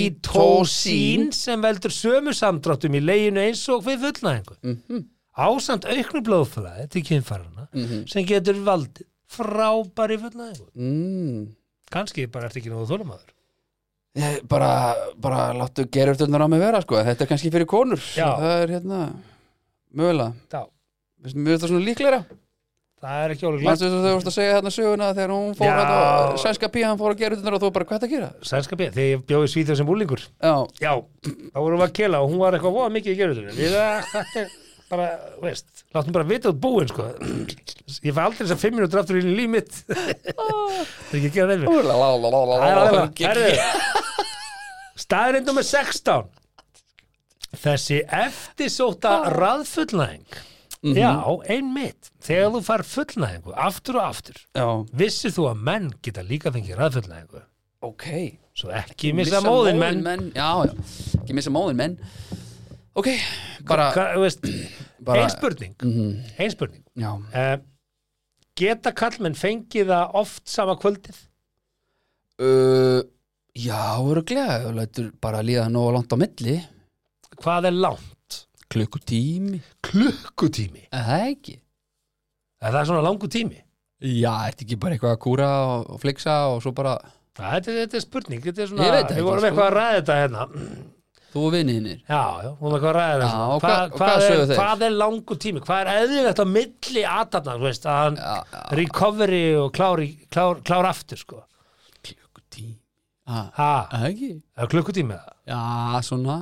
Speaker 2: oxytocin sem veldur sömu samdráttum í leginu eins og við fullnæðingu ásamt auknu blóðflæði til kynfærarna sem getur valdið frábæri fullnæðingu
Speaker 5: mm.
Speaker 2: kannski bara ert ekki náðu þólumadur
Speaker 5: Ég- bara, bara láttu gerurtöldunar á mig vera sko. þetta er kannski fyrir konur
Speaker 2: Já.
Speaker 5: það er hérna mögulega,
Speaker 2: Já,
Speaker 5: Veistu, mér finnst það svona líklegra
Speaker 2: það er ekki ólega
Speaker 5: mannstu þess að þau vorst að segja þarna söguna þegar hún fór
Speaker 2: Já.
Speaker 5: að sænska píðan fór að gerurtöldunar og þú bara hvað er það að gera
Speaker 2: Sænskapið, þegar ég bjóði svíþjóð sem úlingur
Speaker 5: já,
Speaker 2: Já, þá vorum við að kela og hún var eitthvað voða mikið í gerðutunum Við að, bara, veist, láttum bara vita út búin, sko Ég fæ aldrei þess að fimm minútur aftur í líf mitt Það er ekki að gera reyfir
Speaker 5: la, la, la, la, la, la, la.
Speaker 2: Herðu Staðrind nummer 16 Þessi eftirsóta raðfullnæðing Já, einmitt Þegar þú fær fullnæðingu, aftur og aftur
Speaker 5: já,
Speaker 2: Vissir þú að menn geta líka fengið raðfullnæðingu
Speaker 5: ok
Speaker 2: Svo ekki missa móðin menn
Speaker 5: já, já, ekki missa móðin menn ok, bara,
Speaker 2: Hvað, þú veist,
Speaker 5: bara Mhm.
Speaker 2: ein spurning ein spurning
Speaker 5: já,
Speaker 2: uh, geta kallmenn fengið það oft sama kvöldið
Speaker 5: uh, já, eru glega þú lætur bara líða nógu langt á milli
Speaker 2: hvað er langt?
Speaker 5: klukkutími,
Speaker 2: klukkutími
Speaker 5: er það ekki
Speaker 2: Er Eh, það er svona langu tími
Speaker 5: Já, ertu ekki bara eitthvað að kúra og, og fliksa og svo bara
Speaker 2: Æ, þetta, er- þetta er spurning þetta er svona,
Speaker 5: Ég veit það
Speaker 2: við
Speaker 5: ekki,
Speaker 2: vorum
Speaker 5: sko.
Speaker 2: eitthvað að ræða þetta hérna
Speaker 5: þú og vinniðinir
Speaker 2: já, já, við vorum eitthvað að ræða þetta
Speaker 5: Já,
Speaker 2: svona.
Speaker 5: og hvað- og hvað sögðu
Speaker 2: er,
Speaker 5: þeir?
Speaker 2: hvað er langu tími hvað er eðlilegt á milli aðtarnar þú veist, að hann
Speaker 5: Já, já,
Speaker 2: recovery og klár, í- klár, klár aftur sko.
Speaker 5: klukkutími Já,
Speaker 2: ha,
Speaker 5: það ekki
Speaker 2: er klukkutími það?
Speaker 5: Já, svona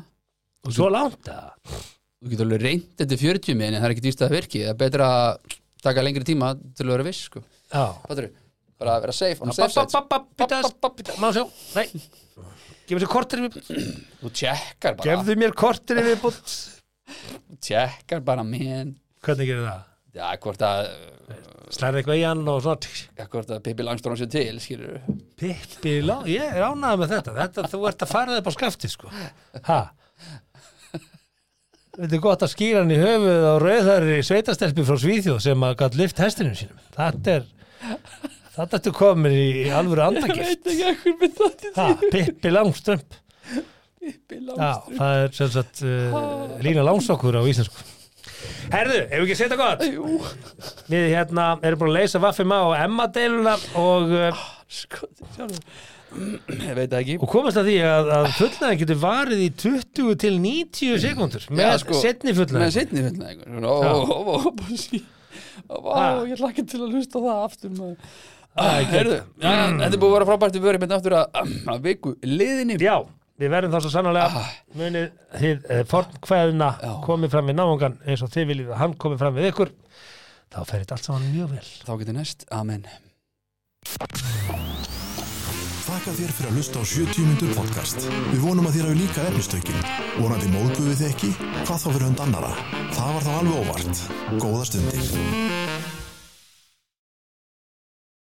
Speaker 2: svo langt það
Speaker 5: Þú getur alveg reynd þetta er 40 minn en það er ekki víst að það virki Það er betra að taka lengri tíma til að vera viss sko.
Speaker 2: já
Speaker 5: Fattarðu? Bara að vera safe on safe side
Speaker 2: Bita, má sjá, nei Gefur sér kortir við
Speaker 5: Þú tjekkar bara
Speaker 2: Gefðu mér kortir við bútt
Speaker 5: Þú tjekkar bara menn
Speaker 2: Hvernig gerir það?
Speaker 5: Já, hvort að
Speaker 2: Slærði eitthvað í hann og svona tsk,
Speaker 5: já, hvort að Pippi Langstrón sér til skilur
Speaker 2: Pippi lá, ég er ánægð með þetta. þetta Þú ert að fara þig upp á skafti sko Ha Þetta er gott að skýra hann í höfuð á rauðari sveitastelpi frá Svíþjóð sem að gætt lift hestinum sínum Þetta er Þetta ertu komin í alvöru andagift
Speaker 5: ekki ekkur með það til
Speaker 2: Ha, Pippi Langströmp
Speaker 5: Pippi
Speaker 2: Já, það er sem sagt uh, Lína Lánsokkur á íslensku Herðu, ef ekki setja gott
Speaker 5: Jú,
Speaker 2: Við hérna erum búin að leysa Vaffima og Emma deiluna og, uh,
Speaker 5: sko, sjálfur Ég veit það ekki
Speaker 2: og komast að því að, að fullnæðin getur varið í 20 til 90 sekúndur með
Speaker 5: Já,
Speaker 2: sko,
Speaker 5: sko,
Speaker 2: setni
Speaker 5: með
Speaker 2: fullnæðin
Speaker 5: setni fullnæðingur ó, ó, ó, ó, bara sí- ó,
Speaker 2: Ha.
Speaker 5: ó, ég hlakka til að hlusta á það aftur maður.
Speaker 2: Ah,
Speaker 5: Heyrðu, já, já, þetta er búið að vera frábært við verðum hérna aftur að, að viku liðinni
Speaker 2: Já, við verðum þá svo sannlega munið þið eh, fornkveðina
Speaker 5: Ah. Já.
Speaker 2: komið fram við náungan eins og þið viljið að hann komið fram við ykkur þá fer þetta allt saman mjög vel
Speaker 5: þá getur næst, amen
Speaker 4: Þakka þér fyrir að hlusta á 70 mínútur podcast. Við vonum að þér hafi líka efnistökin. Vonandi móðguðu þið ekki? Hvað þá fyrir hund annara? Það var þá alveg óvart. Góða stundir.